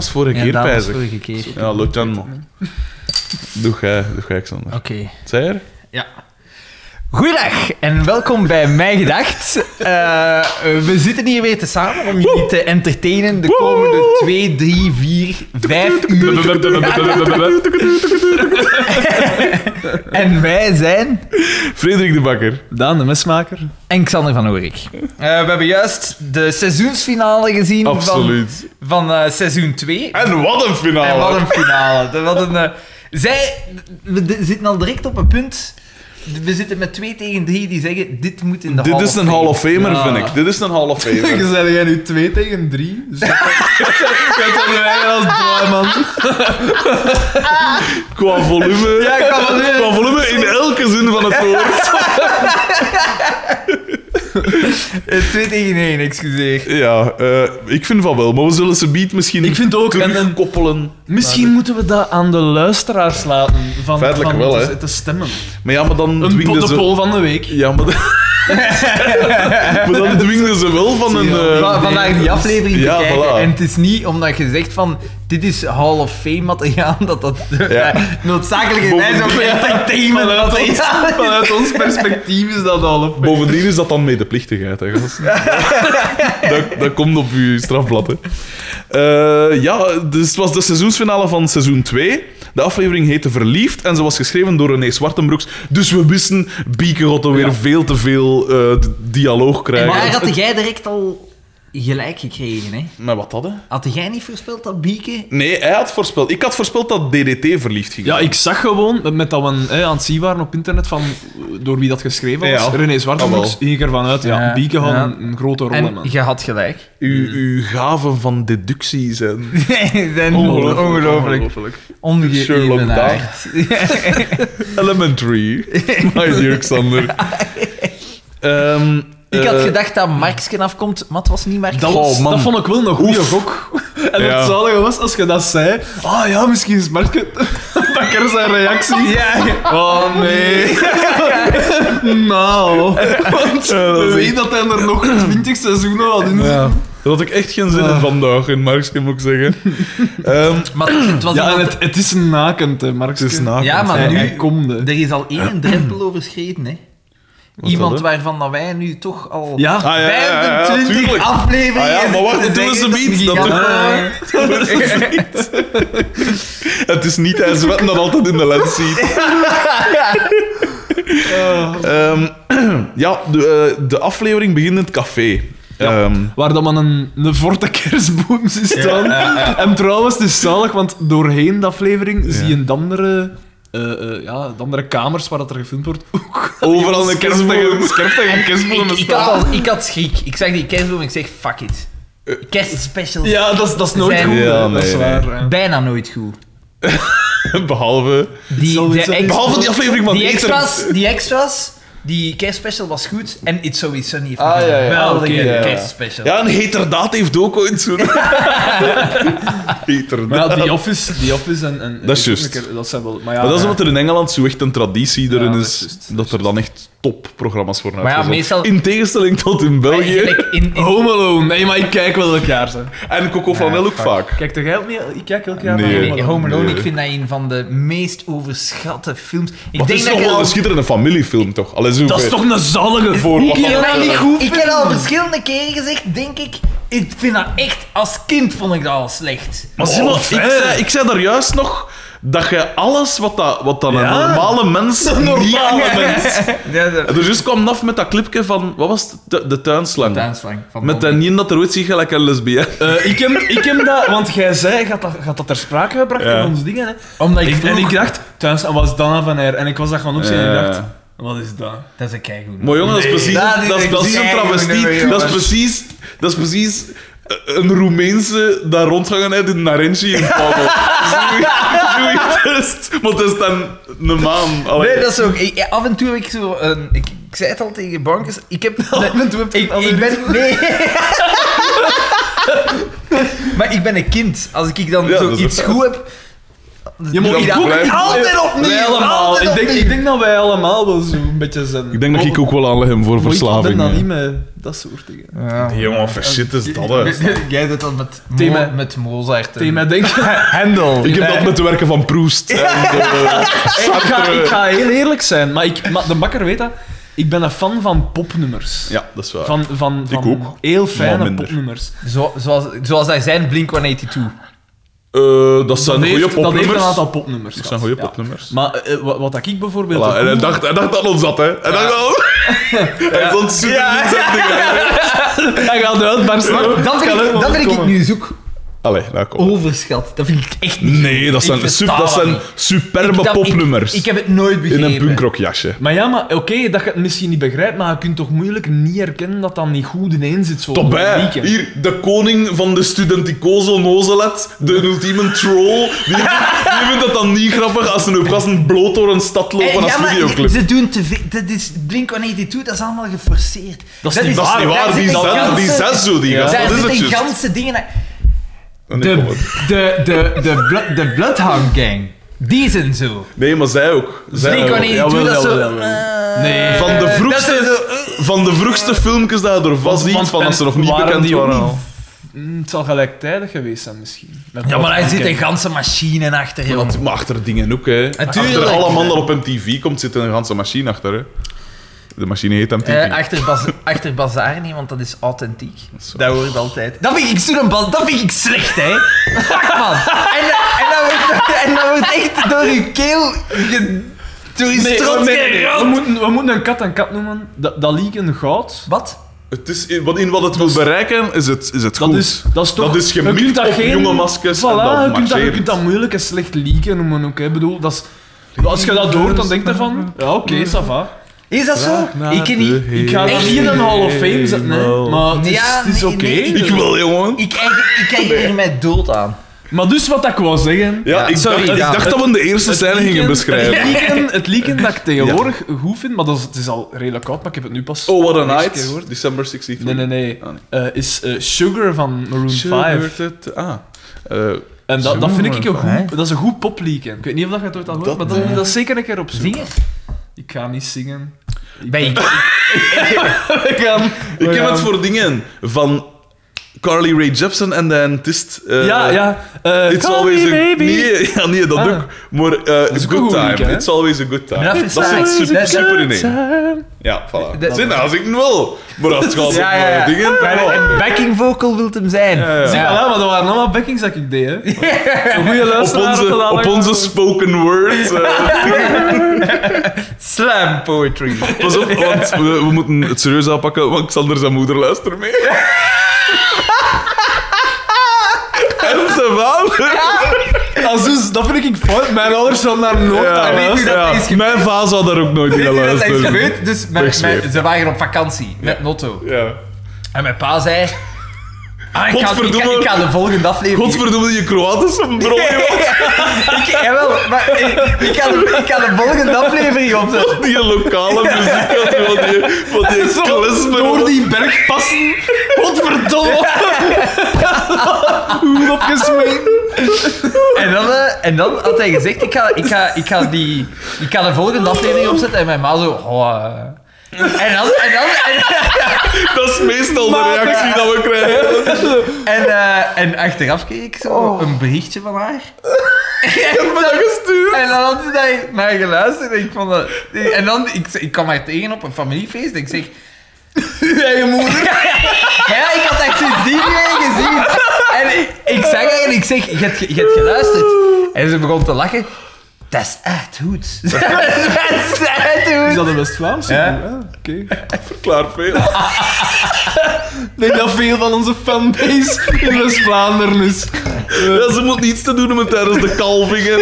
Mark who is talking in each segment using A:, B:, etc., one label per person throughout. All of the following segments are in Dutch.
A: vorige
B: Ja,
A: keer,
B: dat was
A: pijs ik.
B: vorige keer. Oké.
A: Ja, lukt dan, man. Doe jij, doe jij, Xander. Zij er?
B: Ja. Goeiedag en welkom bij Mij Gedacht. Eh, we zitten hier weer te samen om jullie te entertainen de komende 2, 3, 4, 5 uur. En wij zijn
A: Frederik de Bakker.
C: Daan, de mesmaker.
B: en Xander van Oorik. Eh, we hebben juist de seizoensfinale gezien
A: Absoluut.
B: van, van eh, seizoen 2.
A: En wat een finale.
B: En wat een finale. Dat- Wat een, eh, zij, we d- zitten al direct op een punt. We zitten met 2 tegen 3 die zeggen: dit moet in de
A: Dit
B: Hall
A: is
B: of
A: een
B: Fame.
A: Hall of Famer,
C: Ja.
A: vind ik. Dit is een Hall of Famer.
C: zijn jij nu 2 tegen 3. Dus dat is nu eigenlijk als draai, man.
A: Qua volume.
B: Ja, ik kan wel weer.
A: Qua volume in elke zin van het woord.
B: Eh, 2 tegen 1, excuseer.
A: Ja, eh, ik vind van wel, maar we zullen ze beat misschien
C: Ik vind ook- en- en-
A: koppelen.
C: Misschien moeten we dat aan de luisteraars laten. Van,
A: Feitelijk
C: van
A: wel, hè.
C: Te, te stemmen.
A: Maar ja, maar dan
C: Een po-
A: dwingden
C: de
A: ze...
C: poll van de week.
A: Ja, maar, dan- maar dan dwingden ze wel van een... eh,
B: Va- vandaag die aflevering
A: Ja,
B: te kijken.
A: voilà.
B: En het is niet omdat je zegt van dit is Hall of Fame materiaal, dat dat eh,
A: Ja.
B: noodzakelijk is. Hij is ook
A: Bovendien-
B: entertainment materiaal. is.
C: Vanuit ons perspectief is dat al een
A: Bovendien is dat dan medeplichtigheid, hè, gast. dat, dat komt op uw strafblad, hè. Eh, ja, dus het was de seizoensfinale van seizoen 2. De aflevering heette Verliefd en ze was geschreven door René Zwartenbroeks. Dus we wisten, Bieke gaat er weer veel te veel eh, d- dialoog krijgen.
B: Maar had jij direct al gelijk gekregen, hè?
A: Maar wat hadden?
B: Had jij niet voorspeld dat Bieke?
A: Nee, hij had voorspeld. Ik had voorspeld dat DDT verliefd ging.
C: Ja, ik zag gewoon, met- met dat we hè, aan het zien waren op internet, van eh, door wie dat geschreven was.
A: Ja.
C: René Zwartenbroeks,
A: Ah,
C: ging ik ervan uit. Ja,
B: Ja.
C: Bieke had
B: Ja.
C: een, een grote rol in,
B: En
C: man.
B: je had gelijk.
A: Uw, uw gaven van deductie zijn
B: Nee, zijn
A: ongelooflijk.
B: ongelooflijk.
A: Sherlock
B: Ongeëvenaard.
A: Elementary, my dear Xander. Ehm,
B: Ik had
A: eh,
B: gedacht dat Marksken afkomt, maar het was niet Marksken.
C: Dat,
A: Oh, man.
C: dat vond ik wel een goede gok. En
A: Ja.
C: het zalige was als je dat zei. Ah ja, misschien is Marke. Bakker zijn reactie.
B: Ja.
C: Oh nee. nou. Want
A: Ja, dat
C: we
A: is
C: weten dat hij er nog 20 seizoenen had in. Ja,
A: Daar had ik echt geen
B: Ah.
A: zin in vandaag, in Marx, moet ik zeggen. Ehm,
B: Maar het was
C: en
B: iemand-
C: het, het is een nakend, hè, Mark.
A: Ah, het is nakend.
B: Ja, maar
C: Hij,
B: nu-
C: hij komt, hè.
B: Er is al één drempel overschreden, hè.
A: Wat
B: Iemand
A: dat, hè?
B: waarvan dat wij nu toch al
C: Ja.
A: Ah, ja, ja, ja, ja,
B: 25
A: tuurlijk.
B: afleveringen...
A: Ah ja, maar wacht,
B: zitten
A: dat doen
B: zeggen
A: ze niet, dat
B: die
A: doen
B: gaan-
A: Het is niet hij zwet dat altijd in de lens ziet. Ehm, ja, de, eh, de aflevering begint in het café. Ehm,
C: Waar dat man een, een forte kerstboom ziet staan. En trouwens, het is zalig, want doorheen de aflevering zie je een andere, eh, eh, ja, de andere kamers waar dat er gefilmd wordt. ook
A: overal Oh, een kerstboom.
C: Scherptige
B: Ik, ik, had al, ik had schrik. Ik zag die kerstboom en ik zeg, fuck it.
A: Eh,
B: Kerstspecials.
C: Ja, dat, is- dat is nooit
B: Zijn-
C: goed. hè.
A: Ja,
C: dat is
A: nee,
C: waar.
A: nee.
C: hè.
B: Bijna nooit goed.
A: Behalve...
B: Die,
C: zal
B: de
C: iets zijn.
B: extra-
A: Behalve die aflevering van
B: die
A: Eter.
B: extras, die extras, die kerstspecial was goed en It's So It's Sunny heeft
A: Ah,
B: een
A: ja, ja.
B: geweldige
A: Oké, ja, ja.
B: kerstspecial.
A: Ja, een heterdaad heeft ook ooit zo'n...
C: Maar
A: heterdaad.
C: ja, die office, die office en, en
A: Dat is
C: en-
A: juist.
C: Dat zijn wel. Maar ja,
A: Maar dat is
C: ja.
A: omdat er in Engeland zo echt een traditie
C: Ja,
A: erin
C: dat
A: is,
C: is juist,
A: dat er dan echt topprogramma's worden
B: Maar ja,
A: uitgezonden.
B: meestal-
A: In tegenstelling tot in België.
B: Eigenlijk in, in,
C: eh, Home Alone. Nee, maar ik kijk wel elk jaar. Zo.
A: En Coco van El ook vaak.
C: Kijk toch jij ook niet? Ik kijk elk jaar.
A: Nee.
C: naar
B: Nee, Home Alone,
A: Nee.
B: ik vind dat een van de meest overschatte films. Ik
A: Maar het is toch
B: denk dat je
A: wel
B: al...
A: een schitterende familiefilm, toch? Allee, zo
C: Dat is
A: bij-
C: toch een zalige
A: Voor wat
B: Ik heb,
A: dan
B: dat-
A: ook.
B: ik- ik heb al verschillende keren gezegd, denk ik. Ik vind dat echt, als kind vond ik dat al slecht.
A: Maar zie maar,
C: Oh,
A: ik,
C: fijn.
A: zei, ik zei daar juist nog dat je alles wat, dat, wat dan een
C: Ja.
A: normale mens... Een normale mens...
B: Ja, de
A: En er juist kwam af met dat clipje van... Wat was het? De, de tuinslang.
B: tuinslang van
C: Oh,
A: Met dat niet dat er ooit ziet gelijk een lesbien.
C: Eh, ik, heb, ik heb dat, want jij zei, gaat dat, gaat dat ter sprake gebracht
A: Ja. Oh,
C: in ons dingen? Hè?
B: Omdat ik,
C: Ik, en
B: vroeg-
C: ik dacht, thuis en was Dana van Eyre. En ik was dat gaan opzien en
A: Ja.
C: ik dacht, wat is dat?
B: Dat is een keigoed.
A: Maar jongen, dat is precies,
B: Nee.
A: dat, is, dat is een
B: Nee, nee,
A: travestie.
B: jongen.
A: Dat is precies, dat is precies een Roemeense daar rondgangenheid in Narenci in Pablo. Zoiets. Maar het is dan een maan. Allee.
B: Nee, dat is ook. Ik, af en toe heb ik zo. Een, ik, ik zei het al tegen Bankers. Ik heb.
C: Af en toe heb je
B: ik,
C: een
B: ik ben. Nee. maar ik ben een kind. Als ik dan
A: Ja,
B: zo
A: dat is
B: iets
A: ook
B: goed heb.
C: Je moet
A: Dat
C: hier aan-
A: blijft-
B: Altijd opnieuw,
C: Eh, Wij allemaal.
B: altijd
C: Ik denk,
B: opnieuw.
C: ik denk dat wij allemaal wel zo'n beetje zijn.
A: Ik denk dat ik ook wel aanleg hem voor
C: Maar Ik
A: verslaving.
C: ben dan niet
A: hè.
C: met dat soort dingen.
A: Die Jongen, verschit is dat, hè.
B: Jij deed dat met, Mo-
C: Thema-
B: met Mozart. en-
C: Thema denk ik.
B: Hendel.
A: Ik heb dat met de werken van Proest. en, eh,
C: ga,
A: Sartre.
C: ik ga heel eerlijk zijn, maar, ik, maar de bakker weet dat. Ik ben een fan van popnummers.
A: Ja, dat is waar.
C: Van, van, van
A: ook.
C: heel
A: Maar
C: fijne
A: minder.
C: popnummers.
B: Zo, zoals, zoals hij zijn Blink-182.
A: Eh, dat zijn
C: Dat
A: goede
C: heeft, dat heeft een
A: popnummers.
C: aantal popnummers.
A: Dat
C: gehad,
A: zijn goede
C: ja.
A: popnummers.
C: Maar eh, wat, wat ik bijvoorbeeld.
A: Voilà, en hij
C: ook-
A: dacht, hij dacht aan ons dat, hè. En dacht aan Hij is ontzettend niet zijn ding, hè.
C: Hij gaat eruit, maar snap.
B: Dat vind ik, dat vind ik nu zoek
A: Allee, nou kom.
B: overschat. Dat vind ik echt niet
A: Nee, dat
B: Dus Ik
A: zijn,
B: versta
A: sup- dat
B: dat
A: zijn
B: niet.
A: superbe
B: Ik- dat- ik-
A: popnummers.
B: Ik, heb het nooit
A: in
B: begrepen.
A: een punkrockjasje.
C: Maar ja, maar oké, dat je het misschien niet begrijpt, maar je kunt toch moeilijk niet herkennen dat dat niet goed ineen zit. Zo
A: Tot bij,
C: weekend.
A: hier, de koning van de studenticoso nozelet, de ultieme troll. Die, die vindt dat dan niet grappig als ze een gasten bloot door een stad lopen
B: Eh,
A: als
B: ja, maar
A: videoclip.
B: ze doen te veel. Dat is Blink-182, dat is allemaal geforceerd.
C: Dat is niet
A: Dat is niet waar,
B: daar
A: die
B: zitten
A: zes, die
B: ganse-
A: zes zo, die
C: Ja.
A: gast.
B: Daar
A: Dat is
B: zitten
A: het juist.
B: ganse dingen... aan-
A: En ik kom
B: De,
A: uit.
B: de, de, de, Blo- de Bloodhound Gang. Die zijn zo.
A: Nee, maar zij ook. Zij ook.
B: Blink-182,
C: jawel,
B: dat is zo...
C: jawel, jawel.
B: eh,
C: Nee.
A: Van de
B: dat
A: vroegste-
B: is zo, eh,
A: Van de vroegste filmpjes dat je er vast ziet,
C: Want-
A: van als ze nog niet
C: waren
A: bekend
C: die ook
A: waren.
C: niet-
A: al.
C: Mm, het zal gelijktijdig geweest zijn, misschien. Met
B: Ja, maar hij
C: Oké.
B: zit een ganse machine achter,
A: Maar
B: joh.
A: natu- Maar achter dingen ook, hè. Achter
B: Natuurlijk.
A: alle man dat op MTV komt, zit een ganse machine achter, hè. De machine heet MTV.
B: Eh, achter, baz achter bazaar niet, want dat is authentiek.
A: Zo.
B: Dat hoort altijd. Dat vind ik zo'n bal, dat vind ik slecht, hè? Fuck, man. En, dat- en, dat wordt, en dat wordt echt door je keel. ge- door je
C: Nee, oh,
B: strot
C: nee, nee, nee.
B: geramd.
C: We, moeten, we moeten een kat een kat noemen. Dat, dat liek een goud.
B: Wat?
A: Het is, in, wat- in wat het wil bereiken, is het, is het goed.
C: Dus- Dat is, Dus dat is toch...
A: Dat is
C: je
A: gemikt
C: kunt dat
A: op jonge maskers
C: Voilà,
A: en dat
C: je, kunt dat, je
A: marcheert.
C: kunt dat moeilijk en slecht leaken noemen ook. Hè. Ik bedoel, dat is, als je dat hoort, dan denk je van... Ja, oké, ça va.
B: Is dat zo? Ik ken niet.
C: Ik ga dat
B: Echt?
C: niet in een Hall of Fame zetten, hè. maar het is,
B: Ja,
C: het is
B: nee,
C: oké.
B: nee, nee.
A: Ik wil, jongen.
B: Ik kijk, ik kijk hier mij dood aan.
C: Maar dus wat ik wou zeggen...
A: ja, ik,
B: sorry,
A: dacht,
B: ja.
A: ik dacht dat we de eerste
C: het
A: scène gingen
C: leaken-
A: beschrijven.
C: Het leaken, het leaken dat ik tegenwoordig goed vind, maar dat is, het is al redelijk koud, maar ik heb het nu pas...
A: Oh, what
C: de
A: a
C: eerste keer
A: night.
C: gehoord.
A: December 63.
C: Nee, nee, nee.
A: Ah, nee.
C: Eh, is eh, Sugar van Maroon 5.
A: Sugar, tut- Ah. Eh,
C: En dat, dat vind ik een
B: Hè?
C: goed, dat is een goed poplieken. Ik weet niet of dat je het ooit al hoort,
A: Dat-
C: maar dat, dat is zeker een keer op zoek.
B: Zingen?
C: Ik ga niet zingen.
B: Ben ik.
C: Ik ga...
A: ik heb het voor dingen van Carly Rae Jepsen en de dentist. eh,
C: Ja, ja. eh,
A: It's
C: call
A: always
C: me
A: a
C: baby.
A: Nee, ja, nee, dat
C: Ah.
A: ook. Maar eh,
C: is ook een
A: good
C: goed
A: time.
C: liedje, hè?
A: It's always a good time.
B: Maar dat
A: dat
B: vind ik
A: zit
B: saai.
A: super,
B: Dat is-
A: super in één.
C: Time.
A: Ja, voilà.
B: Dat-
A: Zin als ik wil. Maar als het gaat
B: Ja,
A: om
B: ja,
A: eh,
B: ja.
A: dingen...
B: Ja, Een backing vocal wilt hem zijn.
A: ja.
C: Zie,
B: Ja.
C: voilà, maar dat waren allemaal backings dat ik deed, hè. Een goede
A: Op
C: luisteraar had dat
A: onze, op
C: allemaal-
A: onze spoken word. eh,
B: Slam poetry.
A: pas op, want we, we moeten het serieus aanpakken, want Xander zijn moeder luistert mee. en zijn vader.
C: Als dus, dat vind ik fout. Mijn ouders zullen daar nooit
A: Ja,
C: aan
B: weet u dat
A: ja.
B: dat is gebeurd?
A: Mijn vader zou daar ook nooit
B: Weet
A: naar
B: je dat dat is
A: luisteren.
B: gebeurd? Dus mijn-
A: Wegsleep.
B: mijn- ze waren op vakantie met Notto.
A: Ja.
B: En mijn pa zei... Ah, ik, ga, ik, ga,
A: Godverdomme.
B: ik ga de volgende aflevering...
A: Godverdomme, je Kroatische broer.
B: ik, jawel, maar ik, ik, ga de, ik ga de volgende aflevering opzetten.
A: Die lokale muziek, wat die, wat die klismen.
C: Door die berg passen. Godverdomme. Hoe opgesmeed.
B: En dan, eh, en dan had hij gezegd, ik ga, ik, ga, ik, ga die, ik ga de volgende aflevering opzetten. En mijn ma zo... Oh, eh. en dan... En dan en,
A: Dat is meestal de
C: Maar-
A: reactie dat we krijgen.
B: en, eh, en achteraf kreeg ik zo een berichtje van haar.
A: Ik ben dat gestuurd.
B: En dan had hij naar geluisterd en ik vond dat... En dan, ik, ik kwam haar tegen op een familiefeest en ik zeg... je moeder? Ja, ik had echt sindsdien niet meer gezien. En ik, ik zeg haar en ik zeg, je hebt, ge- je hebt geluisterd. En ze begon te lachen. Dat is echt goed. Dat is echt
C: Is
B: goed.
C: dat een West-Vlaams?
B: Ja.
C: Oké.
A: Klaar, veel.
C: Ik denk dat veel van onze fanbase in West-Vlaanderen is.
A: Ja, ze moet niets te doen hebben tijdens de kalvingen.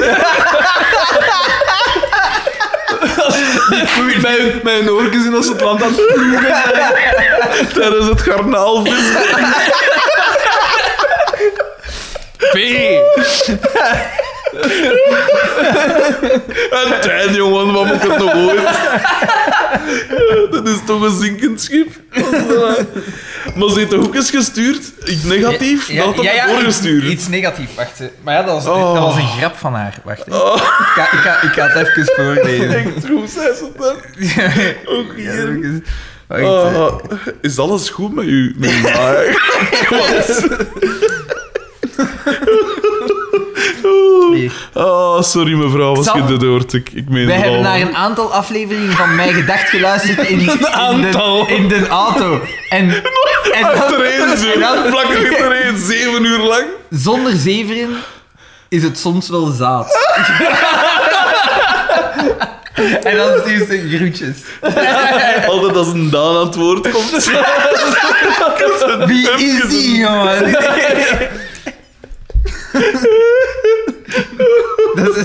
C: Bij hun, bij hun oortjes in ons het land aan het ploegen zijn.
A: Tijdens het garnaalvissen.
B: P.
A: Een tuin, jongen, wat moet ik het nog ooit? Dat is toch een zinkend schip. Maar ze heeft toch ook eens gestuurd? Negatief?
B: Ja,
A: dat had
B: ja,
A: hij
B: ja,
A: doorgestuurd.
B: Iets, iets negatief, wacht. hè. Maar ja, dat was,
A: Oh.
B: dat was een grap van haar. Wacht. hè. Ik, ga, ik, ga, ik ga het even voorlezen.
A: Echt, hoe zei ze dat? Ook
B: Ja,
A: hier.
B: even- wacht, eh, hè.
A: Ah, is alles goed met u? Met uw maag? Wat?
B: Hier.
A: Ah, sorry mevrouw, was
B: Sam,
A: je de doort? Ik, ik meen
B: Wij
A: het
B: hebben
A: al.
B: naar een aantal afleveringen van Mij Gedacht geluisterd in, in, de,
C: aantal.
B: in de auto. En, en dan,
A: Achtereen zo,
B: en dan-
A: vlak achtereen, zeven uur lang.
B: zonder zeverin is het soms wel zaad. en dan stuurt ze groetjes. Eh.
A: Altijd als een Daan aan het woord komt.
B: Wie is die, jongen? dat is,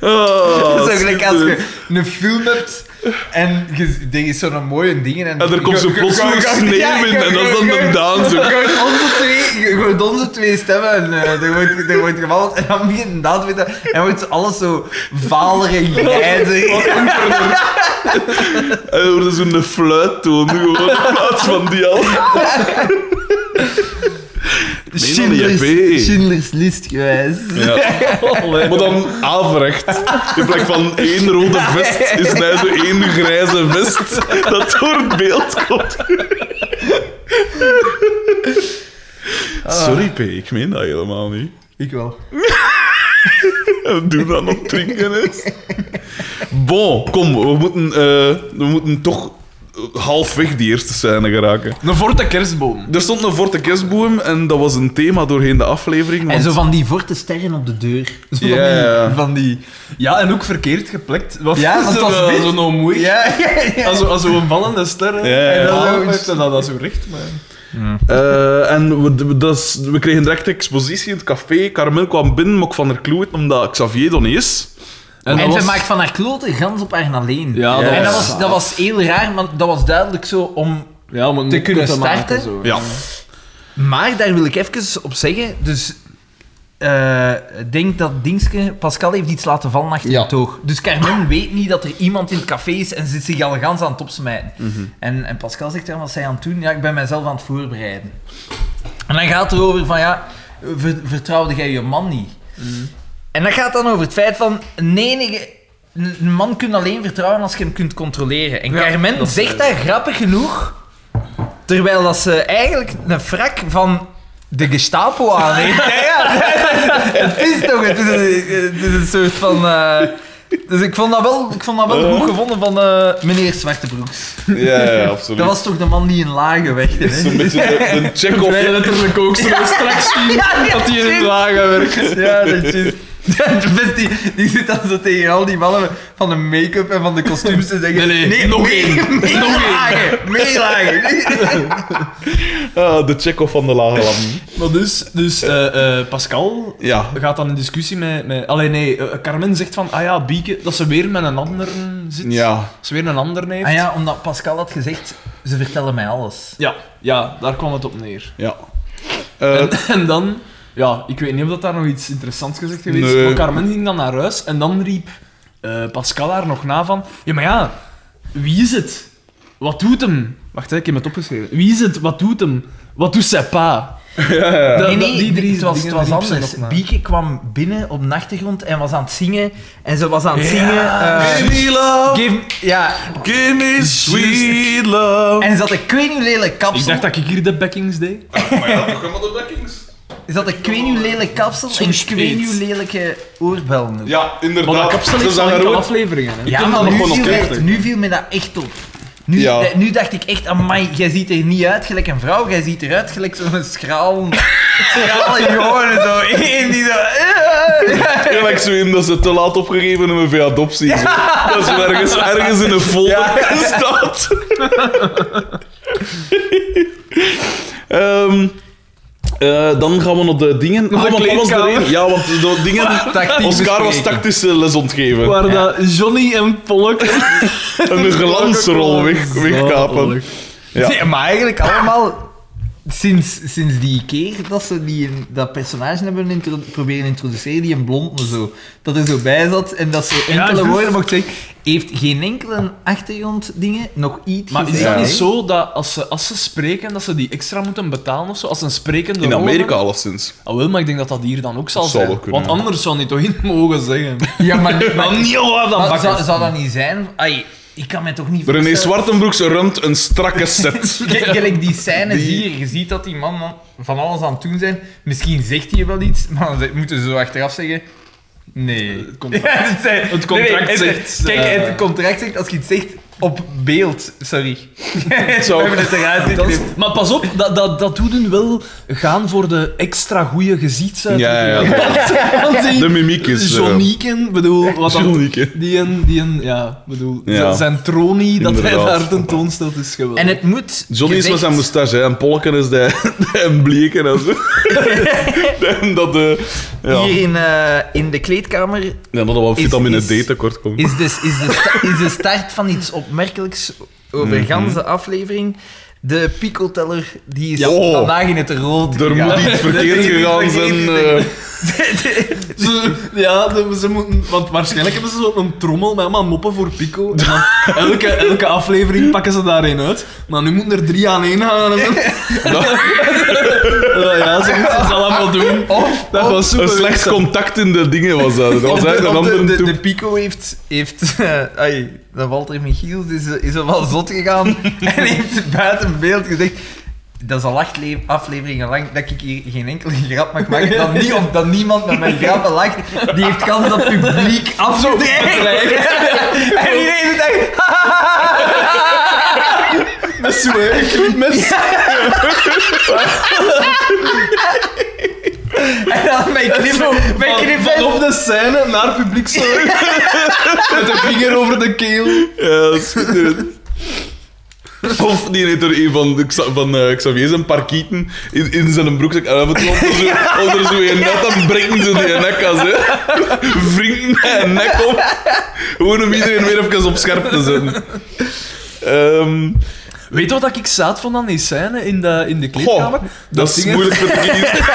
A: Ah,
B: dat is ook gelijk als
A: schitterend.
B: je een film hebt en je er is zo'n mooie dingen en...
A: En er komt zo
B: je- je-
A: plotseling
B: je- je-
A: sneeuw
B: ja,
A: in
B: je-
A: en dat is dan
B: je-
A: de Daan zo.
B: je hoort onze twee, je hoort onze twee stemmen en eh, er, wordt, er wordt gevallen en dan begint inderdaad weer dat- en wordt alles zo valer en grijzer.
A: Hij hoorde zo'n fluittoon gewoon in plaats van die al. meen dat niet, hè, P.
B: Schindler's, Schindler's List gewijs.
A: Maar dan averecht. In plek van één rode vest is hij zo één grijze vest dat door het beeld komt. Sorry, P, ik meen dat helemaal niet.
B: Ik wel.
A: We doen dan op drinken is. Bon, kom, we moeten, eh, we moeten toch eh, halfweg die eerste scène geraken.
C: Een forte kerstboom.
A: Er stond een Forte Kerstboom en dat was een thema doorheen de aflevering.
B: En
A: want-
B: zo van die vorte sterren op de deur. Zo
A: Ja, ja, ja.
B: van, die, van die...
C: Ja, en ook verkeerd geplekt. Wat
B: Ja,
C: is
B: want
C: dat
B: dat is
C: wel
B: wit.
C: zo nou mooi?
B: Ja, ja, ja.
C: Als, als een vallende ster. hè.
A: Ja, ja, ja.
C: En dan
B: Ja,
C: heeft hij dat, dat zo recht. Maar...
A: Eh, en we, we- dat is- we kregen direct expositie in het café. Carmen kwam binnen, maar ik van haar kloot omdat Xavier dan is.
B: En,
C: dat
B: ze
C: was-
B: maakt van haar klote gans op haar alleen.
C: Ja,
A: dat
B: en dat
A: was-
B: was, dat was heel raar, want dat was duidelijk zo om
C: ja, om een
B: te
C: mopje
B: kunnen
C: maken,
B: starten.
C: zo.
A: Ja.
B: Maar daar wil ik even op zeggen. Dus eh, ik denk dat Dingske, Pascal heeft iets laten vallen achter
C: Ja.
B: het oog. Dus Carmen weet niet dat er iemand in het café is en zit zich al gans aan het opsmijten.
A: Mhm.
B: En, en Pascal zegt dan, wat zij aan het doen? Ja, ik ben mijzelf aan het voorbereiden. En dan gaat het erover van, ja, ver- vertrouwde jij je man niet?
A: Mhm.
B: En dat gaat dan over het feit van, nee, nee, je- een een man kunt alleen vertrouwen als je hem kunt controleren. En
A: Ja,
B: Carmen
A: dat is eh,
B: zegt dat grappig genoeg, terwijl dat ze eigenlijk een frak van de Gestapo aan heeft. Ja, ja, het is toch, het is, een- het is een soort van... eh, dus ik vond dat wel, ik vond dat wel goed gevonden van eh, meneer Zwartebroeks.
A: Ja, ja, absoluut.
B: Dat was toch de man die in lagen wegde, hè?
A: Zo'n beetje de, de check-off.
C: Wij letterlijk ook zo straks zien
B: Ja, ja,
C: dat hij in
B: juist.
C: de wagen werkt.
B: Ja, dat is juist. De vent die, die zit dan zo tegen al die mannen van de make-up en van de kostuums te zeggen...
C: Nee, nee, nog één.
B: Meer lagen, meer lagen.
A: Ah, de check-off van de lage lamp.
C: Maar dus, dus eh, eh, Pascal
A: Ja.
C: gaat dan in discussie met... met Allee, nee, eh, Carmen zegt van, ah ja, Bieke, dat ze weer met een ander zit.
A: Ja.
C: Dat ze weer een ander heeft.
B: Ah ja, omdat Pascal had gezegd, ze vertellen mij alles.
C: ja. ja, daar kwam het op neer.
A: Ja. Eh,
C: En, en dan... Ja, ik weet niet of dat daar nog iets interessants gezegd geweest is,
A: Nee.
C: maar Carmen ging dan naar huis en dan riep eh, Pascal haar nog na van... Ja, maar ja, wie is het? Wat doet hem? Wacht, hè, ik heb het opgeschreven. Wie is het? Wat doet hem? Wat doet zijn pa? Dat- dat-
B: Nee, nee,
C: die drie
B: het was, het
C: dingen
B: was
C: riep ze
B: anders.
C: nog na.
B: Bieke kwam binnen op de achtergrond en was aan het zingen. En ze was aan het
C: Ja.
B: zingen... eh,
A: give me love,
B: give, ja,
A: give me sweet love.
B: en ze had een ik weet niet hoe lelijk kapsel.
C: Ik dacht dat ik hier de backings deed.
B: Ah,
A: Ah, Maar ja, toch helemaal de backings.
B: Ze had een ik weet niet hoe lelijk kapsel en ik
C: spijt.
B: weet niet hoe lelijke oorbellen. ook.
A: Ja,
C: Maar dat
A: inderdaad.
C: kapsel
A: Ze
C: heeft
A: zag
C: wel
A: er
C: enkele
A: ook.
C: afleveringen. Hè?
B: Ja,
A: kunt
B: maar
A: dat
B: nu
A: nog
B: viel,
A: gewoon
B: mij,
A: opkrijgen.
B: nu viel mij dat echt op. Nu,
A: Ja.
B: eh, nu dacht ik echt, amai, jij ziet er niet uit gelijk een vrouw, jij ziet eruit gelijk zo'n schraal, schrale jongen, zo één die zo...
A: Gelijk zo in dat ze te laat opgegeven hebben voor adoptie. zo. Dat ze ergens, ergens in een folder staat. Ehm, eh, dan gaan we naar de dingen. Ah,
C: Naar de
A: want dat was de
C: kleedkamer.
A: reden. Ja, want de dingen...
B: Tactiek
A: Oscar was
B: bespreken.
A: tactische les ontgeven.
C: Waar dat Johnny en Pollock
A: En de glansrol weg,
C: Zo,
A: wegkapen.
C: Pollock.
A: Ja.
B: Nee, maar eigenlijk allemaal Sinds, sinds die keer dat ze die, een- dat personage hebben intro- proberen introduceren, die een blond zo, dat er zo bij zat en dat ze
C: Ja,
B: enkele
C: juist.
B: woorden mocht zeggen, heeft geen enkele achtergronddingen, nog iets
C: Maar is
B: gezegd,
C: dat niet
B: hè?
C: zo dat als ze, als ze spreken, dat ze die extra moeten betalen of zo? Als ze een sprekende
A: In
C: rol
A: Amerika
C: hebben?
A: alleszins.
C: Ah, wel, maar ik denk dat dat hier dan ook zal
A: Dat zou
C: zijn.
A: wel kunnen,
C: Want
A: ja.
C: anders zou niet toch in mogen zeggen.
B: Ja, maar, maar,
C: Dan niet al dan
B: maar zou,
C: bakken.
B: zou dat niet zijn? Ai, ik kan me toch niet
A: René
B: voorstellen-
A: Zwartenbroeks runt een strakke set.
B: Gel- Gelijk die scènes
A: Die-
B: hier, je ziet dat die man dan van alles aan het doen zijn. Misschien zegt hij wel iets, maar dan ze- moeten ze zo achteraf zeggen... Nee.
C: Eh, Het contract-
B: Ja, het zijn-
C: het contract zegt,
B: Kijk,
C: eh,
B: het contract zegt als je iets zegt op beeld. Sorry.
A: Zo.
B: We hebben het eruit
C: Dat is-
B: geknipt.
C: maar pas op, dat, dat, dat doet hun wel gaan voor de extra goede gezichtsuitdrukking.
A: Ja, ja, ja.
C: Want die
A: De mimiek is, eh,
C: Johnieken, bedoel, wat dan-
A: Johnieken.
C: Die een, die een, ja, bedoel,
A: Ja.
C: zijn tronie dat hij
A: Inderdaad.
C: daar tentoonstelt is geweldig.
B: En het moet...
A: Johnny is met zijn
B: gezegd-
A: moustache hè, en Polken is de, en bleken en zo. en dat, eh ja.
B: Hier in, eh, in de kleedkamer
A: Ja, dat er wel
B: Is-
A: vitamine
B: is-
A: D tekort komt.
B: is, dus, is, de sta- is de start van iets opmerkelijks over
A: Mhm.
B: de ganse aflevering. De picoteller die is
A: Oh.
B: vandaag in het rood
A: er
B: gegaan.
A: moet iets verkeerd
B: is iets
A: gegaan zijn.
B: verkeerd
A: eh,
C: Ze, ja, de- ze moeten, want waarschijnlijk hebben ze zo'n trommel met allemaal moppen voor Pico. En dan elke, elke aflevering pakken ze daar een uit. Maar nu moeten er drie aan één gaan. En dan, Eh, ja, ze moeten ze allemaal doen.
B: Of,
C: Dat was super.
A: een slecht contact in de dingen was dat. Dat was
B: Oh, of de,
A: eigenlijk een
B: of de,
A: andere
B: de,
A: toep.
B: de Pico heeft, heeft eh, ai, de Walter Michiels is, is er wel zot gegaan en heeft buiten beeld gezegd. Dat is al acht le- afleveringen lang dat ik hier geen enkele grap mag maken. Dat, niet, of dat niemand met mijn grappen lacht. Die heeft kans dat het publiek afdreigt. En iedereen denkt, ha,
C: Met zo'n hè. Met
B: en dan "Ah, mijn
C: zo-
B: knippen, mijn
C: van,
B: knippen.
C: van op de scène naar het publiek zo. Met de vinger over de keel.
A: Ja, schitterend. Of die heeft er een van, de Xa- van eh, Xavier zijn parkieten in, in zijn broekzak en even onder zo, onder zo je net dan brengen ze die nek als hè. Wringt met een nek op. Gewoon om iedereen weer even op scherp te zetten. Ehm,
C: Weet je wat ik zaad vond aan die scène in de, in de
A: goh,
C: kleedkamer?
A: dat, is
C: dingen-
A: moeilijk te kiezen.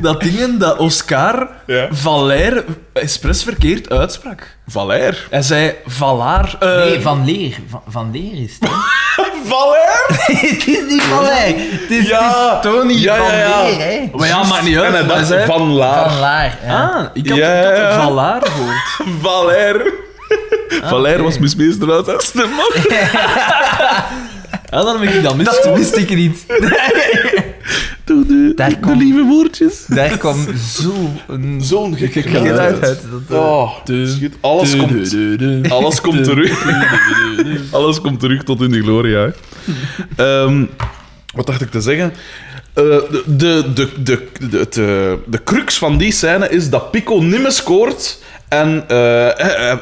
C: Dat dingen dat Oscar
A: Ja.
C: Valère expres verkeerd uitsprak.
A: Valère.
C: Hij zei Valaar. eh,
B: Nee, van leer. Van, van leer is het. hè.
A: Valère?
B: het is niet van Leer. Het is,
A: Ja.
B: het is Tony
A: Ja,
B: van
A: ja, ja.
B: leer, hè.
C: Maar ja, maakt niet uit.
A: En hij
C: maar
A: dacht
C: hij zei-
A: van
B: Van
A: Laar.
B: Laar. ja.
C: Ah, ik had,
A: Ja,
C: ik had
A: ja, ja.
C: Valaar gehoord.
A: Valère. Valère was mismeester uit als de man.
C: Ja, dan heb ik dat mis.
B: Dat wist ik niet.
A: Doe de,
B: Daar
A: de
B: komt-
A: lieve woordjes.
B: Daar kwam zo een
A: Zo'n gekke
B: geluid
A: geluid.
B: uit. Dat, eh,
A: Oh, schiet. Alles komt, alles komt terug. Alles komt terug tot in de gloria. hè. Ehm, wat dacht ik te zeggen? Eh, de, de, de, de, de, het, eh, de crux van die scène is dat Pico nimmer scoort. En eh, hij,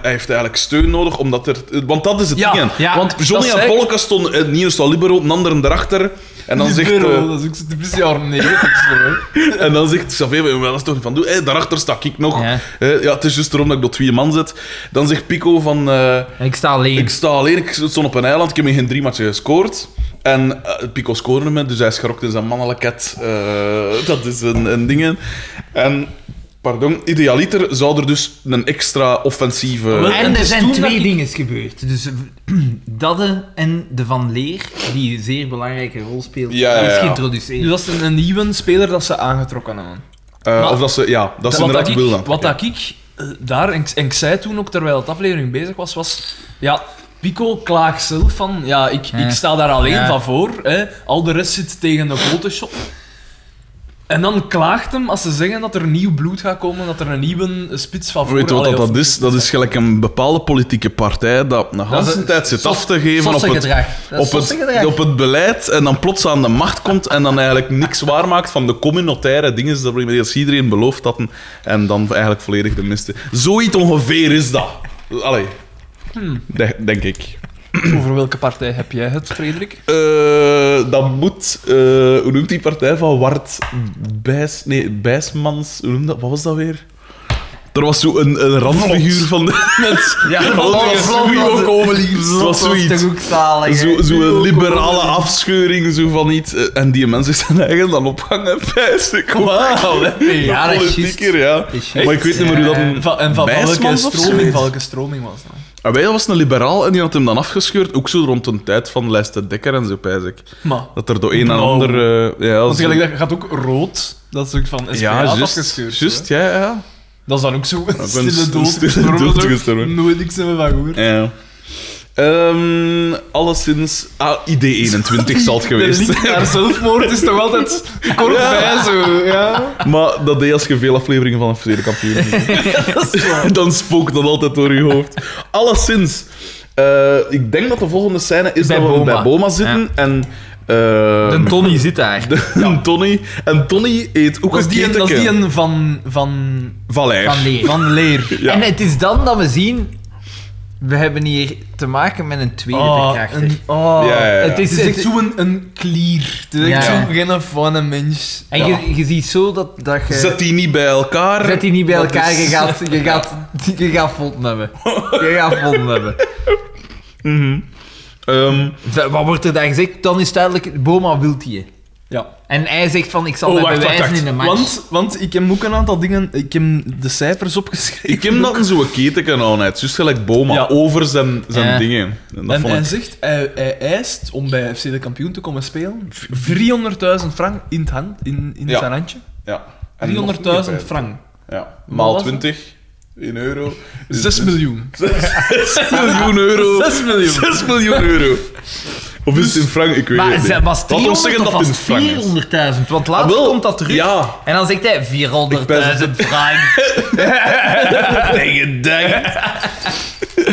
A: hij heeft eigenlijk steun nodig, omdat er... Want dat is het
C: Ja,
A: ding.
C: ja,
A: want Johnny
C: dat
A: en
C: zei ik.
A: Polka stonden... eh, De ene staat libero, de andere erachter. En dan zegt... eh,
C: dat is ook zo typisch jaar 90 zo. hè.
A: en dan zegt Xavier, "Maar dat is toch niet van doen? Hé, daarachter sta ik nog.
B: Ja.
A: Eh, ja, het is juist daarom dat ik dat twee man zet. Dan zegt Pico van... eh,
B: Ik sta alleen.
A: ik sta alleen, ik stond op een eiland, ik heb in geen drie matchen gescoord. En eh, Pico scoorde me, dus hij schrokt in zijn mannelijkheid. Eh, dat is een, een ding. En, pardon, idealiter zou er dus een extra offensieve...
C: Wel,
B: En
C: het
B: er
A: dus
C: is
B: zijn
C: toen
B: twee
C: dat ik-
B: dingen gebeurd. Dus eh, Dadde en de Van Leer, die een zeer belangrijke rol speelt,
A: Ja, ja,
B: is
A: ja.
B: geïntroduceerd.
C: Dus dat is een, een nieuwe speler dat ze aangetrokken hebben.
A: Eh,
C: maar-
A: of dat ze... Ja, dat ze
C: wat
A: inderdaad
C: dat
A: wil
C: ik,
A: dan.
C: wat dat ik eh, daar, en, ik- en ik zei toen ook terwijl de aflevering bezig was, was ja, Pico klaagt zelf van ja, ik,
B: Ja.
C: ik sta daar alleen
B: Ja.
C: van voor, hè. al de rest zit tegen de Photoshop. En dan klaagt hem als ze zeggen dat er nieuw bloed gaat komen, dat er een nieuwe eh, spits van voor
A: Weet je wat
C: Allee,
A: dat,
C: of-
A: dat is? Dat is gelijk een bepaalde politieke partij dat een hele
B: is-
A: tijd zit
B: sos-
A: af te geven op het,
B: sossengedrag. Dat is
A: op, het,
B: sossengedrag.
A: op het beleid en dan plots aan de macht komt en dan eigenlijk niks waarmaakt van de communautaire dingen dat we- dat iedereen beloofd hadden en dan eigenlijk volledig de miste. Zoiets ongeveer is dat. Allee.
B: Hmm.
A: De- denk ik.
C: Over welke partij heb jij het, Frederik?
A: Eh, dat moet... eh, hoe noemt die partij van Wart Bijs... Nee, Bijsmans... Hoe noemt dat? Wat was dat weer? Er was zo een, een randfiguur van de... Met,
B: Ja,
A: dat was
B: vlot
A: zo
B: was
A: ook
B: het.
A: overliefd. Dat was zoiets.
B: toch ook zalig. hè?
A: Zo'n zo een liberale afscheuring zo van iets. Eh, En die mensen zijn eigen dan ophangen bij ze.
B: Ja, dat is juist.
A: Politieker, ja.
B: Dat is juist.
A: Maar ik weet niet meer hoe dat... Een,
C: En van, Eh, en van welke,
A: Wijsmans of
C: stroming,
A: zoiets?
C: van welke stroming was dat?
A: En wij was een liberaal en die had hem dan afgescheurd. Ook zo rond een tijd van Leicester Dekker en zo, pijs ik.
C: Maar,
A: Dat er door een en
C: Blauw.
A: ander... eh, ja,
C: want
A: zo-
C: gelijk, dat gaat ook rood. Dat is ook van SPA
A: ja, juist.
C: afgescheurd.
A: Juist,
C: hè.
A: ja, ja.
C: Dat is dan ook zo een
A: een
C: stille
A: s-
C: dood.
A: stille
C: gestorven,
A: dood
C: ook.
A: gestorven.
C: Nooit niks hebben van gehoord.
A: Ja. Ehm, alleszins, ah, ID21 zal het
C: De
A: geweest
C: link
A: zijn.
C: naar zelfmoord is toch altijd kort
A: Ja.
C: bij, zo. Ja.
A: Maar dat deed als je veel afleveringen van een verleden kampioen. Dan spookt dat altijd door je hoofd. Alleszins, eh, ik denk dat de volgende scène is
B: Bij
A: dat we
B: Boma.
A: bij Boma zitten en... eh
B: De Tony zit daar.
A: Tony. En Tony eet ook
C: Dat is
A: een
C: die een, dat is die
A: keteken.
C: een van, van,
A: Valère.
B: Van leer.
C: van leer.
A: Ja.
B: En het is dan dat we zien... We hebben hier te maken met een tweede verkrachter.
C: een- oh.
A: Ja, ja, ja.
C: Het is,
B: Het is
C: echt
B: echt-
C: zo'n een klier. Het is
B: Ja.
C: echt zo'n geen fijne mens.
B: En je, je ziet zo dat, dat je...
A: Zet die niet bij elkaar.
B: Zet die niet bij
A: Dat
B: elkaar,
A: is-
B: je gaat, je gaat, je gaat vonden hebben. Je gaat vonden hebben.
A: Mhm. Ehm,
B: Zo, Wat wordt er daar gezegd? Dan is duidelijk, Boma wilt je.
C: Ja.
B: En hij zegt van, ik zal
C: Oh,
B: mij
C: wacht, wacht,
B: bewijzen
C: wacht.
B: in de match.
C: Want, want ik heb ook een aantal dingen... Ik heb de cijfers opgeschreven.
A: ik heb dat een zo'n keteken aan uit. Juist gelijk Boma.
C: Ja.
A: Over zijn, zijn
B: Ja.
A: dingen. En dat
C: En
A: vond
C: hij
A: ik...
C: zegt, hij, hij eist om bij FC de kampioen te komen spelen 300.000 frank in het, hand, in, in
A: Ja.
C: zijn handje.
A: Ja. En nog een keer
C: 300.000
A: bij.
C: frank.
A: Ja.
C: Wat
A: Maal
C: was
A: 20 in euro. dus-
C: 6 miljoen.
A: 6 miljoen euro.
C: 6 miljoen.
A: 6 miljoen euro. Of is het in frank? Ik weet
B: maar
A: het
B: ze
A: niet.
B: was
A: Laat ons
B: 300
A: zeggen
B: of
A: dat het in frank is.
B: was 400.000. Want later
A: Ah, wel,
B: komt dat terug.
A: Ja.
B: En dan zegt hij 400.000 frank.
A: Tegen denk.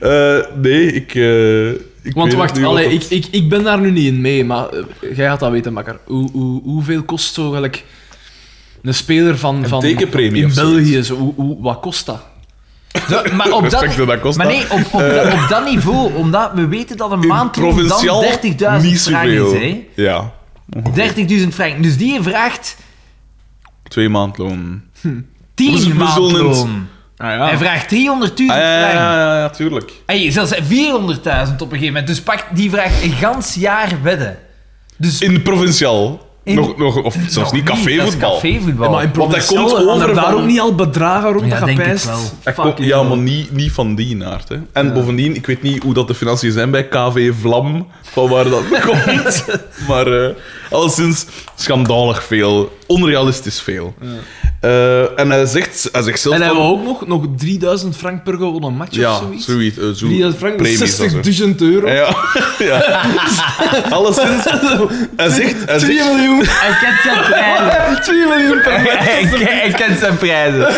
A: Eh, nee, ik... eh, ik
C: Want
A: weet
C: wacht,
A: niet wat
C: allee,
A: dat-
C: ik, ik, ik ben daar nu niet in mee, maar eh, jij gaat dat weten, makker. Hoe, hoe, hoeveel kost zo gelijk een speler van, van
A: tekenpremie
C: in
A: of
C: België? Zo, hoe, hoe, wat kost dat?
B: Zo, maar op dat,
A: Respect dat dat kost,
B: maar
A: hè.
B: nee, op, op, dat- op dat niveau, omdat we weten dat een
A: In
B: maand dan 30.000
A: provinciaal niet
B: frank
A: zoveel.
B: is. hè.
A: Ja.
B: 30.000 frank. Dus die vraagt
A: Twee maandloon.
B: 10
A: Dus We- we zullen het-
B: maandloon.
C: Ah,
B: Hij vraagt 300.000
A: Ah, ja, ja,
B: frank.
A: ja, ja, ja, tuurlijk.
B: Hey, zelfs 400.000 op een gegeven moment. Dus pak die vraag een gans jaar wedden. Dus
A: In provinciaal.
B: In-
A: Nog, nog, of zelfs
B: nog
A: niet cafévoetbal.
B: Dat is cafévoetbal.
C: maar in
A: Want dat
C: provinciale
A: komt
C: gaan er
A: over
C: daar
A: van-
C: ook niet al bedragen rond
B: Ja,
C: dat
B: denk ik
C: gepijst?
B: wel.
A: Ik
C: Fucking
A: kon- ja,
C: hell.
A: maar niet, niet van die aard. Hè. En bovendien, ik weet niet hoe dat de financiën zijn bij KV Vlam, van waar dat komt. maar eh alleszins schandalig veel, onrealistisch veel. Eh, en hij zegt, hij zegt zelf...
C: En
A: van-
C: hebben we ook nog, nog 3000 frank per gewonnen match of
A: ja,
C: zoiets?
A: zoiets. eh, zo
C: 3000 frank, dat is
A: premies Eh, of zo.
C: 60.000 euro.
A: Ja, ja. Alleszins, hij zegt... Hij
C: 2
A: zegt
C: miljoen.
B: Hij kent zijn prijzen.
C: 2 miljoen per match.
B: Hij ken- Hij kent zijn prijzen.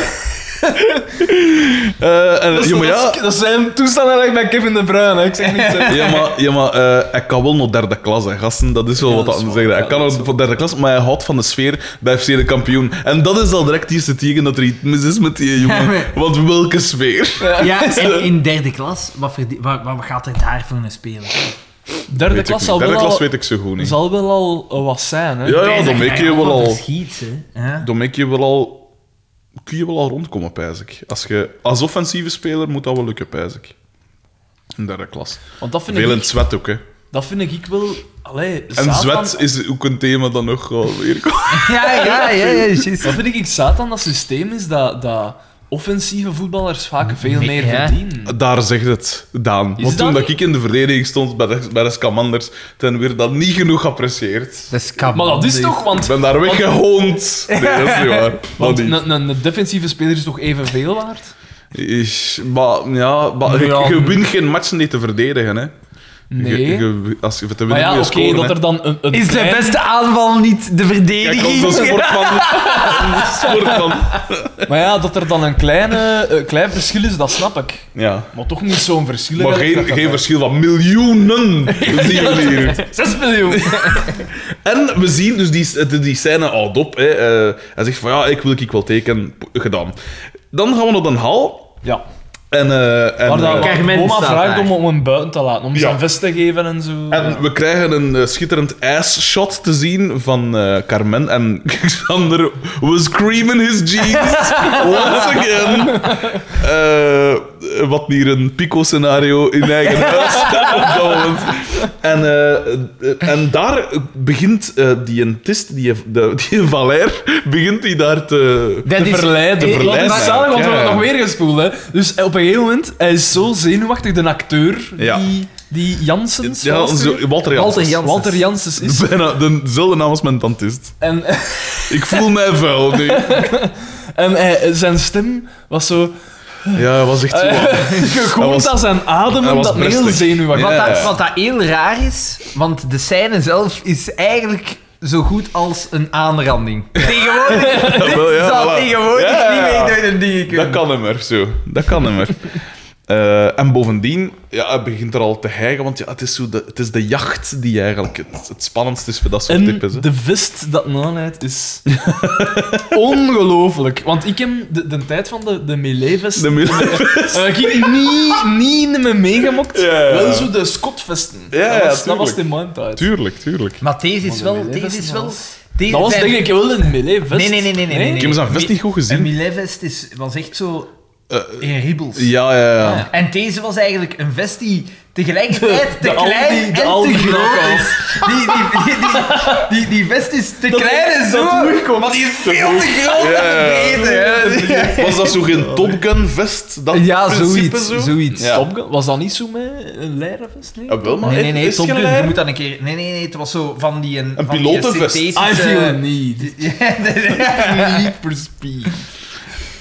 A: eh, en,
C: Dat, is-
A: ja, maar ja,
C: dat is- dat zijn toestanden eigenlijk bij Kevin De Bruyne. hè. Ik zeg niet zo.
A: Ja, maar, ja, maar eh, hij kan wel nog derde klas, hè, gasten. Dat is wel
C: Ja,
A: wat
C: dat
A: dat
C: is
A: zeggen.
C: waar.
A: Hij
C: Ja,
A: kan
C: dat is
A: nog van derde klas, maar hij houdt van de sfeer bij FC de kampioen. En dat is al direct iets te tegen dat er iets mis is met die eh, jongen.
B: Ja, maar-
A: Want welke sfeer?
B: Ja, en in derde klas, wat, verdie- wat, wat gaat er daar voor een speler?
C: Derde
A: Weet ik
C: klas
A: niet.
C: zal
A: derde
C: wel
A: klas
C: al-
A: weet ik zo goed niet.
C: zal wel al eh, wat zijn, hè?
A: Ja, ja, dan merk je wel al...
B: Verschiet, hè. Ja.
A: Dan merk je wel al... Kun je wel al rondkomen, pijs ik. Als, je, als offensieve speler moet dat wel lukken, pijs ik. In derde klas.
C: Want dat vind,
A: Veel in
C: ik,
A: het zwet ook, hè.
C: dat vind ik wel... Allee,
A: En
C: Satan-
A: zwet is ook een thema dat nog wel weer komt.
B: ja, ja, ja, ja, juist.
C: Dat vind ik iets zat aan dat systeem is dat, dat offensieve voetballers vaak veel
B: Nee,
C: meer
B: ja.
C: verdienen.
A: Daar zegt het, Daan. Want
C: dat
A: toen dat
C: niet-
A: ik in de verdediging stond bij de, bij de Scamanders, ten weer dat niet genoeg geapprecieerd.
B: Dat is kamer.
C: Maar dat is toch,
A: Ik
C: want
A: ben daar weggehoond. Nee, dat is niet waar. Dat
C: want
A: niet.
C: een, een, een defensieve speler is toch evenveel waard?
A: Is- maar ja, maar, je-
B: Ja.
A: Je, wint geen matchen niet te verdedigen. Hè.
C: Nee.
A: Je, je- als je te winnen
C: maar ja,
A: moet
C: oké,
A: je scoren,
C: dat
A: hè.
C: er dan een, een
B: Is de
C: klein-
B: beste aanval niet de
A: Kijk,
B: verdediging?
A: onze sportman. Onze sportman.
C: Maar ja, dat er dan een kleine, eh, klein verschil is, dat snap ik.
A: Ja.
C: Maar toch niet zo'n verschil.
A: Maar geen, geen verschil van miljoenen zien we hier.
C: 6 miljoen.
A: En we zien dus die, die- die scène al op. Hè. Eh, hij zegt van ja, ik wil ik wel tekenen. P- Gedaan. Dan gaan we naar Den Hal.
C: Ja.
A: En, eh, en,
C: Waar dat,
A: eh,
B: Kijk,
C: waar
B: men
C: oma
B: staat
C: vraagt
B: daar.
C: om, om hem buiten te laten, om
A: Ja.
C: zijn vest te geven en zo.
A: en we krijgen een eh, schitterend ass-shot te zien van eh, Carmen. En Xander was screaming his jeans once again. Eh, wat hier een pico-scenario in eigen huis op dat moment. En, eh, eh, en daar begint eh, die entist, die, de, die Valère, begint die daar te...
B: Dat
C: te
B: is-
C: verleiden.
A: te verleiden,
C: Dat is zalig, want we
A: ja.
C: hebben nog weer gespoeld. Hè. Dus op een gegeven moment, hij is zo zenuwachtig, de acteur,
A: Ja.
C: die, die Janssens
A: Ja,
C: was
A: zo-
C: er?
A: Walter Janssens.
B: Walter Janssens.
C: Walter Janssens is.
A: Bijna dezelfde naam als mijn tantist.
C: En,
A: Ik voel mij vuil nu.
C: en hij- zijn stem was zo...
A: Ja, hij was echt zo.
C: Je
A: Hij
C: hoort
A: was-
C: aan zijn
A: hij
C: adem
A: was
C: dat hij heel
A: prestig.
C: zenuwachtig
B: Wat,
A: Ja.
B: dat, wat dat heel raar is, want de scène zelf is eigenlijk zo goed als een aanranding. Tegenwoordig
A: Ja, wel, ja,
B: zal
A: voilà.
B: tegenwoordig
A: Ja,
B: niet
A: ja, ja.
B: meer door de dingen
A: Dat
B: kunnen.
A: kan hem er, zo. Dat kan hem er. Eh, en bovendien, ja, hij begint er al te hijgen, want ja, het, is zo de, het is de jacht die eigenlijk het, het spannendste is voor dat soort
C: En
A: types. hè.
C: de vist dat naanheid is ongelooflijk. Want ik heb de, de tijd van de, de melee-vest
A: De mil-
C: heb ik niet, niet in me meegemokt.
A: Ja, ja.
C: Wel zo de Scotvesten.
A: Ja, ja,
C: dat, was, dat
A: tuurlijk.
C: was de mijn tijd.
A: tuurlijk, tuurlijk.
B: Maar deze is
C: Maar
B: wel...
C: de
B: Deze
C: Milevest
B: is wel
C: was-
B: deze
C: Dat was
B: zijn-
C: denk ik wel een melee-vest.
B: Nee, nee, nee, nee, nee, nee,
A: Ik
B: nee.
A: heb zijn vest niet goed
B: Een
A: gezien.
B: Milevest is, was echt zo
A: Eh,
B: in ribbels.
A: ja, ja, ja.
B: En deze was eigenlijk een vest die tegelijkertijd te
C: De- de
B: klein
C: Aldi- de
B: en
C: Aldi
B: te groot
C: knock-off.
B: is. Die, die, die, die, die, die vest is te
C: Dat-
B: klein en zo,
C: dat terugkomt.
B: maar die is veel te groot
A: Ja, ja.
B: en te breed. hè.
A: Was dat zo geen Top Gun vest? Dat
B: Ja,
A: principe
B: zoiets.
A: zo?
B: zoiets.
A: Ja.
C: Top Gun, was dat niet zo met een leirenvest? Nee?
A: Ja, wel, maar
B: Nee, nee,
A: is
B: nee,
A: het
B: Top
A: geen
B: Gun, je
A: lijn?
B: moet dat een keer... Nee, nee, nee, het was zo van die... Een, van die
A: pilotenvest.
B: synthetische-
C: I feel it need.
B: Ja,
C: Need for speed.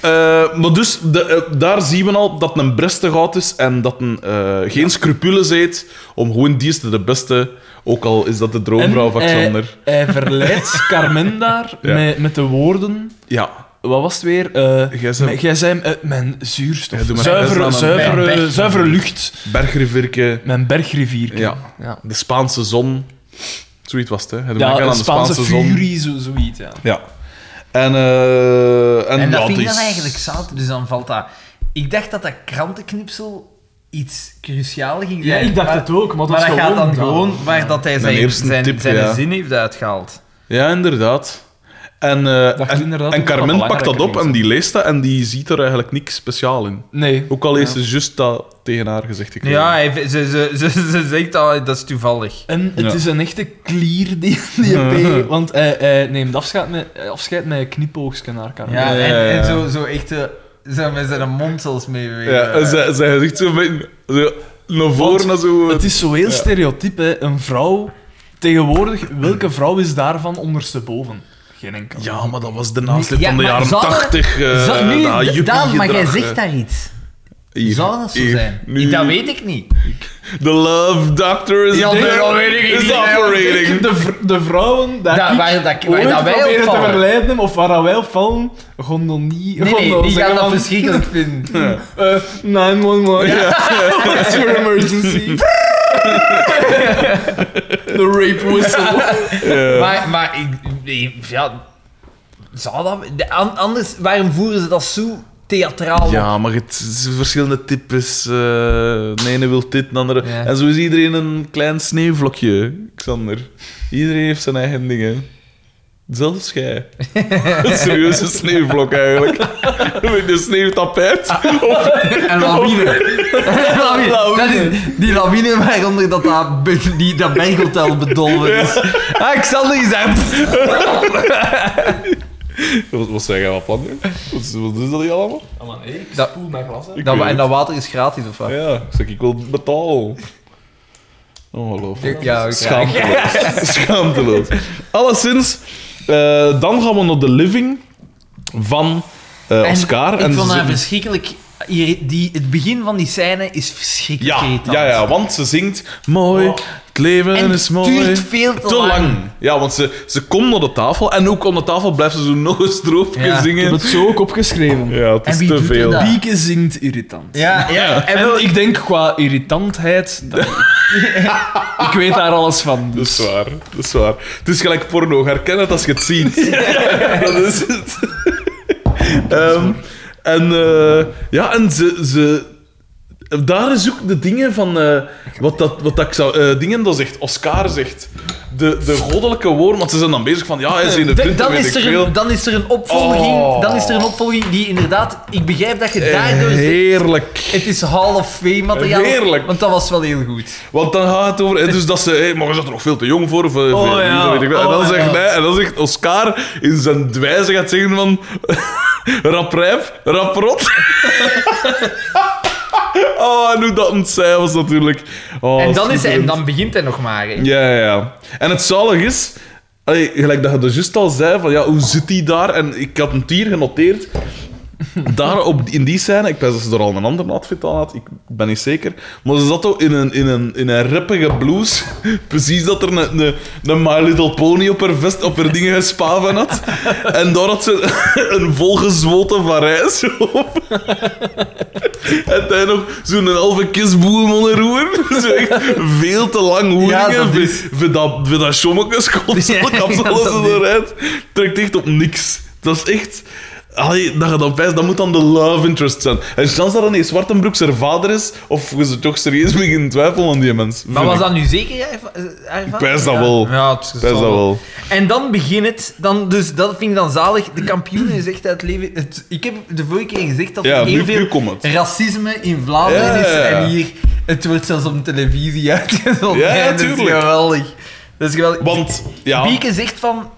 A: Eh, maar dus, de, eh, daar zien we al dat een brestegoud is en dat een eh, geen scrupules heeft om gewoon die is de beste, ook al is dat de droomvrouw van
C: En eh, hij-
A: Xander.
C: Hij, verleidt Carmen daar
A: Ja.
C: met, met de woorden...
A: ja.
C: Wat was het weer? Eh,
A: Jij zei-
C: m- Jij zei eh, mijn zuurstof.
A: Ja, doe maar best aan
C: zuivere,
A: een
C: zuivere,
B: berg.
C: zuivere lucht.
A: Bergrivierke,
C: Mijn bergrivierke.
A: Ja.
C: ja.
A: de Spaanse zon. Zoiets was het, hè? Hij doet
C: Ja,
A: denken
C: een
A: aan de
C: Spaanse,
A: zon.
C: furie, zo, zoiets. Ja.
A: Ja. En, eh en,
B: En dat
A: ja,
B: vind ik
A: het
B: dan
A: is-
B: eigenlijk zout, dus dan valt dat... Ik dacht dat dat krantenknipsel iets cruciaal ging
C: ja,
B: zijn.
C: ik dacht
B: maar-
C: het ook, maar dat,
B: Maar dat
C: is
B: gaat
C: gewoon
B: dan gewoon waar dat hij zijn,
A: eerste
B: zijn,
A: tip,
B: zijn
A: ja.
B: zin heeft uitgehaald.
A: Ja, inderdaad. En, eh,
C: Dacht
A: en,
C: inderdaad
A: en
C: dat dat
A: Carmen pakt dat
C: belangrijker
A: op
C: is.
A: en die leest dat en die ziet er eigenlijk niks speciaal in.
C: Nee.
A: Ook al is ze juist dat tegen haar gezegd gekregen.
B: Ja, hij, ze, ze, ze, ze zegt al, dat is toevallig.
C: En het
A: Ja.
C: is een echte clear, die, die P. Want hij, hij neemt afscheid met, hij afscheid met een knipoogstje naar Carmen.
B: Ja,
A: Ja, ja,
B: en,
A: ja.
B: en zo, zo echt eh, zo met zijn mond zelfs mee bewegen.
A: Ja, en zij, zij zegt zo met- zo naar voren naar zo...
C: Het is zo heel
A: Ja.
C: stereotyp, hè. Een vrouw... Tegenwoordig, welke vrouw is daarvan ondersteboven? Geen enkele.
A: Ja, maar dat was de nasleep
B: Ja,
A: van de
B: maar
A: jaren
B: zouden-
A: tachtig. eh,
B: Zo- nu,
A: dat
B: da- Daan, maar jij
A: hippiegedrag,
B: zegt
A: eh.
B: daar iets.
A: Hier,
B: Zou dat zo
A: hier,
B: zijn?
A: nu.
B: Ik- Dat weet ik niet.
A: The love doctor is,
B: Ja,
A: there-
B: dat weet ik
A: is
B: niet, hè,
A: operating.
C: De, vr- de vrouwen daar
B: Dat-
C: ik
B: waar dat- waar
C: ooit
B: dat wij
C: proberen
B: opvallen.
C: te verleiden, of waar dat wij opvallen, gondonie...
B: Nee, nee, die gaan dat verschrikkelijk vinden.
A: Ja.
C: eh, 911, it's your emergency. The rape whistle.
A: Ja.
B: Maar, maar ik, ik- ja, zou dat... de- an- Anders, waarom voeren ze dat zo theatraal op?
A: Ja, maar het zijn verschillende types. eh de ene wil dit, de andere...
B: Ja.
A: En zo is iedereen een klein sneeuwvlokje, Xander. Iedereen heeft zijn eigen dingen. Zelfs jij. Een serieuze sneeuwvlok, eigenlijk. Met een sneeuwtapijt.
B: Een lawine. Een lawine. Dat is- die lawine waaronder dat, dat, be- die, dat berghotel bedolven is. Ah, Xander is daar.
A: Wat, wat zijn jij wat plannen? Wat, is- wat is dat hier allemaal?
C: Allemaal, ik
B: Dat-
C: spoel mijn glas uit.
A: Ik
B: Dat,
A: weet
B: en
A: het.
B: dat water is gratis, of wat?
A: Ja, ik zeg, ik wil Oh, betalen. Ongelooflijk.
B: Ja, oké.
A: Schaamteloos. Schaamteloos. Alleszins, eh, dan gaan we naar de living van eh,
B: En
A: Oscar.
B: Ik vond
A: ze-
B: haar verschrikkelijk... Hier, die, het begin van die scène is verschrikkelijk
A: ja,
B: irritant. Oh.
A: ja, ja, want ze zingt mooi, het leven
B: En
A: is
B: het
A: mooi.
B: duurt veel te,
A: te lang. Ja, want ze, ze komt naar de tafel en ook op de tafel blijft ze zo nog een stroofje
B: Ja,
C: Ik heb
A: zingen.
C: het zo ook opgeschreven.
A: Ja, het
B: En
A: is
B: wie
A: te
B: doet er
A: veel.
B: dat?
C: Bieke zingt irritant.
B: Ja, ja. En,
C: En
B: wel-
C: ik denk qua irritantheid... dat- ik weet daar alles van. dus.
A: Dat is waar, dat is waar. Het is gelijk porno, herken het als je het ziet. dat is het. Ehm, en eh, ja, en ze, ze, Daar is ook de dingen van. eh, wat, dat, wat dat ik zou. eh, dingen dat zegt, Oscar zegt. De, de goddelijke woorden, want ze zijn dan bezig van. Ja, hij is in de
D: Dan,
A: vriend,
D: dan,
A: weet
D: is
A: ik
D: er
A: veel.
D: een, dan is er een opvolging.
A: Oh.
D: Dan is er een opvolging die inderdaad. Ik begrijp dat je daardoor. zegt,
A: Heerlijk.
D: Het is Hall of Fame materiaal.
A: Eh, Heerlijk.
D: Want dat was wel heel goed.
A: Want dan gaat het over. eh, Dus dat ze. Hey, maar je zat er nog veel te jong voor. Of, eh,
C: Oh,
A: veel-
C: ja.
A: zo weet ik wel. en, dan
C: Oh,
A: zegt
C: ja.
A: hij, en dan zegt Oscar in zijn dwijze gaat zeggen van. rap rijp, rap rot. oh, en hoe dat ontzij was natuurlijk. Oh,
B: En dan, is hij, en
A: schitterend.
B: dan begint hij nog maar. Hè.
A: Ja, ja, ja. En het zalig is, allee, gelijk dat je dus juist al zei, van ja, hoe zit die daar? En ik had het hier genoteerd. Daar op, in die scène, ik weet dat ze er al een andere outfit aan had, ik ben niet zeker. Maar ze zat ook in een, in een, in een rappige blouse. Precies dat er een, een, een My Little Pony op haar vest, op haar dingen gespaven had. En daar had ze een volgezwoten van reis op. En hij nog zo'n halve kisboom onder roer. Zo echt veel te lang
D: Ja, dat
A: hoeringen.
D: is-
A: Voor- Voor dat, voor dat schommekes komt
D: Ja,
A: zo'n kapsel
D: ja, dat
A: zo
D: is-
A: eruit. Trekt echt op niks. Dat is echt... Allee, dat, je dan pijst, dat moet dan de love interest zijn. En chance dat René Zwartenbroek zijn vader is, of je ze toch serieus begint twijfelen aan die mens.
D: Maar
A: Vind
D: was
A: ik.
D: dat nu zeker ervan- ervan?
A: Ik pijs dat
D: Ja.
A: wel.
B: Ja, het
A: Pijs dat wel.
D: En dan begint het, dan, dus dat vind ik dan zalig. De kampioen is echt uit leven. Het, ik heb de vorige keer gezegd dat
A: Ja,
D: er heel
A: nu, nu
D: veel
A: komt het.
D: racisme in Vlaanderen
A: Ja,
D: is.
A: ja, ja.
D: En hier, het wordt zelfs op televisie uitgezonden.
A: Ja, ja,
D: En dat is
A: tuurlijk.
D: geweldig. Dat is geweldig.
A: Want, ja...
D: Bieke
B: zegt van...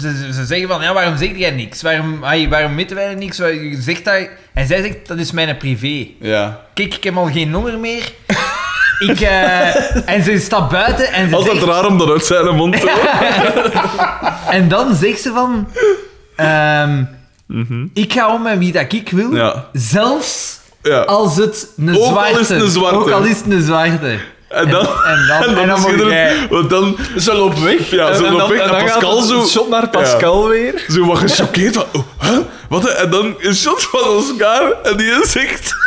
B: Ze, ze- ze zeggen van, ja, waarom zegt jij niks? Waarom, ai, waarom weten wij niks? Waar- je Zegt dat, en zij zegt, dat is mijn privé.
A: Ja.
B: Kijk, ik heb al geen nummer meer. Ik, eh, en ze stapt buiten en ze
A: Was dat
B: zegt,
A: raar om dat uit zijn mond te horen?
B: En dan zegt ze van... ehm, Ik ga om met wie dat ik wil.
A: Ja.
B: Zelfs
A: Ja.
B: als het een
A: Ook al
B: zwarte...
A: is het een zwarte.
B: Ook al is het een zwarte.
A: En dan...
B: En dan,
A: En
B: en dan
A: dan
B: mag jij-
A: schitterend, want dan...
C: Ze loopt weg.
A: Ja, ze
C: En- en
A: loopt
C: dan-
A: weg
C: en
A: naar
C: dan gaat
A: Pascal
C: het
A: zo.
C: een shot naar Pascal weer.
A: Zo wat gechoqueerd van... Oh, huh? Wat? En dan een shot van Oscar en die zegt...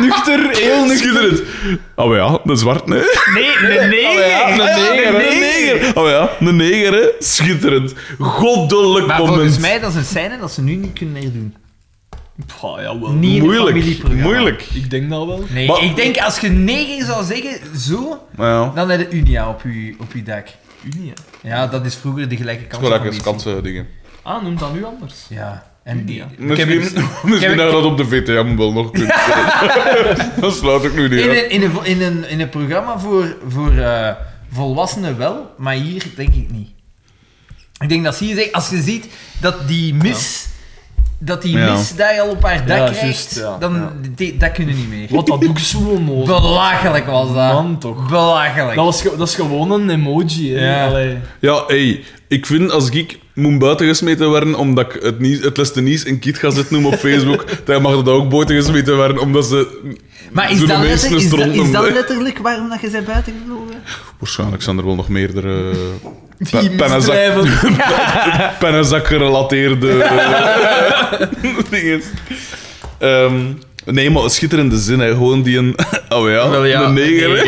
C: Nuchter, heel nuchter.
A: Schitterend. Oh ja, een zwart, nee.
B: Nee, nee, nee.
C: Oh ja, een
A: Ah ja,
C: neger,
A: een
C: hè.
A: neger. Oh ja, een neger, hè. Schitterend. Goddelijk
B: Maar
A: moment.
B: volgens mij, dat is een scène dat ze nu niet kunnen herdoen.
C: Pah, jawel.
B: Niet in een
A: Moeilijk.
B: familieprogramma. Nou,
A: Moeilijk.
C: Ik denk dat wel.
B: Nee,
A: Maar-
B: ik denk als je negen zou zeggen, zo,
A: Maar ja,
B: dan heb je Unia op je, op je dak.
C: Unia.
B: Ja, dat is vroeger de gelijke kans.
A: gewoon dat eens kansen dingen.
C: Ah, noem dat nu anders.
B: Ja, en die.
C: Unia.
B: Ik heb
A: Misschien,
B: het-
A: misschien
B: ik-
A: dat we dat op de VTM wel nog kunnen. dat sluit ik nu niet
B: In
A: uit.
B: een, in een, in een, in een programma voor, voor eh, volwassenen wel, maar hier denk ik niet. Ik denk dat ze hier zeggen, als je ziet dat die mis, dat die
A: Ja.
B: mis daar al op haar dak
C: Ja,
B: krijgt,
C: juist, ja,
B: dan
C: ja.
B: die- dat kunnen niet meer.
C: Wat, dat doe ik zo onnozel.
B: Belachelijk was dat.
C: Man, toch.
B: Belachelijk.
C: Dat, was ge- dat is gewoon een emoji, hè.
B: Ja.
C: Allee.
A: Ja, hey, ik vind als ik moet buitengesmeten worden omdat ik het, nieuws, het leste nieuws in Kiet ga zitten noemen op Facebook, dan mag dat ook buitengesmeten worden omdat ze...
B: maar is
A: zo'n
B: dat,
A: mensen
B: letter- is, dat,
A: stront
B: is dat
A: noemen.
B: letterlijk waarom dat je zij buiten gevlogen?
A: Waarschijnlijk zijn er wel nog meerdere... eh, pe-
C: Die
A: pennenzak-
C: misdrijven.
A: pennenzak-gerelateerde eh, dingen. Ehm, nee, maar een schitterende zin, hè. Gewoon die een... Oh ja,
B: Wel ja,
A: een neger, hè.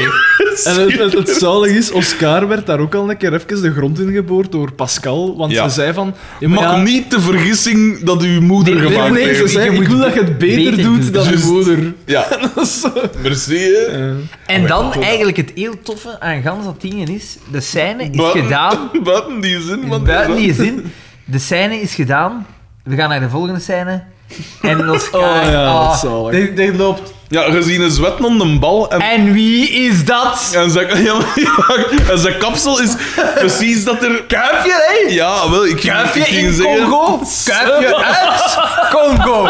C: En het, het, het zalige is, Oscar werd daar ook al een keer even de grond in geboord door Pascal. Want
A: Ja.
C: ze zei van... ja, maar
A: Maak
C: ja,
A: niet de vergissing dat uw moeder
C: Nee, nee,
A: gemaakt
C: nee, ze
A: heeft.
C: zei,
B: Je
C: ik
B: moet
C: wil dat je het beter,
B: beter
C: doet
B: doen.
C: dan je
A: Juist.
C: moeder.
A: Ja,
C: Dat is zo-
A: merci, hè.
C: Eh.
B: En
A: Oh ja,
B: dan
A: dat ook.
B: eigenlijk het heel toffe aan gans dat dingen is, de scène is
A: Buiten-
B: gedaan
A: Buiten die zin, want...
B: Buiten die zin. De scène is gedaan. We gaan naar de volgende scène. En dat is
C: Oh ja,
B: ah,
C: dat is zalig.
B: dit- dit loopt.
A: Ja, gezien een zwet om de bal en
B: En wie is dat?
A: En zijn, ja, maar- ja, en zijn kapsel is precies dat er...
B: Kuifje, hè?
A: Ja, wel, ik ging, ik
B: Kuifje
A: ging
B: in
A: zeggen...
B: Congo. Kuifje uit Congo.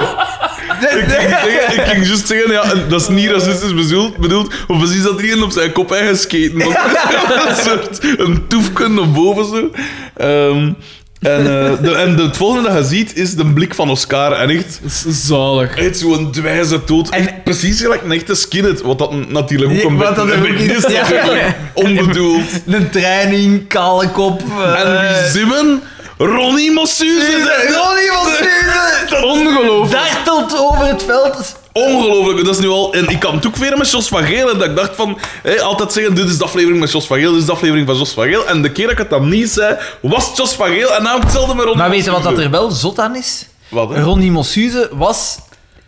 B: De-
A: Ik ging, zeggen, ik ging juist zeggen, ja, en dat is niet racistisch bedoeld, bedoeld of precies dat iedereen op zijn kop eigen skaten. want Een soort een toefje naar boven zo. Ehm, en eh, de, en de, het volgende dat je ziet is de blik van Oscar. En echt,
C: Dat is zalig.
A: echt zo'n dwijze dood.
B: En-
A: Echt precies gelijk een echte skinhead. Wat dat natuurlijk ook
B: Ja,
A: een
B: wat dat
A: beetje
B: ook is,
A: is.
B: ja.
A: natuurlijk. Onbedoeld.
B: de- Een training, kale kop. eh,
A: En wie zimmen? Ronnie Massuze. zei-
B: Ronnie van Suze.
A: Ongelooflijk.
B: Dartelt over het veld.
A: Ongelooflijk. Dat is nu al... En ik kan het ook weer met Jos van Geel. En dat ik dacht van... Hé, altijd zeggen, dit is de aflevering met Jos van Geel. Dit is de aflevering van Jos van Geel. En de keer dat ik het dan niet zei, was het Jos van Geel. En nou hetzelfde met Ronnie
B: Maar weet je wat dat
A: Massuze.
B: er wel zot aan is?
A: Wat, hè?
B: Ronnie Mossuze was,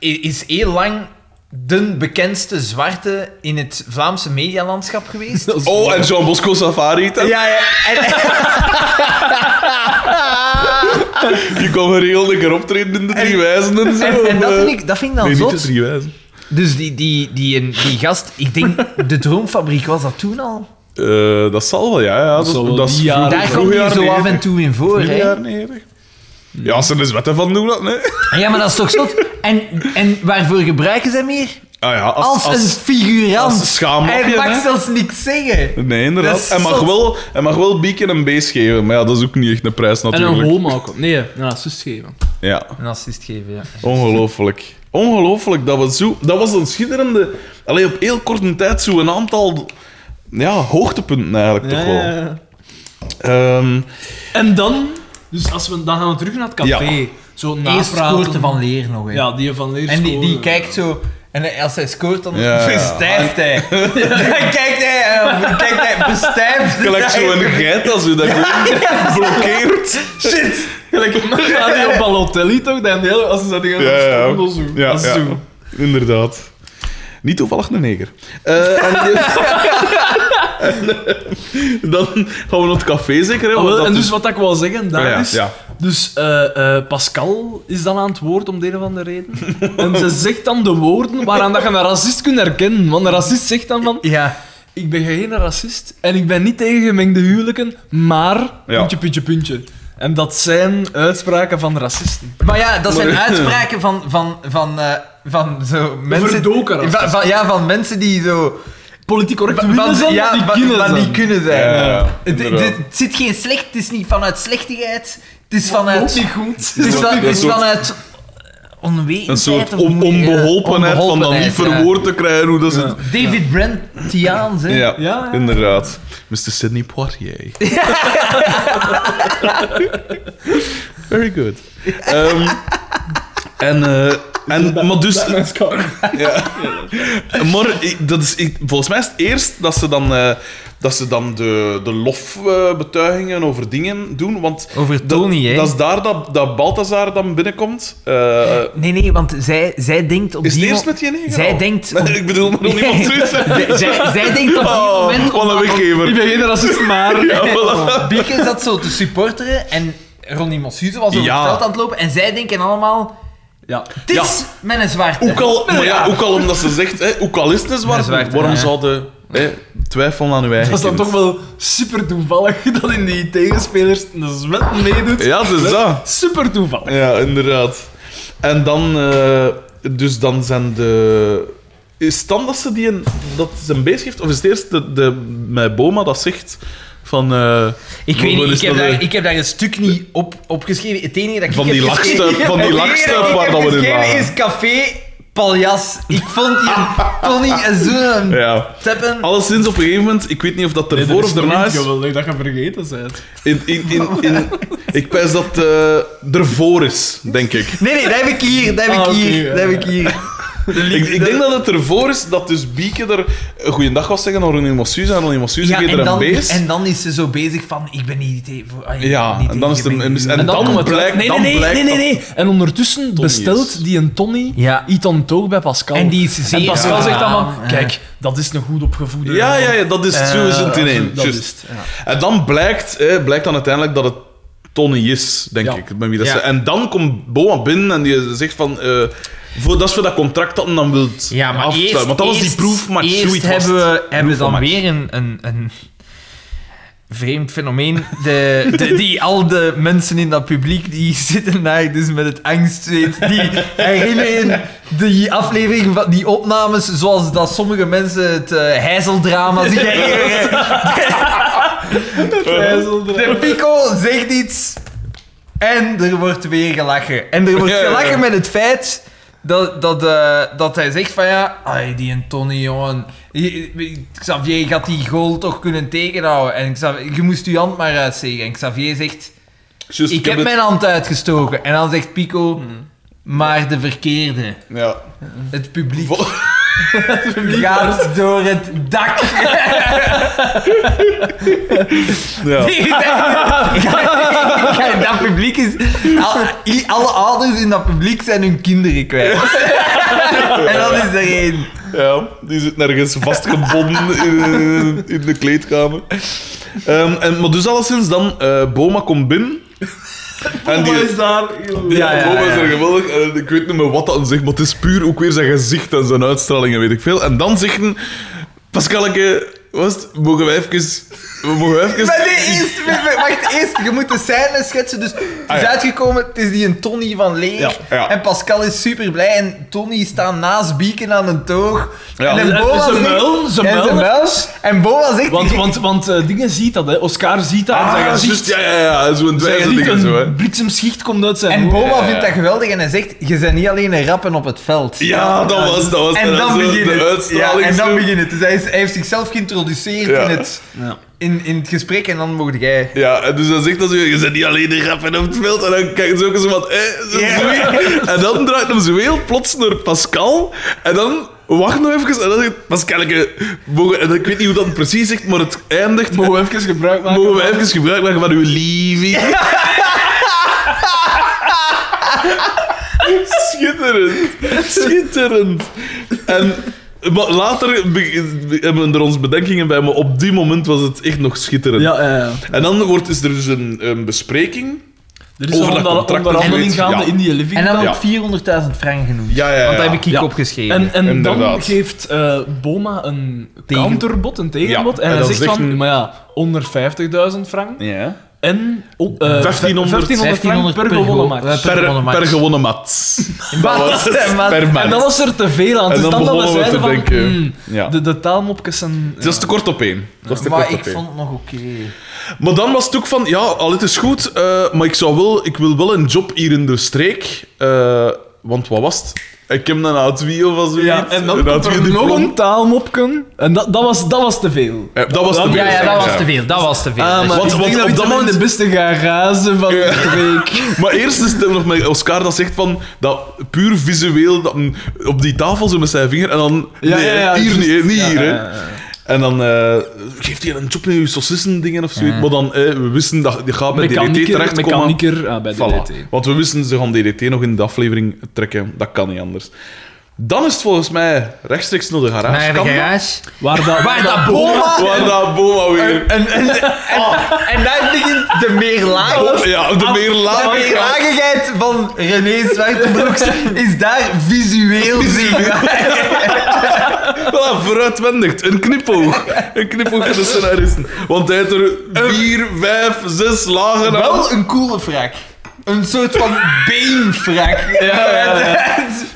B: i- is heel lang de bekendste zwarte in het Vlaamse medialandschap geweest.
A: Oh, en Jean Bosco Safari. hè?
B: Ja, ja. En,
A: Die kwam geregeld een keer optreden in de drie wijzen en zo.
B: en, en dat
A: of,
B: vind
A: eh,
B: ik, dat vind ik dan
A: Nee, niet
B: zot.
A: de drie wijzen.
B: Dus die, die, die, een- die gast, ik denk, de Droomfabriek was dat toen al.
A: Eh, dat zal wel, ja. ja. Dat,
C: zal wel
A: dat is
C: die jaren-
A: vroeg-
B: Daar
A: vroeg
B: komt hij
A: Ah, jaren
B: zo af
A: 90,
B: en toe in voor.
A: vroeg
B: hè.
A: jaren 90. Ja, als ze er eens wetten van doen, dat, nee.
B: Ah, Ja, maar dat is toch zot. En, en waarvoor gebruiken ze meer?
A: Ah ja, als,
B: Als,
A: als-
B: een figurant.
A: als schaamlapje,
B: Hij
A: hè?
B: mag zelfs niks zeggen.
A: Nee,
B: Dat
A: inderdaad.
B: is
A: Hij mag,
B: zot.
A: wel, hij mag wel bieken en bees geven, maar ja, dat is ook niet echt een prijs
C: En
A: natuurlijk.
C: een hol maken. Nee, ja, zus geven.
A: Ja,
B: Een assist geven, ja.
A: ongelooflijk. Ongelooflijk dat we zo... Dat was een schitterende... Alleen op heel korte tijd zo een aantal... Ja, hoogtepunten eigenlijk toch wel. Ehm,
C: En dan, dus als we, dan gaan we terug naar het café.
A: Ja.
C: Zo
B: Eerst scoort
C: napraten.
B: Van Leer nog, hè.
C: Ja, die van Leers
B: en die, die
C: scoren.
B: kijkt zo... En als hij scoort, dan
A: Ja.
B: verstijft hij. Dan kijkt hij, eh, kijkt hij verstijft.
A: gelijk zo'n geit als u dat gewoon blokkeert.
B: Shit!
C: Gelijk maar die op Balotelli toch? Dat hele, als ze dat gaan
A: Ja, ja.
C: ja. zo.
A: Ja,
C: dat is
A: ja.
C: zo.
A: Inderdaad. Niet toevallig een neger. Eh, en die- En, eh, dan gaan we naar het café zeker. Hè,
C: Ah, wel,
A: want Oh, dat
C: en dus
A: is- Ah,
C: wat ik wil zeggen, daar
A: Ja, ja,
C: is...
A: ja.
C: Dus eh, eh, Pascal is dan aan het woord om de een of andere reden. en ze zegt dan de woorden waaraan dat je een racist kunt herkennen. Want een racist zegt dan van...
B: Ja.
C: Ik ben geen racist en ik ben niet tegen gemengde huwelijken, maar... Puntje, puntje, puntje. En dat zijn uitspraken van racisten.
B: Maar ja, dat zijn
A: Maar-
B: uitspraken van, van, van, eh, van zo mensen...
C: Verdoken racisten.
B: van, van- Ja, van mensen die zo...
C: dus. Politiek correct
B: Van,
C: willen zijn,
B: ja,
C: maar
B: van-
C: die kunnen
B: van
C: zijn.
B: die kunnen zijn.
A: Ja, ja,
B: Het- het,
A: inderdaad.
B: het zit geen slecht, het is niet vanuit slechtigheid. Het is
C: Ook
B: vanuit...
C: niet goed.
B: Het is,
A: Een
B: van, het
A: soort-
B: is vanuit onwetendheid.
A: Een soort
B: of
A: on-
B: hoe-
A: onbeholpenheid van dat niet
B: onbeholpenheid, ja.
A: verwoord te krijgen hoe dat zit.
B: David Brentiaans, hè.
A: Ja,
C: ja.
A: inderdaad. Mr. Sidney Poitier. Very good. Ehm, en, eh, en, maar dus... Ja. Maar ik- dat is, ik- volgens mij is het eerst dat ze dan, eh, dat ze dan de, de lofbetuigingen over dingen doen. Want
B: Over
A: dat,
B: Tony, hè.
A: dat is daar dat, dat Balthazar dan binnenkomt. Eh,
B: Nee, nee, want zij, zij denkt op
A: is het
B: die...
A: eerst
B: mo-
A: met die neger
B: Zij
A: al?
B: denkt...
A: Nee,
B: op-
A: ik bedoel, maar nog niemand terug.
B: zij, zij, zij denkt op die
A: Oh,
B: moment...
A: wat een
C: Ik
A: weggever.
C: ben geen racist, maar...
A: Ja, voilà.
B: Bieke zat zo te supporteren en Ronnie Mossuze was over
A: Ja.
B: het veld aan het lopen en zij denken allemaal...
C: Ja.
B: Het is mijn zwarte.
A: Ook al, maar ja, ook al omdat ze zegt, hè, ook al is het een zwart,
B: zwarte,
A: waarom
B: ja.
A: zouden hè, twijfelen aan uw eigen
C: Dat is dan
A: kind?
C: toch wel super toevallig dat in die tegenspelers een zwet meedoet.
A: Ja, dat is dat.
C: Super toevallig.
A: Ja, inderdaad. En dan, eh, dus dan zijn de... Is het dan dat ze die een, dat ze een beest heeft? Of is het eerst de, de, met Boma dat zegt van... eh,
B: Ik weet
A: wat
B: niet,
A: is
B: ik heb,
A: dat,
B: daar,
A: eh,
B: ik heb daar een stuk niet op, opgeschreven. Het enige dat ik
A: Van
B: heb
A: die
B: geschreven-
A: lakstuip- van die
B: Het enige
A: lakstuip
B: ik
A: waar
B: heb
A: dat we in
B: geschreven
A: waren.
B: is café paljas. Ik vond die Tony en zo'n
A: Ja.
B: teppen.
A: Alleszins op een gegeven moment, ik weet niet of dat ervoor of daarna is.
C: geweldig dat je vergeten bent.
A: In, in, in, in- ik pijs dat eh ervoor is, denk ik.
B: Nee, nee, dat heb ik hier, dat heb
C: Ah,
B: ik
C: oké,
B: hier,
C: ja,
B: dat heb
C: ja.
B: ik hier.
A: Ik, ik denk dat het ervoor is dat dus Bieke er een goeiedag was zeggen aan Ronnie Mossuze en Ronnie Mossuze
B: Ja,
A: geeft er
B: en,
A: een
B: dan,
A: beest.
B: en dan is ze zo bezig van, ik ben niet tegen... ah, ik ben
A: ja,
B: niet
A: en dan is het
B: tegen-
A: een, en,
B: ik ben-
A: dan,
C: komt het
A: blijkt,
C: uit. nee,
A: dan
C: nee, nee,
A: blijkt
C: nee, nee, nee. En ondertussen bestelt
A: is.
C: die een Tony
B: Ja.
C: iets aan toog bij Pascal.
B: En die is zeer
C: En Pascal
B: gedaan,
C: zegt dan
B: ja.
C: van, kijk, dat is een goed opgevoede.
A: Ja, ja, ja, dat is
C: Eh,
A: zo is het in één.
C: dat is
A: Juist.
C: het,
A: En dan blijkt, eh, blijkt dan uiteindelijk dat het Tony is, denk
C: Ja.
A: ik. Met wie dat
B: Ja.
A: ze- en dan komt Boma binnen en die zegt van... eh, voor, dat is voor dat contract dat hij dan wilt
B: Ja, maar
A: afsluiten.
B: eerst,
A: Want dat was die
B: eerst-
A: proefmatch.
B: Eerst
A: zoiets was
B: hebben
A: het.
B: we, hebben we dan
A: Proefmatch.
B: weer een, een, een vreemd fenomeen. De, de, die al de mensen in dat publiek die zitten daar dus met het angstzweet. Die herinneren die aflevering van die opnames zoals dat sommige mensen het eh, heizeldrama zich herinneren. De Pico zegt iets en er wordt weer gelachen. En er wordt
A: Ja, ja, ja.
B: gelachen met het feit dat, dat, eh, dat hij zegt van ja, ai, die en Tony jongen, je- Xavier je gaat die goal toch kunnen tegenhouden. En Xavier, je moest je hand maar uitsteken. En Xavier zegt,
A: Juist,
B: ik
A: Dus het-
B: heb
A: Hmm.
B: mijn hand uitgestoken. En dan zegt Pico, maar de verkeerde.
A: Ja.
B: Het publiek
A: Vol-
B: gaat door het dak.
A: ja.
B: Nee, dat- Kijk, dat publiek is. al- i- alle ouders in dat publiek zijn hun kinderen kwijt. En dat is er één.
A: Ja, die zit nergens vastgebonden in, eh, in de kleedkamer. Ehm, en, maar dus alleszins, dan eh, Boma komt binnen. En die,
C: is daar.
A: ja,
B: Ja, ja,
A: Boma
B: ja.
A: is er geweldig. En ik weet niet meer wat dat zegt, maar het is puur ook weer zijn gezicht en zijn uitstraling en weet ik veel. En dan zegt hij... Pascalke, was het? Mogen wij even... we Mogen wij even...
B: Maar nee, eerst, wacht, eerst, je moet de scène schetsen. Dus het is
A: Ah, ja.
B: uitgekomen, het is die een Tony van Leeg.
A: ja.
B: En Pascal is super blij. En Tony staat naast Bieken aan een toog.
A: Ja. Eh,
B: en
A: En-
C: en
B: Boa
C: ze
B: zegt-
C: muilen, ze
B: en
C: muilen.
B: En Boa zegt...
C: Want, want, want eh, dingen ziet dat, hè. Oscar ziet dat. en
A: Ah,
C: zijn gezicht,
A: juist, ja, ja, ja. Zo'n
C: zijn
A: dwijze
C: gezicht,
A: dingen zo, hè.
C: een bliksemschicht komt uit zijn
B: en
C: oog.
B: Boa
A: ja, ja.
B: vindt dat geweldig. En hij zegt, je bent niet alleen een rappen op het veld.
A: Ja, dat was, dat was
B: En
A: dat
B: dan
A: was zo
B: begint
A: de
B: het. Ja,
A: uitstraling.
B: en
A: zo.
B: dan begint het. Dus hij, is- hij heeft zichzelf geïntroduceerd
A: Ja.
B: in, het,
C: Ja.
B: in, in het gesprek. En dan mocht jij...
A: Ja, en dus dan zegt dat zo, je bent niet alleen de grappen op het veld. En dan kijkt ze ook eens wat, eh, zo
B: Ja.
A: zoiets. En dan draait hem zo heel plots naar Pascal. En dan wacht nog even. En dan zegt Pascal, eh, mogen, en ik weet niet hoe dat precies zegt, maar het eindigt.
C: Mogen we even gebruik maken?
A: Mogen we even gebruik maken van uw liefie? Schitterend. Schitterend. En maar later be- be- hebben we er ons bedenkingen bij, maar op die moment was het echt nog schitterend.
C: Ja, ja, ja.
A: En dan wordt, is er dus een, een bespreking.
C: Er is
A: Over
C: een
A: dat
C: onder-
A: contract
C: onderhandeling
A: en zoiets,
C: gaande
A: ja.
C: in die living.
B: En dan
A: Ja.
B: wordt 400.000 frank genoemd.
A: Ja, ja, ja.
B: Want dat heb ik
C: Ja.
B: opgeschreven.
C: En, en dan
A: Inderdaad.
C: geeft eh, Boma een
B: Tegen-
C: counterbod, een tegenbod.
A: Ja, en
C: En, hij
A: dan
C: zegt
A: zegt
C: van,
A: een-
C: maar ja, onder 50.000 frank.
A: Ja.
C: En op, eh,
A: 1500
C: frank per gewonnen match.
A: Per,
B: gewonnen match.
A: per gewonnen Dus mat.
B: Wat? Wat?
A: Per
C: En
A: match.
C: dan was er te veel aan. Dus
A: En
C: dan,
A: dan
C: dat we
A: begonnen we
C: zeiden
A: te
C: van,
A: denken,
C: hmm,
A: ja.
C: de, de taalmopjes zijn...
A: Het was te kort op één. Het was te
B: Maar
A: kort
B: ik
A: op één.
B: vond het nog oké.
A: Maar dan was het ook van, ja, al het is goed, eh, maar ik, zou wel, ik wil wel een job hier in de streek. eh, want wat was het? Ik heb een A2 of zoiets.
C: Ja, en dan
A: Een
C: komt er
A: A2
C: nog
A: diploma.
C: een taalmopken. En dat, dat, was, dat was te veel.
A: Eh, dat was te
C: Ja,
A: veel.
C: ja,
A: zeg
C: dat
A: ik,
C: was
B: veel. Dat was te veel. Dus
C: Ah, maar
A: Want-
C: ik
A: want
C: denk dat
A: op
C: we
A: dat
C: toen in de
A: moment-
C: beste garage van
A: Ja.
C: de week.
A: Maar eerst is het nog met Oscar dat zegt van dat puur visueel dat, mm, op die tafel zo met zijn vinger en dan nee, hier
C: juist.
A: niet, niet
C: Ja,
A: hier hè.
C: ja, ja.
A: En dan eh, geeft hij een job in uw sausissendingen dingen of zoiets. Maar dan eh, we wisten dat die gaat bij DDT
C: Mechanieker,
A: terechtkomen.
C: mechanieker ah, bij
A: Voilà.
C: DDT.
A: Want we wisten ze gaan DDT nog in de aflevering trekken. Dat kan niet anders. Dan is het volgens mij rechtstreeks naar de garage.
B: Naar de
A: Kan dat?
B: garage.
C: Waar dat,
B: Waar dat Boma...
A: Waar dat Boma weer.
B: En, en, en, en daar begint de meer lage...
A: Ja, de meer
B: De meer
A: laag.
B: lagigheid van René Zwartenbroeks is daar visueel zichtbaar.
A: Voilà, vooruitwendigd. Een knipoog. Een knipoog van de scenaristen. Want hij heeft er vier, vijf, zes lagen aan.
B: Wel een coole frak. Een soort van beenfrak.
C: Ja, ja, ja.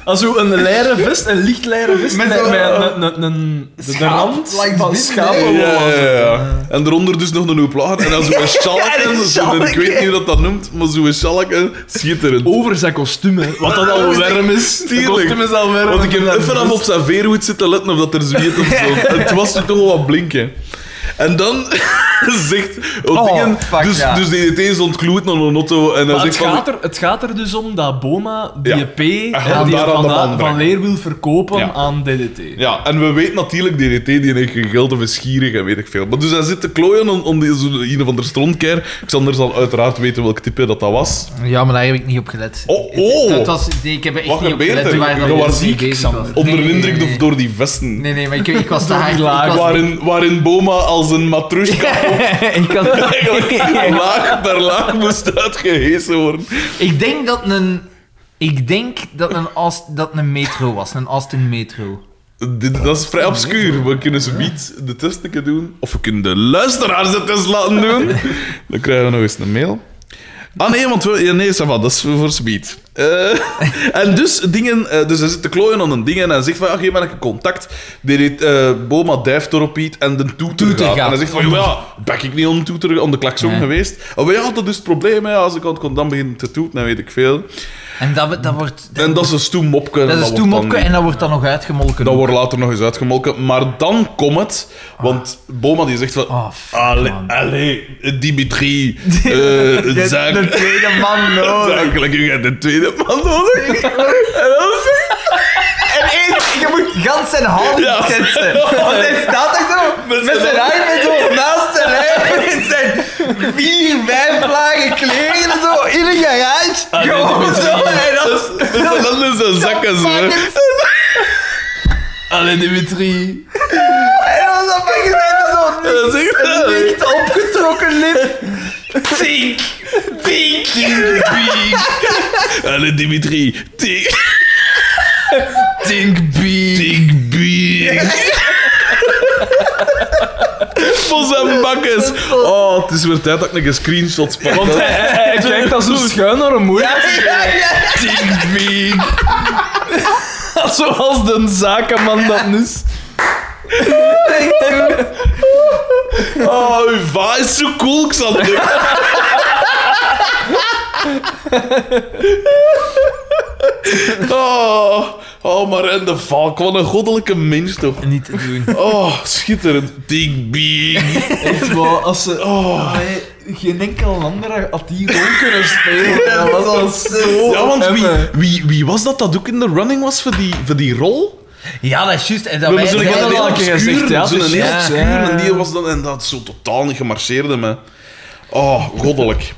C: Als zo een leren vest, een licht leren vest met,
B: Met
C: met,
B: zo'n-
A: eh,
C: een- een- een- de- de
B: Schaap
C: rand
B: langs
C: van
B: binnen,
C: schapen.
B: hè?
A: Ja, ja, ja. En eronder dus nog een hoop lagen. En dan zo'n
B: ja,
A: schalk.
B: een
A: en zo-
B: schalk,
A: Ik weet
B: hè.
A: niet hoe dat dat noemt, maar zo'n schalk. hè. Schitterend.
C: Over zijn kostuum, hè. wat dat al warm is. Het
A: Tuurlijk.
C: kostuum is al warm.
A: Want ik heb
C: En
A: even af op zijn veerhoed zitten letten of dat er zweet op stond. Het was er toch wel wat blinken. En dan zegt... Oh,
B: Oh,
A: dingen,
B: fuck,
A: dus,
B: ja.
A: dus DDT is ontkloed naar een auto en hij
C: Maar het,
A: zegt van...
C: gaat er, het gaat er dus om dat Boma die
A: Ja.
C: P eh,
A: gaat
C: die
A: daar aan
C: van,
A: de
C: da-
A: man
C: van
A: brengen.
C: Leer wil verkopen
A: Ja.
C: aan DDT.
A: Ja, en we weten natuurlijk, DDT die heeft geen geld of is gierig en weet ik veel. Maar dus hij zit te klooien om, om die, zo, een of andere strontkeer. Xander zal uiteraard weten welk type dat, dat was.
B: Ja, maar daar heb ik niet op gelet.
A: Oh, oh.
B: Dat was, nee, ik heb er echt
A: Wat
B: niet op
A: gebeurt
B: gelet.
A: er?
B: waar
A: Je
B: dat
A: was
B: mee
A: ziek,
B: bezig
C: Xander.
B: was.
A: Onder de
B: Nee,
A: indruk
B: nee, nee.
A: door die vesten.
B: Nee, nee, maar ik, ik was te hard.
C: laag.
B: ik was-
A: Waarin, waarin Boma als een matrushka
B: ik, had-
A: eigenlijk laag per laag moest uitgehesen worden.
B: ik denk dat een... Ik denk dat een, Aust- dat een metro was. Een Austin metro.
A: Dit, dat is vrij obscuur. We kunnen ze niet de test een keer doen. Of we kunnen de luisteraars de test laten doen. Dan krijgen we nog eens een mail. Ah nee, want we, ja, nee, ça va, dat is voor Speed. en dus, dingen, eh, dus hij zit te klooien aan een ding en hij zegt van, ja, geef maar een contact. Die reed, eh, Boma duift erop iets en de toeter,
B: Toeter
A: gaat.
B: gaat.
A: En hij zegt van, ja, ben ik niet om de toeter, om de klakson
B: Nee.
A: geweest? Oh, maar ja, dat is het probleem, hè. als ik aan kon, dan begint te toeten, dan weet ik veel.
B: En dat, dat wordt...
A: En dat is een stoem mopke. en
B: dat is
A: wordt
B: toen
A: dan
B: mopke en dat wordt dan nog uitgemolken.
A: dat wordt later nog eens uitgemolken. Maar dan komt het, want Boma die zegt van...
B: Oh, fuck,
A: allee,
B: man.
A: allee, Dimitri,
B: De-
A: eh zaak...
B: de tweede man nodig.
A: Zakelijk, je hebt de tweede man nodig. En dan zegt
B: En eerst, je moet gans zijn hand
A: Ja.
B: schetsen. Want hij staat er zo
A: Met
B: met zijn
A: zijn
B: armen zo naast zijn lijf in zijn vier, vijf lagen kleren zo in een
A: Ah,
B: garage. Gewoon zo. En dan
A: hij, dat is een zakken zo.
B: fucking
C: Allee, Dimitri.
E: En dan zat ik gezegd zo
A: Dat is echt-
E: licht opgetrokken lip.
A: Tink! Tink! Tink! Allee, Dimitri. Tink! Tink Bing! Tink Bing! Mos en bakkes! Oh, het is weer tijd dat ik een screenshot pak.
C: Want hij, hij, hij kijkt dan zo schuin naar een moeder.
A: Tink Bing!
C: Zoals de zakenman dat is.
A: Oh, uw va is zo cool, Xander. Oh, oh, maar en de valk, wat een goddelijke mens toch?
E: Niet te doen.
A: Oh, schitterend. Tink Bing!
C: Echt wel, als ze...
A: Oh.
C: Allee, geen enkel ander had die gewoon kunnen spelen. Dat was al zo...
A: Ja, want wie,
C: hemme.
A: wie, wie was dat dat ook in de running was voor die, voor die rol?
B: Ja, dat is juist. En dat
A: We
B: wij-
A: hebben zo'n
B: wij-
C: dat
A: heel
C: al een keer
A: obscuur,
C: gezegd, ja,
A: zo'n
C: dus
A: heel
C: ja.
A: obscuur, en die was dan en dat zo totaal niet gemarcheerde me. Oh, goddelijk.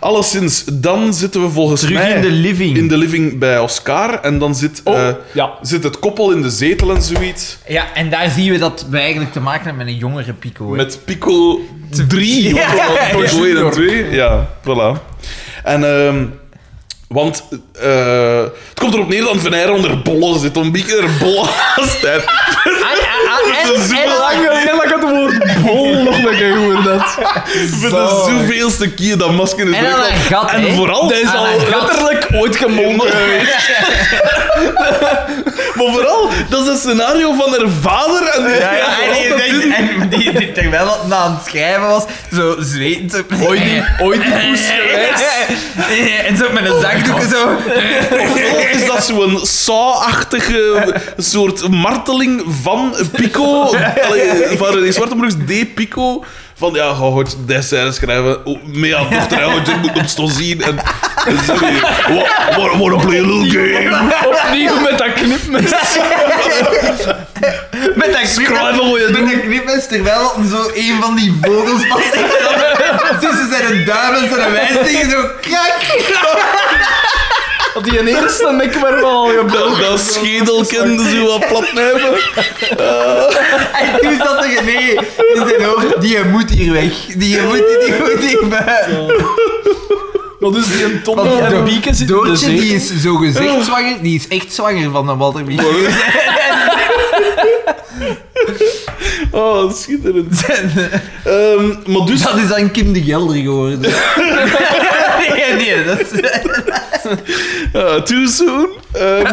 A: Alleszins, dan zitten we volgens
E: Terug
A: mij
E: in de living.
A: in de living bij Oscar en dan zit,
C: Oh,
A: eh,
C: ja.
A: zit het koppel in de zetel en zoiets
B: Ja, en daar zien we dat we eigenlijk te maken hebben met een jongere Pico. hè.
A: met Pico 3.
B: Ja, ja,
A: Pico
B: ja.
A: 2 en 2. Ja, voilà. En ehm, want eh, het komt erop neer dat Van Eyre onder bollen zit, om een beetje er bollen als tijd.
B: Ah, ah, ah, en-
A: Dat is
B: en-
A: wel lang.
C: Ja, dat ik het woord bol nog een keer gehoord had.
A: Voor de zoveelste keer dat masker is
B: En aan
A: weggehaald.
B: een gat,
A: En
B: hè?
A: vooral...
C: Dat is
B: Ah,
C: al
B: dat gaat.
C: letterlijk ooit gemonden geweest.
A: Maar vooral, dat is een scenario van haar vader en...
B: Ja, ja, en, die denkt- en die, die, terwijl dat na aan het schrijven was, zo zwetend op mijn
C: Ooit die, ooit die poes geweest.
B: En zo met een zakdoek zo.
A: Vooral is dat zo'n saw-achtige soort marteling van Pico. Allee, van René Zwartenbroeks, D. Pico. Van, ja, ga goed dessert schrijven. Oh, Mee aan dochter, hè, want je moet op stoel zien. En, en zo, wa- wa- wanna play a little game?
C: Opnieuw met dat knipmes.
B: Met dat
A: Schrijven wat je
B: Met
A: doet.
B: dat knipmes, terwijl dat zo een van die vogels vast Tussen zijn duim en zijn wijs tegen zo krak.
C: Had die een eerste nek maar wel al gebeld.
A: Dat, dat schedelkind zo wat plat nemen.
B: En toen zat er nee in zijn hoofd. Die moet hier weg. Die moet, die moet hier weg.
C: Dat is dus die een ton
B: Want
C: en
B: Do-
C: bieken zit in de
B: Doortje,
C: zee.
B: die is zo gezegd zwanger. Die is echt zwanger van de Walter Michiel.
A: Oh, schitterend. Ehm, maar dus...
B: Dat is dan Kim de Gelder geworden. nee, nee, dat is...
A: Eh, too soon. Ehm,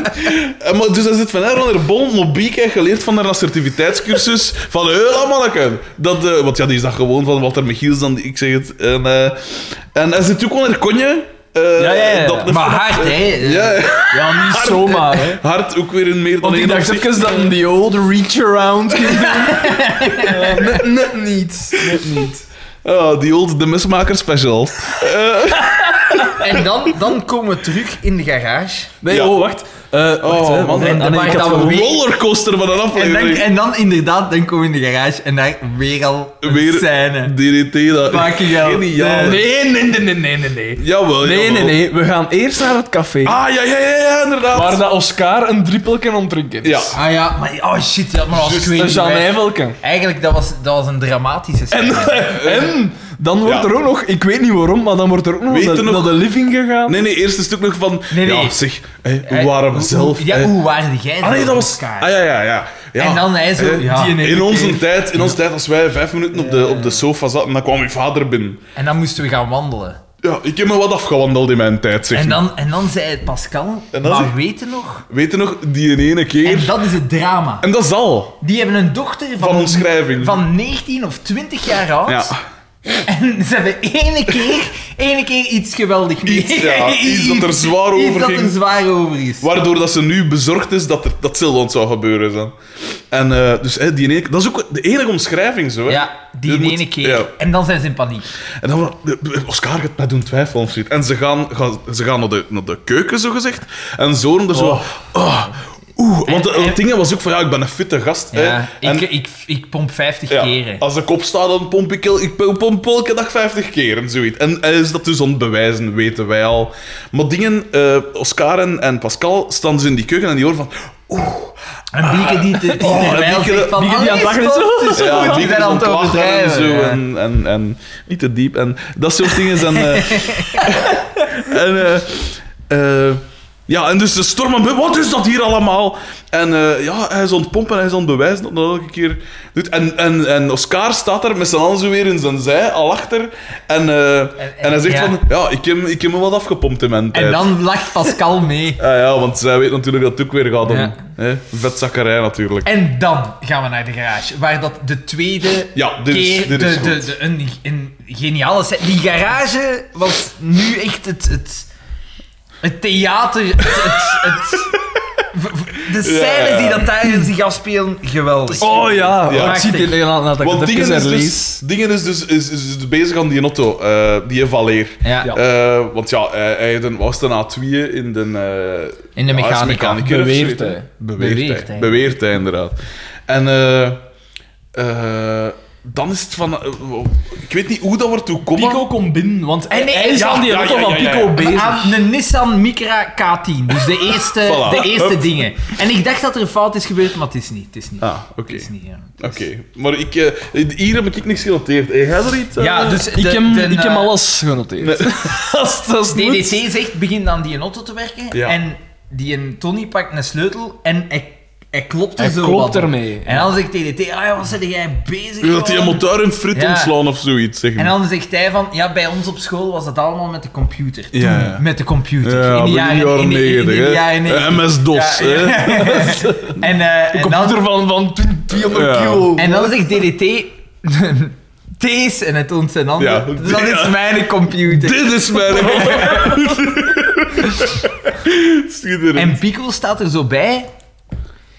A: eh, maar dus hij zit van haar onder bol. Maar Bieke heeft geleerd van haar assertiviteitscursus. Van heel manneken. Dat, eh, want ja, die is dat gewoon van Walter Michiels. Dan, ik zeg het. En, eh, en hij zit ook onder konje. eh,
C: Ja, ja, ja.
A: dat-
B: Maar hard, hè.
A: ja, ja.
C: Ja, niet zomaar, hè.
A: hard ook weer in meer dan
C: Want ik
A: één
C: dacht
A: opzicht.
C: even dat een die old reach around ging doen. Ja, net, net niet. Net niet.
A: Ah, die old de mesmaker special.
B: En dan, dan komen we terug in de garage.
C: Nee,
A: Ja. Oh,
C: oh, wacht. Eh, wacht, hè,
A: man,
C: want-
A: en-
C: ah,
B: en
C: nee,
B: waar
C: ik had
B: dat
C: gewoon-
B: weer-
A: Rollercoaster van een
B: En dan,
A: aflevering.
B: en dan inderdaad, dan komen we in de garage en daar weer al een
A: Weer
B: scène.
A: DDT. Dat,
B: Fucking hell.
A: Geniaal.
C: Nee, nee, nee, nee, nee, nee, nee.
A: Jawel,
C: Nee,
A: jawel.
C: nee, nee. We gaan eerst naar het café.
A: Ah, ja, ja, ja, ja inderdaad.
C: Waar dat Oscar een drippelken om drinken is.
A: Ja.
B: Ah ja, maar oh shit, ja, maar als
C: Dus een Janijvelken.
B: Eigenlijk, dat was, dat was een dramatische scène.
C: En dan wordt
A: Ja.
C: er ook nog, ik weet niet waarom, maar dan wordt er ook nog,
A: Weet
C: naar,
A: je
C: de-
A: nog-
C: naar de living gegaan.
A: Nee, nee, eerst een stuk nog van.
B: Nee, nee.
A: Ja, zeg, hé, hoe
B: Hij-
A: waren we
B: hoe-
A: zelf?
B: hoe- Ja,
A: hé?
B: hoe waren jij
A: Ah, nee,
B: zelf,
A: dat was.
B: Oscar?
A: Ah, ja, ja, ja. ja.
B: En dan hij zo...
A: Eh,
B: ja.
C: die
A: in onze tijd, in onze tijd, als wij vijf minuten op de, op de sofa zaten, dan kwam uw vader binnen.
B: En dan moesten we gaan wandelen.
A: Ja, ik heb me wat afgewandeld in mijn tijd, zeg.
B: En
A: maar.
B: dan, en dan zei Pascal,
A: En dan
B: maar
A: zei-
B: weet je nog?
A: Weet je nog, die ene keer.
B: En dat is het drama.
A: En dat is al.
B: Die hebben een dochter van,
A: Van omschrijving.
B: van 19 of 20 jaar oud.
A: Ja.
B: En ze hebben ene keer, ene keer iets geweldig mee.
A: Iets, ja, iets dat er zwaar
B: Iets
A: over
B: dat
A: ging.
B: er zwaar over is.
A: Waardoor dat ze nu bezorgd is dat er, dat hetzelfde zou gebeuren. Zo. En eh, dus, hé, die ene, dat is ook de enige omschrijving, zo. hè.
B: Ja, die
A: Je
B: ene
A: moet-
B: keer.
A: ja.
B: En dan zijn ze in paniek.
A: En dan Oscar gaat mij doen twijfelen of zoiets. En ze gaan, gaan, ze gaan naar, de, naar de keuken, zo gezegd. En zoren er zo. ah, oeh, want de-
B: Oh. En- en-
A: het ding was ook van ja, ik ben een fitte gast. hè.
B: Ja,
A: En-
B: ik, ik, ik pomp 50
A: ja,
B: keren.
A: als ik opsta, dan pomp ik, el- ik pomp elke dag 50 keer en zoiets. En hij is dat dus aan het bewijzen, weten wij al. Maar dingen, eh, Oscar en, en Pascal staan dus in die keuken en die horen van.
B: En Bieke die, te, die
A: Oh,
B: terwijl
A: Bieke-
B: zegt van...
C: Bieke die aan het
B: "Allee,
C: lachen is,
B: stop,
C: oh."
B: het is
A: Ja,
B: goed."
A: die
B: ben
A: zijn aan het
B: overdrijven,
A: en zo.
B: ja.
A: En, en, en niet te diep. En dat soort dingen zijn. eh, en, eh, eh, ja, en dus de storm aan bu- Wat is dat hier allemaal? En eh, ja, hij is aan het pompen, hij is aan het bewijzen dat hij dat elke keer doet. En, en, en Oscar staat er met zijn handen zo weer in zijn zij, al achter. En, eh, en, hij zegt
B: ja.
A: van, ja, ik heb, ik heb me wat afgepompt in mijn tijd.
B: En dan lacht Pascal mee.
A: Ah ja, want zij weet natuurlijk dat het ook weer gaat om
B: Ja.
A: hè, vetzakkerij natuurlijk.
B: En dan gaan we naar de garage, waar dat de tweede
A: Ja, dit is-
B: keer...
A: dit is
B: de,
A: goed.
B: de, de- een, een geniale set. Die garage was nu echt het... het het theater, het... het, het- v- v- de
A: Ja,
B: scènes
A: ja.
B: die dat daar zich afspelen, geweldig.
C: Oh ja,
A: Ja.
C: ik zie het in dat ik
A: Want
C: het even
A: dingen is,
C: herlees.
A: dus, dingen is dus is, is dus bezig aan die auto, eh, die Valeer.
B: Ja.
C: Ja.
A: Eh, want ja, hij, hij had een- was een A2 in de... eh,
B: In de
A: ja, als
B: mechanica.
A: mechanicus of
C: Beweert
A: zo,
C: hij.
A: hè. Beweert,
B: Beweert
A: hij.
B: hij.
A: Beweert hij, inderdaad. En eh, eh, dan is het van... eh, ik weet niet hoe dat wordt toe komen.
C: Pico komt binnen, want
B: En nee,
C: hij is
B: ja,
C: aan die
A: ja,
C: auto
A: ja,
C: van
A: ja, ja.
C: Pico bezig.
B: Aan een Nissan Micra K10. Dus de eerste,
A: Voilà.
B: de eerste
A: Hup.
B: dingen. En ik dacht dat er een fout is gebeurd, maar het is niet. Het is niet.
A: Ah, oké.
B: Het is niet, ja. Dus
A: Oké, maar ik, eh, hier heb ik niks genoteerd. Hey, jij er iets? eh?
B: Ja, dus
C: ik
B: de-
C: heb,
B: de-
C: ik heb
B: eh,
C: alles genoteerd.
A: Nee.
C: Als- als het moet.
B: DDT zegt, begin aan die auto te werken.
A: Ja.
B: En die een Tony pakt een sleutel en hij, hij klopt er
C: Hij
B: zo
C: klopt
B: wat op.
C: ermee,
B: En dan zegt TDT, ah ja, wat zit jij bezig?
A: dat die een
B: man?"
A: motor in frit
B: Ja.
A: ontslaan of zoiets, zeg maar.
B: En dan zegt hij van, ja, bij ons op school was dat allemaal met de computer. Toen,
A: Ja, ja.
B: met de computer.
A: Ja,
B: in de
A: begin
B: jaren, in de- in de- in de
A: 90, hè.
B: jaren 90.
A: MS-DOS,
B: Ja, ja.
A: hè.
B: En, eh, en dan,
C: Computer van, van 200
A: Ja.
C: kilo.
B: En dan zegt DDT... Thees en het toont zijn handen.
A: Ja.
B: Dus dat is mijn computer.
A: Dit is mijn... Schitterend.
B: En Pico staat er zo bij.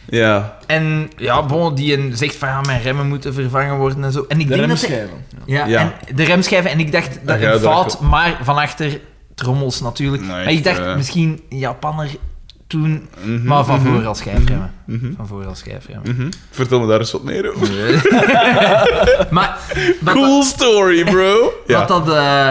A: Ja.
B: En ja, bon, die een zegt van ja, mijn remmen moeten vervangen worden en zo. En ik
C: De
B: denk dat hij-
C: remschijven.
B: ja,
A: Ja.
B: En de remschijven. En ik dacht dat
A: Ja,
B: een
A: daar-
B: fout, maar van achter trommels natuurlijk.
A: Nee,
B: maar ik dacht
A: eh.
B: misschien een Japanner toen,
A: Mhm,
B: maar van
A: mhm,
B: voor als schijfremmen.
A: mhm,
B: Van voor als schijfremmen.
A: mhm. Vertel me daar eens wat meer over.
B: maar wat,
A: Cool story, bro.
B: dat, wat dat, eh,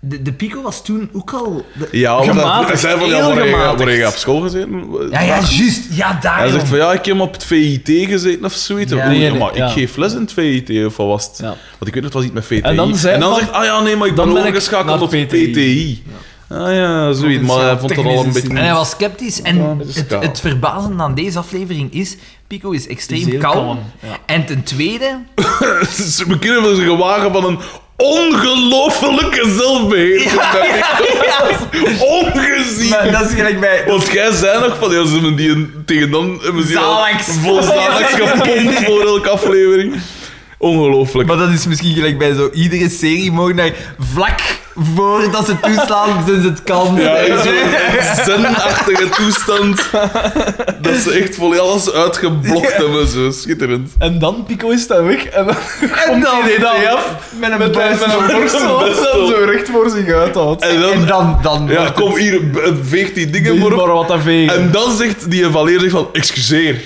B: de, de Pico was toen ook al. de-
A: Ja, want
C: Gematigd,
A: hij zei van, ja,
C: heel
A: waar heb je- waar
C: gematigd.
A: heb je op school gezeten?
B: ja, ja, juist. Ja, daarom.
A: Hij zegt van, ja, ik heb op het VIT gezeten of zoiets.
B: Ja.
A: Oei,
C: Nee, nee,
A: maar
C: ja.
A: ik geef les in het VIT, of wat was het?
C: Ja.
A: Want ik weet nog, het was iets met VTI.
C: En dan zei van-
A: zegt hij, ah ja, nee, maar ik
C: dan
A: ben
C: ben ik
A: overgeschakeld
C: naar
A: op PTI.
C: PTI.
A: Ah ja, zoiets. Maar hij vond dat al een
C: Technische
A: beetje...
B: En hij was sceptisch. En
A: Ja, dat is
B: het,
A: kaal.
B: het verbazende aan deze aflevering is: Pico is extreem
C: Is heel
B: kalm.
C: kalm, ja.
B: En ten tweede,
A: We kunnen ons gewagen van een ongelofelijke zelfbeheersing. Ongezien.
B: dat is gelijk bij.
A: Want jij zei nog van, ja, ze hebben die een- tegen dan... hebben ze die al
B: Zalaks.
A: Vol zalaks gepompt voor elke aflevering. Ongelooflijk.
B: Maar dat is misschien gelijk bij zo iedere serie mogen vlak voordat ze toeslaan, sinds het kan.
A: Ja, in zo'n zenachtige toestand. Dat ze echt volledig alles uitgeblokt hebben. Zo schitterend.
C: En dan Pico is daar weg en dan
B: en dan,
C: komt
B: dan
C: DDT af
B: met een
C: met
B: buis.
C: een borstel dat
A: Borstel.
C: zo recht voor zich uithoudt.
A: En dan...
B: En dan, dan.
A: ja, kom hier, b- veeg die dingen maar op.
C: maar wat dat vegen.
A: En dan zegt die valeer zegt van, excuseer,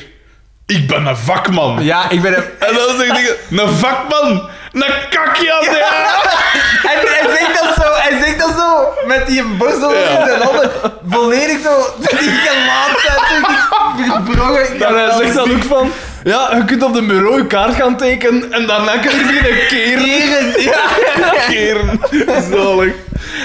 A: ik ben een vakman.
B: Ja, ik ben hem.
A: En dan zegt hij, een vakman, een kakje aan de hand."
B: En hij zegt dat zo, hij zegt dat zo, met die borstel
A: Ja.
B: in zijn handen, volledig zo, die gelaat uit, die verbroken.
C: En hij zegt dan ook van, ja, je kunt op de bureau je kaart gaan tekenen en daarna kun je beginnen keren.
B: Heren, ja.
A: keren. Zalig.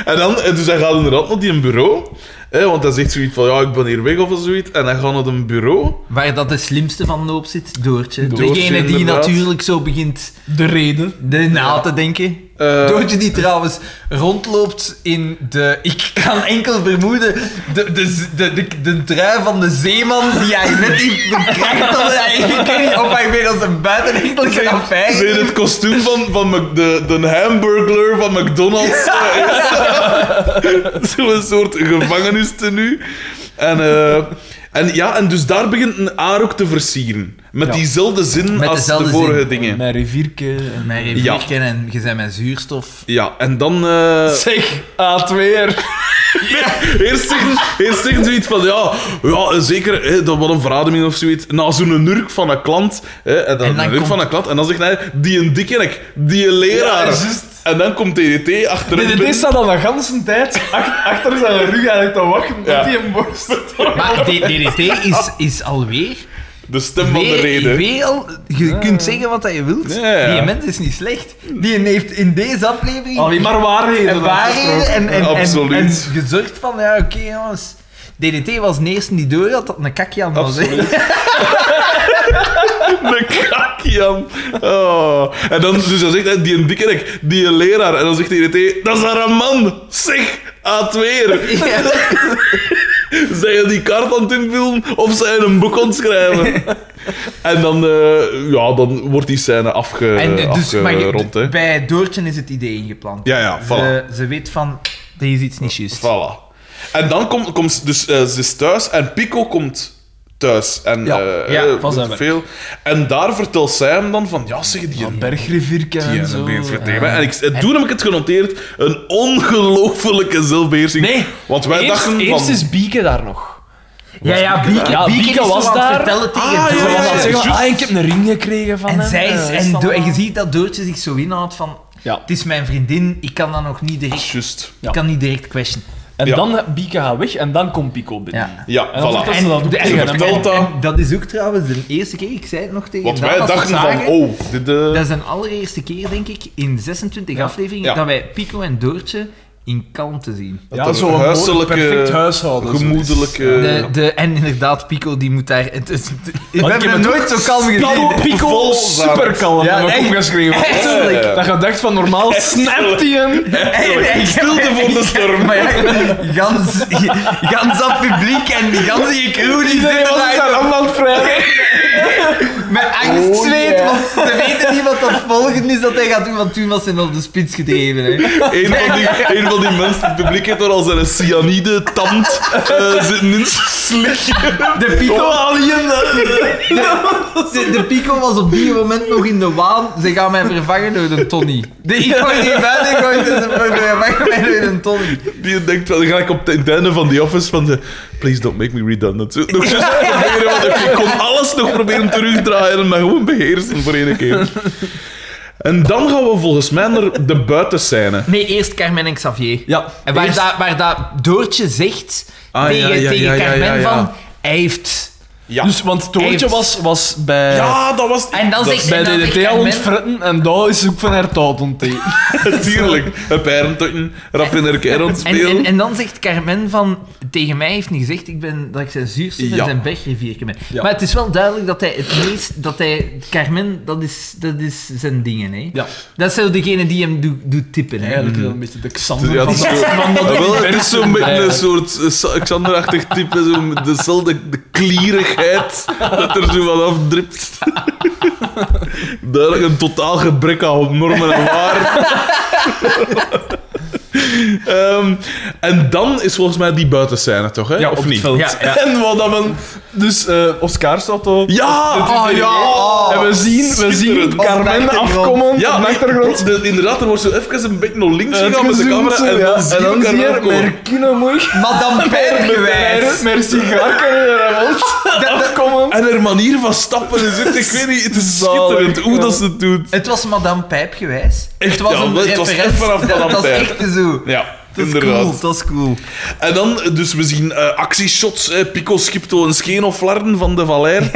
A: En dan, en dus hij gaat inderdaad naar die bureau. Hè, want hij zegt zoiets van, ja, ik ben hier weg of zoiets. En hij gaat naar een bureau.
B: Waar dat de slimste van de hoop zit, Doortje.
A: Doortje,
B: Degene die
A: inderdaad.
B: natuurlijk zo begint
C: De reden.
B: de na te denken.
A: Eh,
B: Doortje die trouwens rondloopt in de... Ik kan enkel vermoeden, de, de, de, de, de trui van de zeeman die hij net heeft verkracht. omdat hij- Ik weet niet of hij weet als een buitenechtelijke affaire.
A: Zie je het kostuum van, van Mc- de, de hamburglar van McDonald's? eh, is Zo'n soort gevangenistenu. En, eh, en ja, en dus daar begint een aar ook te versieren. Met
C: Ja.
A: diezelfde zin
B: Met
A: als
B: dezelfde
A: de vorige
B: zin.
A: dingen.
C: Mijn rivierke.
B: Mijn
A: Ja.
B: revliegen en je zijn mijn zuurstof.
A: Ja, en dan... eh,
C: Zeg, A2 weer.
A: Eerst zeggen, eerst zeggen zoiets van, ja, ja zeker, hè, dat was een verademing of zoiets. Na zo'n nurk van een klant, hè, en dan,
B: En dan
A: een nurk
B: komt-
A: van een klant, en dan zegt hij, die een dikkerk, die een leraar.
C: Ja, juist.
A: En dan komt DDT achter hem binnen.
C: DDT staat al de ganse tijd ach- achter zijn rug eigenlijk te wachten
A: Ja.
C: tot hij hem borstelt.
B: Maar D- DDT is, is alweer
A: De stem van de
B: Weer-
A: reden.
B: weer al- je kunt zeggen wat dat je wilt.
A: Ja.
B: Die mens is niet slecht. Die heeft in deze aflevering
C: Alleen maar waarheden.
B: een waarheden en, en, en, en,
A: Absoluut.
B: gezorgd van, ja, oké jongens. DDT was de eerste die door had dat een kakje aan was. hè.
A: Absoluut. De kakjan. Oh. En dan, dus dan zegt hij, die een dikkerik, die een leraar. En dan zegt DDT, dat is daar een man. Zeg, aat weer. Eh,
B: Ja.
A: Zijn je die kaart aan het invullen of zijn een boek aan het schrijven? En dan, eh, ja, dan wordt die scène afge,
B: En, eh, dus, maar je-
A: afgerond. hè.
B: bij Doortje is het idee ingeplant.
A: Ja, ja, voilà.
B: Ze, ze weet van, er is iets niet juist.
A: Voilà. En dan komt, komt ze- dus, eh, ze is thuis en Pico komt thuis. En,
C: Ja,
A: eh,
C: ja,
A: eh,
C: van zijn werk.
A: veel. En daar vertelt zij hem dan van, ja zeg, die een
C: Bergrivier
A: die
C: kennen
A: een
C: zo.
A: beheersvertegenwoordiger. En ik, en toen heb ik het genoteerd, een ongelofelijke zelfbeheersing.
C: Nee,
A: want wij
C: eerst,
A: dachten
C: eerst
A: van...
C: is Bieke daar nog.
B: Ja, ja, Bieke,
C: Ja,
B: Bieke
C: Bieke
B: is zo
C: was
B: aan het
C: daar.
B: vertellen tegen
A: Ah, ja,
C: Ze
B: Doortje.
A: ja,
C: was aan het zeggen,
A: juist.
C: ah, ik heb een ring gekregen van
B: En,
C: hem.
B: zij is,
C: eh,
B: en, Do- en je
C: allemaal.
B: ziet dat Doortje zich zo inhoudt van,
C: Ja.
B: het is mijn vriendin, ik kan dat nog niet direct,
A: Juist.
C: Ja.
B: ik kan niet direct question.
C: En
A: Ja.
C: dan Bieke gaat weg en dan komt Pico binnen.
B: Ja.
A: Ja,
C: En dan
A: voilà.
C: vertelt ze dat ook
B: de-
C: tegen
A: Ze
C: hem.
A: vertelt dat.
B: En dat is ook trouwens de eerste keer, ik zei het nog tegen
A: Want
B: Daan
A: wij
B: als we
A: dachten
B: het
A: van,
B: zagen.
A: oh, dit... eh,
B: Dat is de allereerste keer, denk ik, in 26 afleveringen,
A: Ja.
B: dat wij Pico en Doortje in kalmte zien.
A: dat er
C: mooi,
A: huiselijke,
C: perfect huishouden. zo.
A: Gemoedelijke...
B: De, de, en inderdaad, Pico die moet daar... Het, het, het- we hebben hem
C: het
B: nooit zo kalm gezien.
C: Pico, Pico
A: Vol
C: super
B: Ja,
C: kalm. Ja, heb ik
B: echt.
C: opgeschreven.
B: Echt.
C: Dat je dacht van normaal snapt hij hem.
A: Stilte voor de storm.
B: Maar ja, gans, gans dat publiek en die ganse crew die zitten daar
C: allemaal vrij.
B: met angst zweet,
C: yeah.
B: want ze weten niet wat dat volgende is dat hij gaat doen, want toen was hij op de spits gedreven. Hè.
A: Een van, die, een van die mensen in het publiek heeft er al zijn cyanide tand eh, zitten in zijn slik.
B: De Pico...
A: Oh, eh,
B: De, de Pico was op die moment nog in de waan. Ze gaan mij vervangen door een Tony. De, ik word niet buiten gegooid, dus ze vervangen mij door een Tony.
A: Die denkt wel, dan ga ik op het einde van die office van de... Please don't make me redundant. Zo- Nog zo proberen, want ik kon alles nog proberen terugdraaien en dan gewoon beheersen voor één keer. En dan gaan we volgens mij naar de buitenscène.
B: Nee, eerst Carmen en Xavier.
C: Ja.
B: En waar,
C: Eerst-
B: dat, waar dat Doortje zegt
A: Ah,
B: tegen,
A: ja, ja,
B: tegen
A: ja, ja,
B: Carmen
A: ja, ja.
B: van... Hij heeft...
A: Ja.
C: Dus, want Toortje
B: Echt.
C: was, was bij,
A: ja, dat was...
B: En dan zegt
C: bij
B: en dan zegt
C: DDT al
B: Carmen-
C: ontfritten en daar is ze ook van haar taal ontdekt.
A: Natuurlijk. Een pijrentotten, rap in haar keer aan het
B: En,
A: spelen.
B: en, en dan zegt Carmen van... Tegen mij heeft hij gezegd ik ben, dat ik zijn zuurste
A: Ja.
B: en zijn bergrivierke ben.
C: Ja.
B: Maar het is wel duidelijk dat hij het meest... Dat hij... Carmen, dat is, dat is zijn dingen, hè.
C: Ja,
B: Dat is zo degene die hem doet doet tippen, hè.
C: eigenlijk wel een beetje de Xander
A: Ja,
C: van
A: het is
C: dat-
A: zo-
C: van dat
A: Ja, wel, het is zo'n beetje
C: Ja, ja.
A: een soort eh, Sa- Xander-achtig type, zo met dezelfde de klierigheid dat er zo van afdript. Duidelijk een totaal gebrek aan normen en waarden. Ehm, en dan is volgens mij die buitenscène, toch? Hè?
C: Ja,
A: of
C: op het
A: niet?
C: veld. En wat dan men... Dus eh, Oscar staat al...
A: Ah, Ja!
C: Oh ja! en we zien, we zien
A: Schitterend.
C: Carmen afkomen
A: Ja,
C: op de
A: nee,
C: achtergrond.
A: de- inderdaad, er wordt zo even een beetje naar links
C: Het
A: gegaan met de
C: gezoomd
A: camera.
C: zo,
A: en
C: ja.
A: dan zie
C: En dan
A: je
C: zie je
A: Carmen
C: haar
A: afkomen.
C: met kindermoeig,
B: Madame
C: met
B: Perkwijs.
C: haar sigaar en haar afkomen.
A: En haar manier van stappen is echt, ik weet niet, het is
C: Zalig,
A: schitterend hoe
C: ja.
A: dat ze het doet.
B: Het was Madame Pijpgewijs.
A: Echt,
B: het was
A: ja,
B: een
A: het was
B: referentie.
A: echt vanaf
B: dat
A: Madame
B: was
A: Pijp.
B: echt zo.
A: Ja,
B: Dat is
A: inderdaad.
B: cool, dat is cool.
A: En dan, eh, dus we zien eh, actieshots, eh, Pico schipt al een scheen of flarden van de Valère.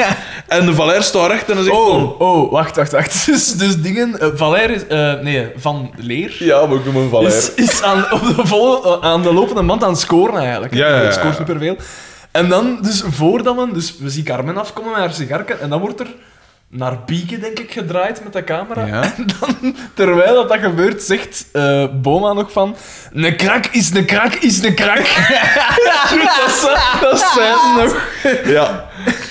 A: En de Valère staat recht en dan zegt van...
C: Oh, oh, wacht, wacht, wacht. Dus, dus dingen... eh, Valère is... eh, nee, Van Leer
A: Ja, we noemen hem
C: is, is aan, op de volle, aan de lopende band aan het scoren eigenlijk.
A: Ja, ja, ja, ja.
C: Het scoort superveel. En dan, dus voordat we... Dus we zien Carmen afkomen met haar sigarken en dan wordt er naar Bieke, denk ik, gedraaid met de camera.
A: Ja.
C: En dan, terwijl dat, dat gebeurt, zegt eh, Boma nog van... Een krak is een krak is een krak. dat, ze- dat zijn nog...
A: Ja.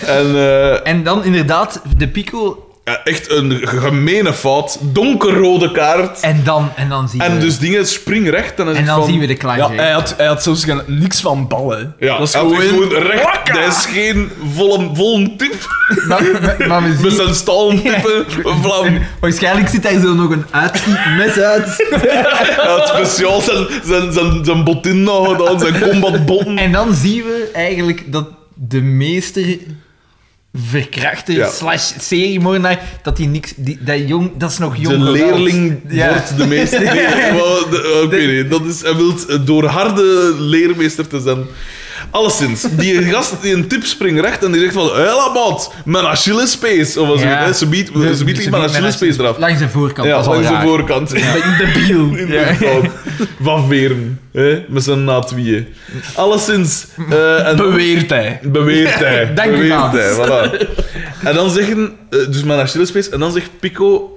A: En eh,
B: En dan inderdaad, de pico.
A: ja, echt een gemene fout. Donkerrode kaart.
B: En dan, en dan zien
A: En
B: we...
A: dus dingen springrecht. En dan,
B: en dan zien we de
C: Ja,
B: kleine.
C: hij had, hij had zelfs geen- niks van ballen.
A: Ja,
C: dat is
A: hij had
C: gewoon...
A: echt gewoon recht. Dat is geen volle, volle tip.
B: maar, maar- maar we
A: Met
B: zien...
A: zijn stalen tippen. Vlam.
B: Waarschijnlijk zit daar zo nog een uitmes uit.
A: Hij had speciaal zijn, zijn, zijn, zijn botin nog gedaan, zijn combatbotten.
B: En dan zien we eigenlijk dat de meester verkrachter
A: Ja.
B: slash seriemoordenaar, dat die niks... Die, dat, jong, dat is nog jong
A: De
B: geweld.
A: leerling
B: Ja.
A: wordt de meester. Nee, maar de- eh, ik weet niet. Dat is, hij wil door harde leermeester te zijn. Alleszins, die gast die een tip springt recht en die zegt van Hela maat, mijn Achillespace. Of als
B: Ja.
A: je ze biedt, ze biedt mijn Achillespace eraf.
F: Langs de voorkant.
A: Ja,
F: dat is al
A: langs de
F: raar.
A: voorkant.
B: Debiel. Ja.
A: Inderdaad. Van Veeren. Hè? Met zijn na tweeën. Alleszins. eh, en
C: Beweert hij.
A: Beweert hij.
B: Dank u
A: Beweert
B: wel.
A: hij, voilà. En dan zeggen, eh, dus mijn Achillespees, en dan zegt Pico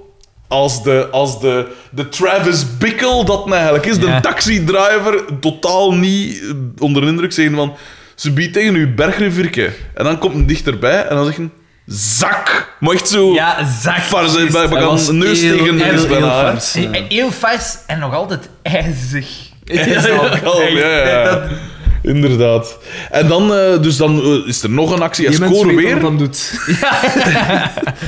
A: als de, als de, de Travis Bickle dat nou eigenlijk is, de
B: Ja.
A: taxidriver, totaal niet eh, onder de indruk zeggen van ze biedt tegen uw bergrivierke. En dan komt een dichterbij en dan zeggen zak. Maar echt zo...
B: Ja, zak.
A: Fars, hè, bij- bij-
B: Dat was
A: een neus
B: heel-
A: tegen neus
B: heel-
A: bijna,
B: heel
A: hè.
B: fars. Eh, eh, Heel vars en nog altijd ijzig.
A: Ja, ja, ja, ja, ja.
B: Dat-
A: Inderdaad. En dan, eh, dus dan eh, is er nog een actie. Hij
C: Je bent
A: scoren weer.
C: dan doet.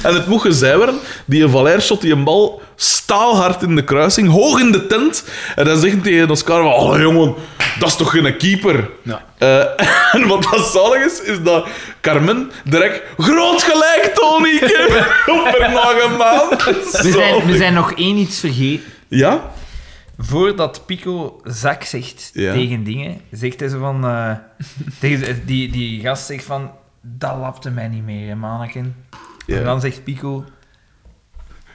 A: En het mocht gezegd worden, die Valère shot die een bal staalhard in de kruising, hoog in de tent. En dan zegt hij tegen Oscar van, oh jongen, dat is toch geen keeper?
C: Ja.
A: Eh, en wat dat zalig is, is dat Carmen direct groot gelijk, Tonieke, op er nog een maand.
B: We zijn, we
A: Zalig.
B: zijn nog één iets vergeten.
A: Ja?
B: Voordat Pico zak zegt
A: Ja.
B: tegen dingen, zegt hij zo van... eh, tegen, die, die gast zegt van... Dat lapte mij niet meer, hè, manneken.
A: Ja.
B: En dan zegt Pico...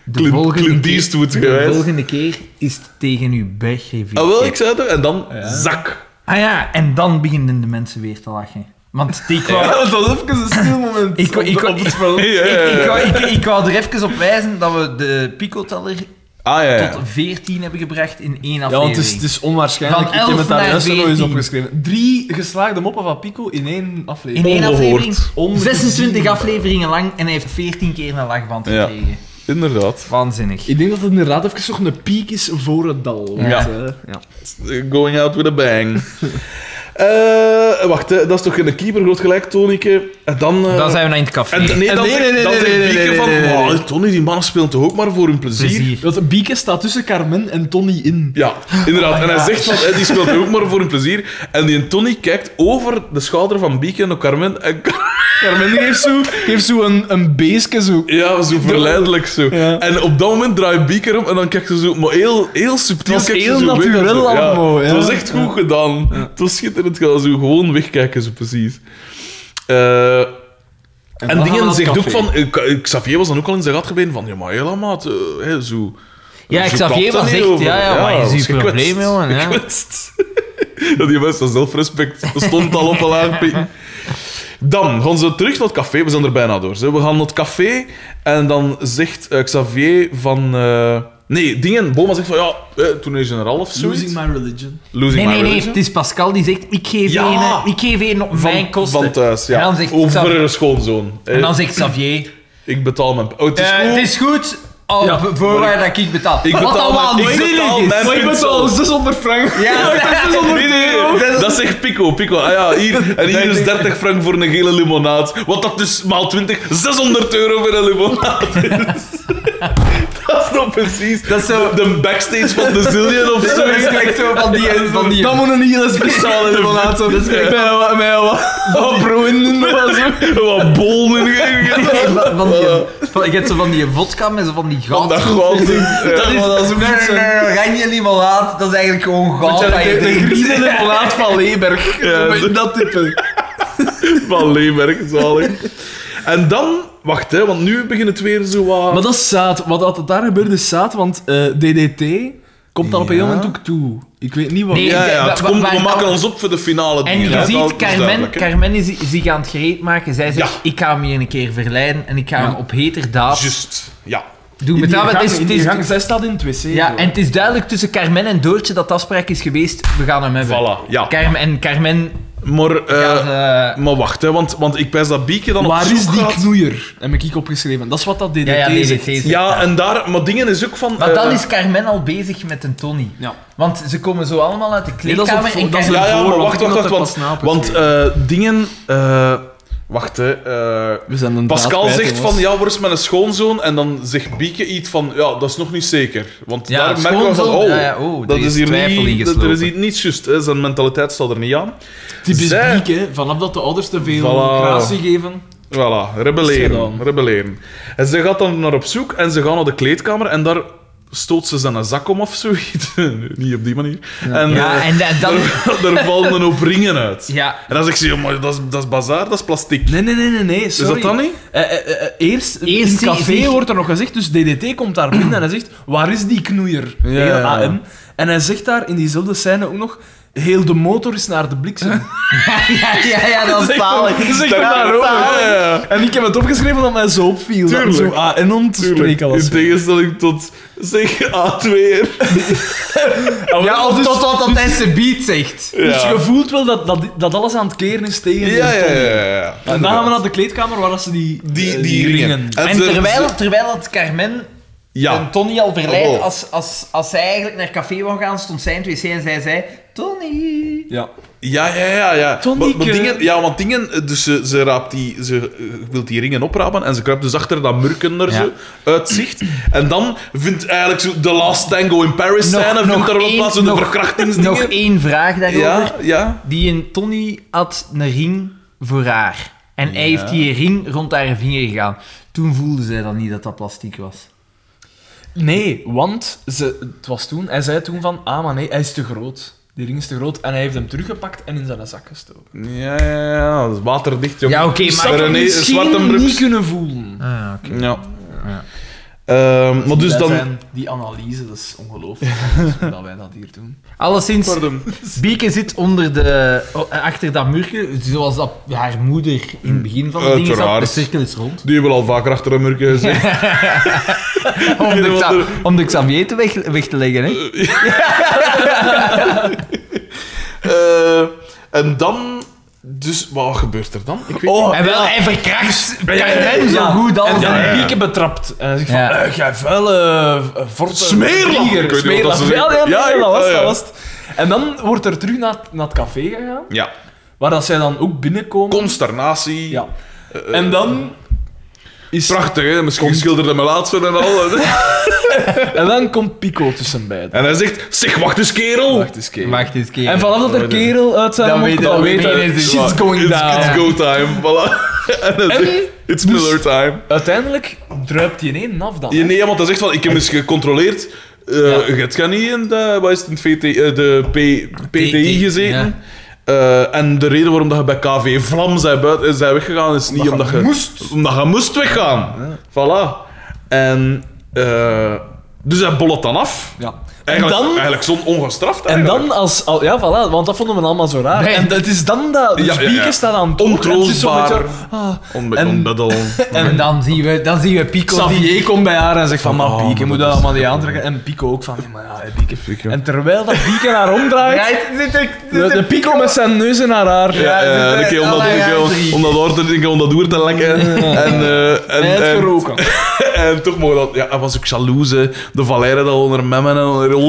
B: De
A: Clint-
B: volgende
A: Clint
B: keer-
A: Eastwood
B: De
A: geweest.
B: volgende keer is het tegen uw bergrivier.
A: Ah, wel, ik zei het er. En dan zak.
B: Ah ja, en dan beginnen de mensen weer te lachen. Want die kwam...
C: Dat was even een stil moment.
B: Ik, wou- ik, wou- ik,
A: Ja, ja, ja.
B: ik, ik, wou- ik, ik wou er even op wijzen dat we de picoteller
A: Ah, ja, ja.
B: tot 14 hebben gebracht in één
C: Ja, want
B: aflevering.
C: het is, het is onwaarschijnlijk.
B: Van
C: ik heb
B: 11
C: het daar
B: naar
C: juist nog eens
B: 14.
C: opgeschreven. Drie geslaagde moppen van Pico in één
B: in
C: aflevering.
B: één
A: ongehoord.
B: aflevering.
C: Ongezien.
B: 26 afleveringen lang en hij heeft 14 keer een lachband
A: Ja.
B: gekregen.
A: Inderdaad.
B: Waanzinnig.
C: Ik denk dat het inderdaad even nog een piek is voor het dal. want,
B: Ja.
C: eh, ja.
A: Going out with a bang. Eh, wacht, hè, dat is toch geen keeper, groot gelijk, Tonieke. En dan... eh,
B: Dan zijn we naar in het café.
A: En nee, dan
C: nee,
A: zegt-
C: nee, nee,
A: dan
C: nee,
A: zegt
C: nee, nee,
A: Bieke
C: nee,
A: van,
C: nee, nee,
A: "Wauw,
C: nee.
A: Tony, die mannen spelen toch ook maar voor hun plezier?
B: Plezier.
C: Want Bieke staat tussen Carmen en Tony in.
A: Ja, inderdaad.
C: Oh
A: en hij zegt van, "Hé, die speelt toch ook maar voor hun plezier. En die Tony kijkt over de schouder van Bieke naar Carmen. En Car-
C: Carmen geeft zo, geeft zo een, een beestje zo.
A: ja, zo verleidelijk zo.
C: Ja.
A: En op dat moment draait Bieke om en dan kijkt ze zo, maar heel, heel subtiel.
C: Het was
A: kijkt ze
C: heel
A: zo weg en zo.
C: natuurlijk allemaal,
A: Het
C: ja.
A: was echt goed gedaan. Het was schitterend gedaan. Zo gewoon wegkijken ze precies. Eh, En,
C: dan gaan
A: dingen
C: we
A: zegt
C: naar het
A: ook van... eh, Xavier was dan ook al in zijn gat gebeten van... Ja, maar heel maat, eh, hè, zo...
B: Ja,
A: zo praat
B: Xavier
A: dat
B: was
A: niet
B: echt,
A: over.
B: ja, ja, maar is
A: was
B: uw
A: gekwetst.
B: probleem, jongen, ja.
A: Gekwetst. Ja, die mensen, dat zelfrespect stond al op een laag pitje. Dan gaan ze terug naar het café. We zijn er bijna door. Ze. We gaan naar het café en dan zegt eh, Xavier van... eh, nee, dingen. Boma zegt van... Ja, eh, toen is generaal of zoiets.
C: Losing my religion.
A: Losing
B: Nee,
A: my
B: nee, nee.
A: religion.
B: Het is Pascal die zegt, ik geef
A: dus- Ja.
B: één eh, ik geef één op mijn
A: Van,
B: kosten.
A: van thuis, ja.
B: En dan zegt
A: Over
B: Xavier-
A: haar schoonzoon. Eh,
B: en dan zegt Xavier...
A: Ik betaal mijn... Oh, het is
B: eh,
A: goed.
B: het is goed, oh, op
C: Ja,
B: voorwaarde dat ik betaal.
A: Ik
B: Wat
A: betaal
B: allemaal
A: mijn- ik betaal
B: waanzinnig
A: mijn-
B: is.
A: Maar ik betaal
C: 600 frank.
B: Ja,
A: Nee, nee, nee, dat zegt Pico. Pico. Ah ja, hier. En hier is 30 frank voor een gele limonaad. Wat dat dus maal 20, 600 euro voor een limonaad is. dat is nog precies
B: Dat is zo-
A: de, de backstage van de Zillion of zo.
B: Dat is gelijk zo van die... Van die
C: Dat moet een hele speciale limonaat zijn. Dat is mij, wat broen of zo.
A: Wat bol in
B: van, van die, van, je hebt zo van die vodka met zo van die goud.
A: Dat goud. Dat
B: is,
C: Oh, dat is ook
B: nee,
C: niet zo-
B: nee, nee, oranje limonade, dat is eigenlijk gewoon goud. dat je
C: De, de
B: drinkt.
C: groene limonaat van Leeberg. eh,
A: Ja,
C: Dat type.
A: van Leemerk, zalig. En dan, wacht hè, want nu begint het weer zo wat.
C: Maar dat is zaad. Wat dat daar gebeurde is zaad, want eh, DDT komt daar op een
A: Ja.
C: gegeven moment ook toe. Ik weet niet wat.
B: Nee.
A: ja, ja, het
B: Wa- wa-
A: komt,
B: waar-
A: we maken ons op voor de finale.
B: En
A: dingen, hè.
B: je
A: Dat
B: ziet,
A: is
B: Carmen,
A: duidelijk, hè.
B: Carmen is is zich aan het gereed maken. Zij zegt,
A: Ja.
B: ik ga hem hier een keer verleiden en ik ga hem op heter daad
A: Juist, ja.
B: doen.
C: In
B: Met
C: die
B: dat,
C: gang,
B: het is,
C: in
B: het
C: die
B: is,
C: gang, zij staat in het wc.
B: ja,
C: hoor.
B: en het is duidelijk tussen Carmen en Doortje dat de afspraak is geweest, we gaan hem hebben.
A: Voilà, ja.
B: Carmen, en Carmen
A: Maar, eh,
B: gaat... eh,
A: maar wacht, hè, want, want ik pijs dat Bieke dan op
C: Waar
A: zoek
C: is die
A: gaat.
C: knoeier? Heb ik opgeschreven. Dat is wat dat DDT
B: ja, ja, nee,
C: zegt.
B: nee, nee.
A: Ja, en daar... Maar dingen is ook van...
B: Maar
A: eh,
B: dan is Carmen al bezig met een Tony.
C: Ja.
B: Want ze komen zo allemaal uit de
C: Nee, dat is op
B: kleedkamer
C: voor-
B: en
C: dat is
B: Carmen-
A: Ja, ja,
C: voor,
A: maar
C: want
A: wacht,
C: ik
A: wacht,
C: had
A: wacht.
C: dat
A: Want,
C: pas na op
A: want eh, dingen... eh, wacht, hè. eh,
C: We zijn een
A: Pascal
C: draad kwijt,
A: zegt
C: jongens.
A: van, ja, waar is mijn schoonzoon? En dan zegt Bieke iets van, ja, dat is nog niet zeker. Want
B: Ja,
A: daar merken we van,
B: schoonzoon,
A: oh,
B: ja, ja, oh,
A: dat
B: er
A: is,
B: is
A: hier
B: twijfel
A: niet... Dat, er is
B: ingeslopen.
A: hier niet juist, hè. Zijn mentaliteit staat er niet aan.
C: Typisch
A: Zij-
C: Biek, hè. Vanaf dat de ouders te veel
A: Voilà.
C: gratie geven,
A: Voilà, rebelleren.
C: Gedaan.
A: rebelleren. En ze gaat dan naar op zoek en ze gaan naar de kleedkamer en daar stoot ze dan een zak om of zoiets. Nee, Niet op die manier. En,
F: Ja,
A: eh,
F: en da- dan...
A: daar, daar vallen een hoop ringen uit.
F: Ja.
A: En dan zeg ik, ze, maar dat is, dat is bazaar, dat is plastic.
C: Nee, nee, nee, nee, nee. Sorry.
A: dat dan niet?
C: Eh, eh, eh, eerst,
F: Eerst
C: in het
F: die-
C: café
F: die-
C: wordt er nog gezegd, dus DDT komt daar binnen en hij zegt, waar is die knoeier?
B: Ja,
C: Heel
B: ja, ja.
C: AM. En hij zegt daar in diezelfde scène ook nog, heel de motor is naar de bliksem.
F: Ja, ja, ja, dat is zalig.
C: Dat is echt
A: Daar-
C: waar, hoor.
A: Ja, ja, ja.
C: En ik heb het opgeschreven dat mij zo opviel.
A: Tuurlijk.
C: Dat zo AM te
A: Tuurlijk.
C: spreken was.
A: In tegenstelling tot, zeg, A2 weer.
F: Ja, of
C: dus,
F: tot wat dat hij beat zegt.
C: dus
A: Ja.
C: je voelt wel dat, dat, dat alles aan het keren is tegen die
A: Ja, ja,
C: Tommy.
A: ja, ja, ja.
C: En dan gaan we naar de kleedkamer waar dat ze die,
A: Die-
C: eh,
A: die ringen.
F: En
A: ze-
F: terwijl, terwijl het Carmen en
A: Ja.
F: Tony al verleidt,
A: Jawel.
F: als, als, als zij eigenlijk naar café wou gaan, stond zij in het wc en zij zei... Tony...
C: Ja.
A: Ja, ja, ja. ja.
C: Tonieke.
A: Maar- maar dingen, ja, want dingen... eh, Dus ze, ze, raapt die, ze eh, wil die ringen oprapen en ze kruipt dus achter dat murken er zo uit zicht. En dan vindt eigenlijk zo de Last Tango in Paris
F: Nog-
A: scène, vindt
F: nog
A: daar wel
F: één-
A: plaats in de
F: nog-
A: verkrachtingsdingen.
B: Nog één vraag daarover.
A: ja, ja.
B: Die een Tony had een ring voor haar. En hij heeft die ring rond haar vinger gegaan. Toen voelde zij dan niet dat dat plastic was.
C: Nee, want ze, het was toen, hij zei toen van, ah maar nee, hij is te groot. Die ring is te groot. En hij heeft hem teruggepakt en in zijn zak gestoken.
A: Ja, ja, ja, dat is waterdicht, jongen.
B: Ja, oké,
A: Dus
B: maar
A: René-
C: Zou misschien
A: Zwartenbroeks-
C: niet kunnen voelen.
B: Ah,
A: Ja. Ehm, maar dus
C: Wij
A: dan...
C: zijn- die analyse, dat is ongelooflijk dat wij dat hier doen.
B: Alleszins,
A: Pardon.
B: Bieke zit onder de, oh, achter dat murken, zoals dat haar moeder in het begin van de dingen zat.
A: Uiteraard.
B: De cirkel is rond.
A: Die hebben we al vaker achter een murken gezegd.
B: Om de,
A: Iedereen
B: Xa-
A: wil
B: om de Xavier te weg, weg te leggen, hè?
A: Eh, en dan... Dus, wat gebeurt er dan? Ik weet
C: Oh,
B: en wel, hij verkracht
C: Ja, ja, ja,
B: Carmen zo
C: ja.
B: goed
C: En
B: als...
C: dan
A: Ja, ja, ja.
C: Bieke betrapt. En hij zegt
B: Ja.
C: van, eh, jij vuile... Uh,
A: Smeerlap! Ik weet niet wat
C: Smeerlap.
A: dat ze
C: Ja,
A: zeggen. Ja,
C: ja, ja,
A: ik-
C: dat was
A: ah,
C: het,
A: ja.
C: dat was het. En dan wordt er terug naar, naar het café gegaan,
A: Ja.
C: waar dat zij dan ook binnenkomen.
A: Consternatie.
C: Ja. en dan... Is,
A: Prachtig, hè? Misschien geschilderde mijn laatste en al.
C: En dan komt Pico tussen beiden.
A: en hij zegt, zeg, wacht eens, kerel.
C: Wacht eens, kerel.
B: Wacht eens, keer.
C: En vanaf dat er kerel uit zijn
B: Dan
C: mond
B: weet
C: komt, dan
B: hij-
C: weet hij,
B: weet hij-
C: shit's
A: It's,
C: going down.
A: it's go time. Voilà. en hij
C: En
A: zegt, it's
C: dus-
A: Miller time.
C: Uiteindelijk druipt hij in één af dan.
A: Ja,
C: hè.
A: nee, want hij zegt van, ik heb eens gecontroleerd. eh Het gaat niet in de, wat is het, in het VT, eh, de P, PTI
B: TT,
A: gezeten.
B: ja.
A: Eh, en de reden waarom dat je bij KV Vlam zij buiten, eh, zij weggegaan is niet omdat, je moest. Omdat je moest weggaan. Voilà. En, eh, dus hij bollet dan af.
C: Ja. En
A: Eigenlijk,
C: dan...
A: eigenlijk zo'n ongestraft.
C: En
A: eigenlijk.
C: dan als... al- Ja, voilà, want dat vonden we allemaal zo raar.
B: Nee.
C: En het is dan dat... Dus
A: Ja, ja, ja.
C: Bieke staat aan het oog en het is zo met
A: Ontroostbaar.
C: haar- ah.
A: Onbe
C: en-
A: onbeddel.
B: En dan zien we, dan zien we Pico die...
C: Xavier komt bij haar en zegt van, maar
A: Oh,
C: Bieke,
A: maar
C: moet
A: dat
C: dat
A: is-
C: allemaal niet aantrekken. En Pico ook van, ja, maar ja, hè, Bieke.
A: Pico.
C: En terwijl dat Bieke haar omdraait,
B: Right, zit er- zit
C: de,
B: er-
C: de Pico met zijn neus in haar haar.
A: Ja, ja, een keer om dat-
B: alle
A: een keer om-
B: drie.
A: om dat oor te denken, om dat oer te lekken. En, eh, en,
C: Hij heeft
A: en-
C: geroken.
A: En toch mogen dat... Ja, hij was ook jaloers, hè. De Valère dat onder memmen en onder roos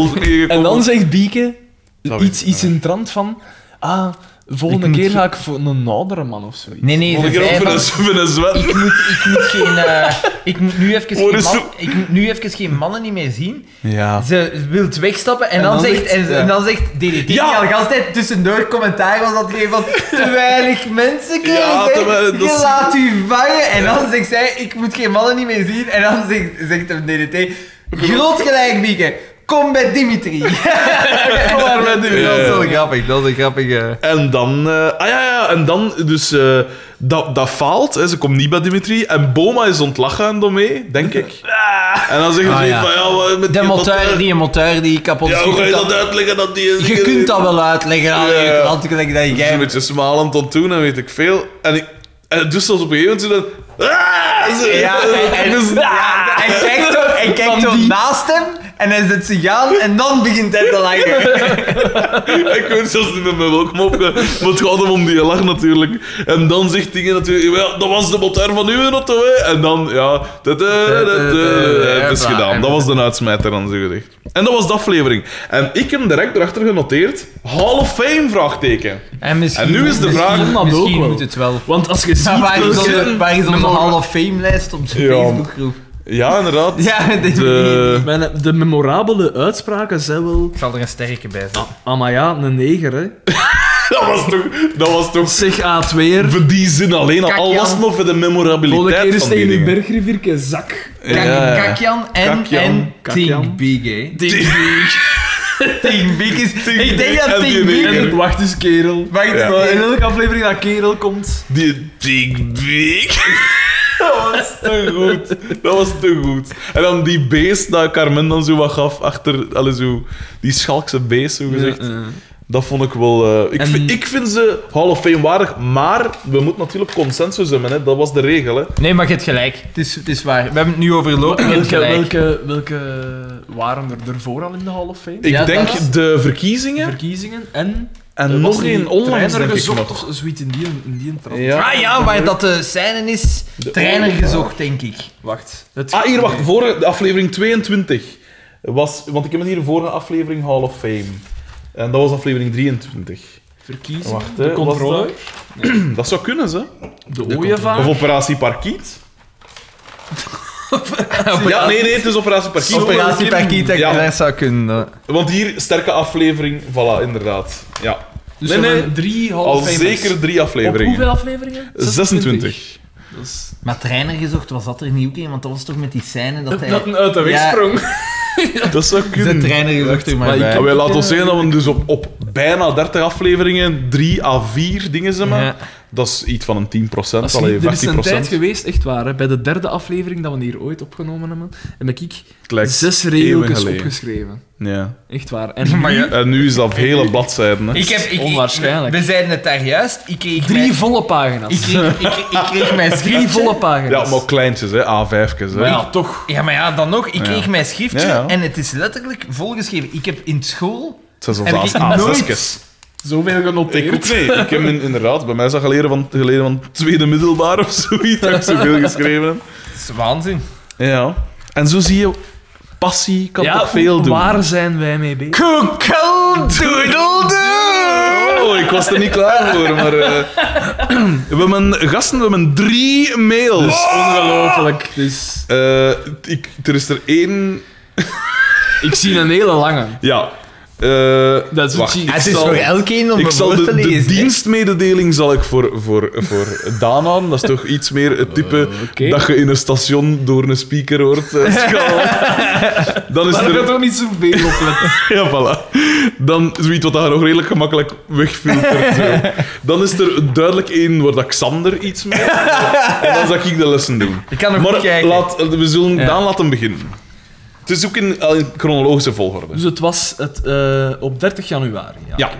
C: En dan zegt Bieke
A: Sorry.
C: iets, iets in trant van... Ah, volgende
B: Ik moet
C: keer
B: ge-
C: ga ik voor een oudere man of zoiets.
B: Nee, nee,
A: Volgende
B: ze
A: keer ook
B: zei
A: voor een,
B: van-
A: voor een zwet.
B: Ik moet, ik moet geen... eh, ik, moet nu even
C: Oh,
A: Hoor
C: dus
B: geen
A: eens
B: man,
A: zo-
B: ik moet nu even geen mannen niet meer zien.
A: Ja.
B: Ze wilt wegstappen en,
C: En
B: dan,
C: dan
B: zegt,
C: zegt-
B: en,
C: ja.
B: en dan zegt DDT die
A: Ja.
B: al gans tijd tussendoor commentaar was dat hij van te weinig mensen kreeg.
A: Ja,
B: hè.
A: te weinig- dat
B: Je
A: is-
B: laat u vangen en dan zegt zij ik moet geen mannen niet meer zien en dan zegt, zegt hem DDT groot gelijk Bieke, kom bij Dimitri. kom maar bij Dimitri.
A: Ja, ja, ja.
B: Dat is wel grappig, dat is een grappige...
A: En dan... eh, ah ja, ja, en dan... Dus eh, dat, dat faalt, hè. Ze komt niet bij Dimitri. En Boma is ontlachen aan Domé, denk ik. En dan zeggen ze
B: Ah, ja.
A: van... Ja, wat met
B: De
A: die
B: motor,
A: motor-
B: die motor die kapot is.
A: eh, Ja, hoe ga je dat uitleggen dat die...
B: Je kunt dat wel uitleggen aan
A: Ja, ja.
B: je klant, gelijk dat
A: Ik is een
B: jij...
A: beetje smalend aan toen en weet ik veel. En, ik, en dus zelfs op een gegeven moment zo dat... Ah! Zo-
B: Ja, en, en,
A: Dus-
B: ja, hij kijkt zo, hij kijkt zo
C: die-
B: naast hem en hij zet zich aan en dan begint hij te lachen.
A: Ik weet zelfs niet meer met welk mopje, eh, maar het gaat hem om die lach natuurlijk. En dan zegt dingen natuurlijk, ja, dat was de motor van uw auto, hè. En dan, ja, da- da- da-
B: eh,
A: da- da- eh, het is gedaan. Dat was de uitsmijter aan zijn gedicht. En dat was de aflevering. En ik heb direct erachter genoteerd, Hall of Fame, vraagteken.
B: En, misschien,
A: En nu is de
B: misschien-
A: vraag-
C: Dat
B: Misschien
C: ook wel.
B: moet het wel.
C: Want als je ziet...
B: Maar waar is
A: welke-
B: onze, waar is onze
A: Nummer-
B: Hall of Fame lijst op zijn
A: Ja.
B: Facebookgroep?
A: Ja, inderdaad.
B: Ja, dit
A: De...
C: eh, Mijn, de memorabele uitspraken zijn wel...
B: Ik zal er een sterke bij zetten.
C: Ah, maar ja, een neger, hè.
A: dat was toch... Dat was toch...
C: Zeg ah, A2 er.
A: Voor die zin alleen al.
F: Kak,
A: Al was
F: Jan.
A: het nog voor de
C: Volgende keer
A: memorabiliteit
C: is
A: van die
C: tegen die
A: dingen.
C: bergrivierke zak.
F: Kak-
A: Ja.
F: Kakjan en,
A: Kakjan,
F: en
C: Kakjan.
F: Think Big, hè.
B: Tegen Beek is...
A: Big
B: Ik denk dat
A: en die
B: Tegen Beek...
A: neger.
C: En wacht eens, kerel. Eh,
F: Mag ik
A: Ja.
F: gewoon-
B: eh,
C: In elke aflevering dat kerel komt.
A: Die Big Big. Dat was te goed. Dat was te goed. En dan die beest dat Carmen dan zo wat gaf achter... Allee, zo, die schalkse beest, zo gezegd. Dat vond ik wel... eh, ik,
B: En-
A: vind, ik vind ze Hall of Fame waardig, maar we moeten natuurlijk consensus hebben. Hè. Dat was de regel. Hè.
B: Nee, maar je hebt gelijk. Het is, het is waar. We hebben het nu over lopen. Je hebt
C: Welke,
B: gelijk.
C: welke, welke waren er ervoor al in de Hall of Fame?
A: Ik
F: Ja,
A: denk
F: dat is-
A: de verkiezingen
C: Verkiezingen en...
A: en
C: Er was
A: nog
C: een
A: één onlangs,
C: trainer
A: denk ik
C: gezocht
A: nog.
C: of zoiets in die, in die trant.
A: Ja.
B: Ah ja, waar dat de scène is.
A: De-
F: Trainer gezocht, denk ik.
C: Wacht. Het
A: Ah, hier, wacht. Vorige, de aflevering 22 was... Want ik heb het hier vorige aflevering Hall of Fame. En dat was aflevering 23.
C: verkiezingen,
A: Wacht, hè,
C: de
A: was
C: controle,
A: Hm, Dat zou kunnen, ze.
C: de ooievaar.
A: Of Operatie Parkiet. ja, nee, nee, het is Operatie Parkiet.
B: Operatie Pakiet, dat
A: Ja.
B: ik dat zou kunnen.
A: Want hier, sterke aflevering. Voilà, inderdaad. Ja.
C: Dus
A: nee,
C: er
A: nee.
C: zijn drie Hall
A: Al
C: of Famers.
A: zeker drie
C: Op
A: afleveringen.
C: hoeveel afleveringen?
A: 26.
C: Dat is-
F: Maar trainer gezocht, was dat er niet ook in? Want dat was toch met die scène dat hij...
C: Dat een uit de weg
F: Ja.
C: sprong.
A: Dat zou
B: De
A: kunnen.
B: trainer gezocht er maar
C: Maar
B: bij.
C: ik-
A: Ja, wij laten ons zeggen dat we dus op, op bijna 30 afleveringen 3 à 4 dingen zijn. maar
B: Ja.
A: Dat is iets van een 10%,
C: Dat is
A: allee,
C: niet- er is
A: 15%.
C: een tijd geweest, echt waar, hè, bij de derde aflevering dat we hier ooit opgenomen hebben, heb ik
A: Het lijkt
C: zes
A: eeuwen
C: regeltjes
A: geleden.
C: opgeschreven.
A: Ja.
C: Echt waar. En
B: Maar ja,
A: En nu is dat hele bladzijden. Hè.
F: Ik heb... Ik, ik-
C: Onwaarschijnlijk.
F: We zeiden het daar juist. Ik kreeg
C: drie
F: mijn-
C: volle pagina's.
F: Ik kreeg, ik, ik kreeg mijn
C: drie
F: schriftje.
C: volle
A: Ja,
C: pagina's.
A: maar kleintjes, hè. A5'tjes. Hè.
C: Maar ja, toch.
F: Ja, maar ja, dan nog. Ik
A: Ja.
F: kreeg mijn schriftje
A: Ja, ja.
F: en het is letterlijk volgeschreven. Ik heb in school...
A: Het zijn
F: Heb
A: zelfs
F: ik
A: A6'tjes.
C: Zoveel
A: Ik ook
C: genoteerd.
A: nee. Ik heb in- inderdaad, bij mij is dat geleden van, geleden van tweede middelbaar of zoiets. Dat ik zoveel geschreven heb.
F: Dat is waanzin.
A: Ja. En zo zie je, passie kan
C: Ja,
A: toch veel doen.
C: waar zijn wij mee bezig?
A: Oh, ik was er niet klaar voor, maar... eh, we hebben gasten, we hebben drie mails.
C: Ongelooflijk. Dus
A: Eh, ik, er is er één...
C: ik zie een hele lange.
A: Ja. Eh,
C: Dat is
A: wacht,
C: een
A: ik
B: Het is
A: zal-
B: voor elkeen om
A: Ik
B: een
A: zal
B: woord
A: de,
B: te
A: de
B: lezen. hè.
A: dienstmededeling zal ik voor, voor, voor Daan aan. Dat is toch iets meer het type
C: oké.
A: dat je in een station door een speaker hoort. eh, schallen. Dan is
C: Daar
A: er...
C: gaat toch niet zoveel op letten.
A: Ja, voilà. Dan zoiets wat daar nog redelijk gemakkelijk wegfiltert. zo. Dan is er duidelijk één waar dat Xander iets mee heeft. En dan zal ik de lessen doen.
F: Ik kan nog
A: maar
F: goed kijken.
A: laat, we zullen
C: Ja.
A: Daan laten beginnen. Het is ook in, eh, in chronologische volgorde.
C: Dus het was het, eh, op 30 januari. Ja.
A: Ja,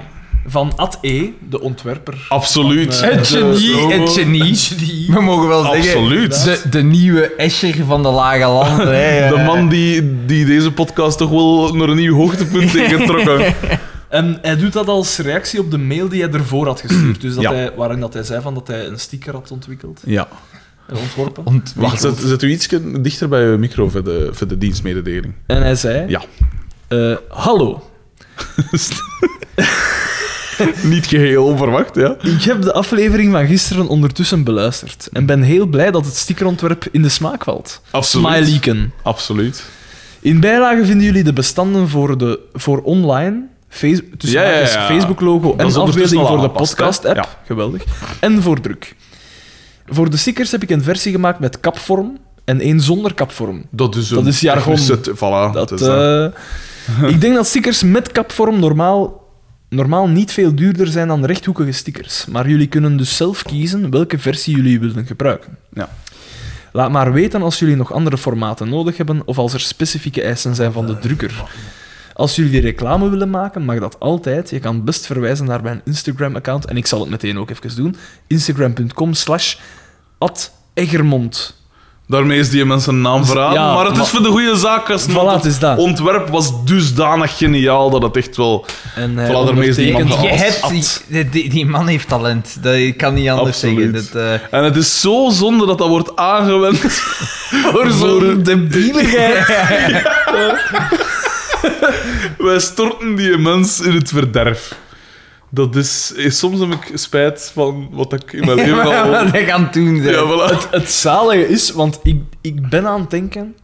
C: Van Ad E, de ontwerper.
A: absoluut.
C: Eh,
B: Het genie, het genie. We mogen wel zeggen...
A: Absoluut.
B: De, de nieuwe Escher van de lage landen. hè.
A: De man die, die deze podcast toch wel naar een nieuw hoogtepunt heeft getrokken.
C: En hij doet dat als reactie op de mail die hij ervoor had gestuurd. Dus dat
A: Ja.
C: hij, waarin dat hij zei van dat hij een sticker had ontwikkeld
A: Ja.
C: en ontworpen.
B: Ont-
A: Wacht, zet, zet u iets dichter bij uw micro voor de, voor de dienstmededeling.
C: En hij zei:
A: Ja.
C: eh, Hallo,
A: Niet geheel onverwacht, ja.
C: ik heb de aflevering van gisteren ondertussen beluisterd. En ben heel blij dat het stickerontwerp in de smaak valt.
A: Absoluut.
C: Smileyken.
A: Absoluut.
C: In bijlage vinden jullie de bestanden voor, de, voor online, face, tussen
A: Ja, ja,
C: haakjes
A: ja.
C: Facebook-logo
A: Dat
C: en
A: is ondertussen
C: afbeelding
A: al
C: voor de
A: aangepast, hè?
C: podcast-app.
A: Ja.
C: Geweldig. En voor druk. Voor de stickers heb ik een versie gemaakt met kapvorm en één zonder kapvorm.
A: Dat is, een
C: Dat is jargon.
A: technische t- voilà,
C: Dat,
A: dat is dat.
C: eh, ik denk dat stickers met kapvorm normaal, normaal niet veel duurder zijn dan rechthoekige stickers. Maar jullie kunnen dus zelf kiezen welke versie jullie willen gebruiken.
A: Ja.
C: Laat maar weten als jullie nog andere formaten nodig hebben of als er specifieke eisen zijn van de drukker. Als jullie reclame willen maken, mag dat altijd. Je kan best verwijzen naar mijn Instagram-account. En ik zal het meteen ook even doen. Instagram.com slash @eggermond.
A: Daarmee is die mensen een naam verraden,
C: Ja,
A: maar het
C: maar-
A: is voor de goede zaak. Gasten,
C: Voilà,
A: want
C: het is dat.
A: ontwerp was dusdanig geniaal dat het echt wel...
C: En hij
A: Voilà, daarmee is die iemand
C: ondertekent-
A: al-
B: Eh, Je
A: Als at.
B: hebt, die, die, die man heeft talent. Dat ik kan niet anders
A: Absoluut.
B: zeggen. Dat, eh,
A: En het is zo zonde dat dat wordt aangewend voor zo'n...
B: debieligheid.
A: Wij storten die mens in het verderf. Dat is... eh, Soms heb ik spijt van wat ik in mijn
B: eh,
A: leven al...
B: Wat ik aan het doen ben.
A: Ja, voilà.
C: Het zalige is, want ik, ik ben aan het denken.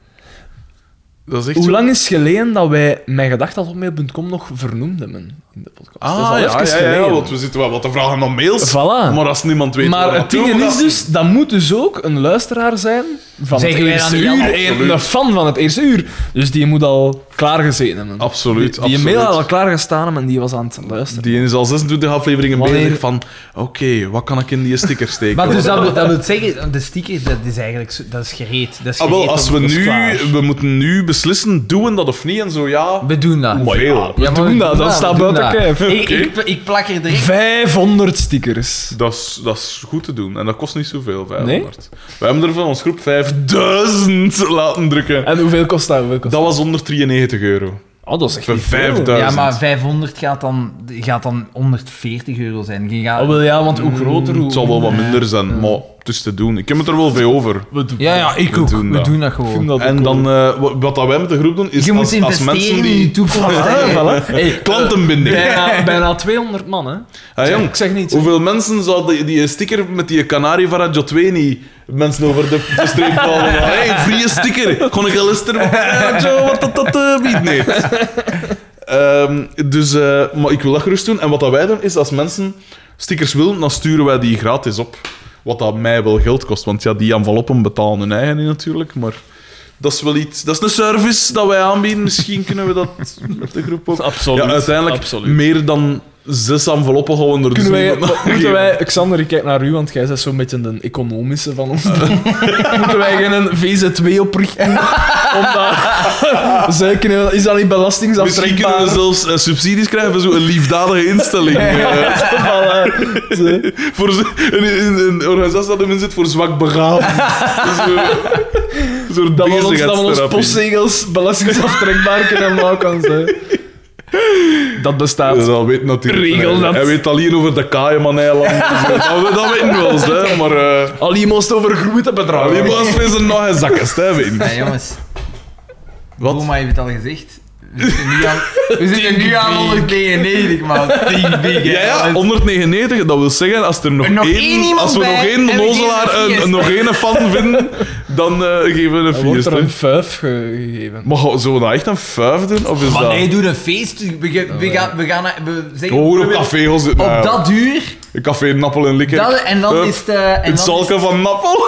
A: Dat is echt
C: Hoe
A: zo-
C: lang is het geleden dat wij mijn gedacht.mail.com nog vernoemden men, in de podcast?
A: Ah,
C: dat is al
A: ja,
C: even
A: ja, ja,
C: geleden.
A: want we zitten wel wat te vragen naar mails.
C: Voilà.
A: Maar als niemand weet
C: maar
A: waar
C: het ding
A: naartoe
C: is
A: gaat-
C: dus, dat moet dus ook een luisteraar zijn van
B: Zeggen
C: het
B: wij dat
C: eerste
B: niet
C: uur.
B: allemaal?
C: Een,
A: Absoluut.
C: een fan van het eerste uur. Dus die moet al klaargezeten hebben.
A: Absoluut,
C: Die, die mail
A: absoluut.
C: had al klaargestaan hebben en die was aan het luisteren.
A: Die is al 26 afleveringen
C: Wanneer-
A: bezig van... Oké, wat kan ik in die sticker steken? Ah,
B: Maar dus dat, wil- dat wil zeggen, de sticker, dat is eigenlijk zo- dat is gereed. Dat is
A: Ah, wel,
B: gereed
A: als
B: om-
A: we
B: dat is
A: nu...
B: klaar.
A: We moeten nu beslissen, doen we dat of niet? En zo, ja...
B: We doen dat.
A: Hoeveel?
C: We
B: Ja, maar
C: doen dat, dat staat
B: we doen
C: buiten kijf.
B: Ik,
A: Oké.
B: ik, ik plak er direct
C: 500 stickers.
A: Dat is, dat is goed te doen. En dat kost niet zoveel, 500. We hebben er van ons groep 5000 laten drukken.
C: En hoeveel kost dat? Hoeveel kost
A: Dat was 193 euro.
C: Oh, dat is echt
A: Voor
C: niet veel.
A: 5000.
B: Ja, maar 500 gaat dan, gaat dan 140 euro zijn. Je gaat...
C: Oh, wel ja, want hoe groter, Mm. hoe...
A: Mm, Het zal wel wat minder zijn, maar het is te doen. Ik heb het er wel veel over.
C: We doen
B: Ja, ja, ik
A: We
B: ook.
A: doen
B: we
A: dat.
B: doen dat gewoon.
C: dat
A: En
C: ook wel.
A: dan, eh, wa- wat dat wij met de groep doen, is
B: je
A: als,
B: moet
A: als mensen
B: investeren in je
A: die...
B: toekomst. hè.
C: Voilà. Hey,
A: Klantenbinding.
C: bijna, bijna 200 man, hè.
A: Ah, jong,
C: Ik zeg niets. hè.
A: Hoeveel mensen zouden die, die sticker met die Canarie van Radio 2 niet mensen over de, de streep halen? Hé, hey, vrije sticker. Kon ik al eens er- Radio, wat dat, dat eh, biedt? Nee. Ehm, dus, eh, maar ik wil dat gerust doen. En wat dat wij doen, is als mensen stickers willen, dan sturen wij die gratis op. Wat dat mij wel geld kost, want ja, die enveloppen betalen hun eigen niet natuurlijk, maar... Dat is wel iets. Dat is een service dat wij aanbieden. Misschien kunnen we dat met de groep ook.
C: Absoluut,
A: Ja, uiteindelijk
C: absoluut.
A: meer dan zes enveloppen gewoon er
C: Kunnen wij,
A: dus niemand aan
C: moeten
A: geven.
C: wij, Xander, ik kijk naar u, want jij bent zo'n beetje de economische van ons. drie. moeten wij geen VZ2 oprichten? Omdat, Zij kunnen- is dat
A: Misschien kunnen
C: niet belastingsaftrek?
A: we zelfs eh, subsidies krijgen voor zo'n liefdadige instelling. eh, voor zo- een, een, een organisatie dat erin zit voor zwak begaafd. Zo'n
C: Dat we ons, dat we ons postzegels belastingsaftrekbaar kunnen maken. Zij. Dat bestaat.
A: Dat weet natuurlijk.
C: Regel
A: Hij-
C: dat.
A: Hij weet alleen over de Cayman-eilanden. dus, eh, dat, we- dat weten we wel, eens, hè, maar... eh
C: Al iemand over groentebedrag.
A: alleen maar als we ze nog eens zakken, hè, weet ik.
F: Ja, jongens.
A: Wat?
F: Boma heeft het al gezegd. We zitten nu aan, we zitten nu aan 199, man. Think big, hè.
A: Ja, ja, 199, dat wil zeggen, als er nog,
F: Er nog
A: één,
F: één iemand
A: als we
F: bij
A: nog
F: en we
A: één
F: geven
A: onnozelaar
F: een
A: en
F: fiesta.
A: nog één fan vinden, dan eh, geven we een
C: Er wordt
A: fiesta.
C: er een vijf gegeven.
A: Maar ga- zullen we dat echt een vijf doen? Of is
F: Maar
A: dat...
F: nee, doe een feest. We, gaan-
A: Oh,
F: we gaan, we gaan, naar- we zeggen...
A: Gewoon op
F: we-
A: café gaan zitten.
F: Op
A: Nou,
F: dat uur.
A: Een café, een appel en likker.
F: Dat, en dan
A: Hup,
F: is het... eh, en,
A: Het
F: dan is-
A: zalken van Nappel.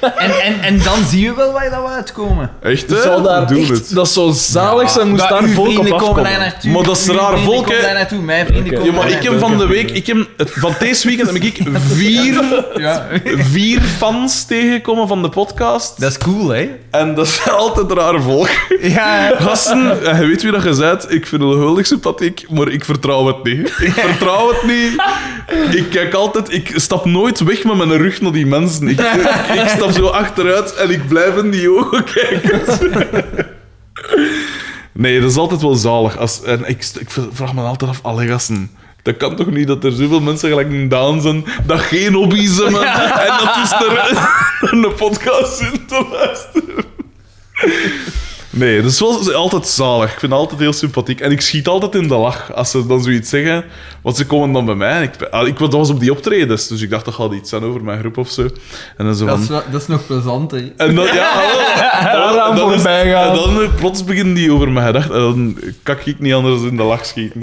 F: en, en, en dan zien we wel waar dat we uitkomen.
A: Echt, hè?
C: Zou daar
A: Doe
C: echt-
A: het.
C: dat zou zalig zijn, moest
F: Dat
C: daar
F: uw
C: volk op
F: vrienden komen daar
C: afkomen.
F: naartoe.
A: Maar dat is
F: Uw
A: raar
F: vrienden
A: volk,
F: komen
A: hè.
F: daar naartoe. Mijn vrienden
C: Oké.
A: Ja,
F: komen
A: maar
F: daar
A: ik heb
F: naartoe.
A: van de week... Ik heb, het- van deze weekend heb ik vier,
F: Ja.
A: vier fans tegengekomen van de podcast.
B: Dat is cool, hè?
A: En dat is altijd raar volk.
B: Ja.
A: Gasten, eh, je weet wie dat je bent. Ik vind het huldig sympathiek, maar ik vertrouw het niet. Ik vertrouw het niet. Ik kijk altijd... Ik stap nooit weg met mijn rug naar die mensen. Ik, ik, ik stap zo achteruit en ik blijf in die ogen kijken. Nee, dat is altijd wel zalig. Als, en ik, st- ik vraag me altijd af, alle gasten... Dat kan toch niet dat er zoveel mensen gelijk een Daan zijn, dat geen hobby's hebben en dat is er een podcast zitten te luisteren. Nee, dat is wel altijd zalig. Ik vind het altijd heel sympathiek. En ik schiet altijd in de lach als ze dan zoiets zeggen. Want ze komen dan bij mij. En ik, ah, ik, dat was op die optredens, dus ik dacht dat gaat iets zijn over mijn groep of zo. En dan zo
F: Dat
A: van...
F: is, wel- dat is nog plezant, hè.
A: En dan, ja, hallo.
C: Daaraan
A: Dan is-
C: voorbij gaan.
A: En dan eh, plots beginnen die over mijn gedachten. En dan kak ik niet anders in de lach schieten.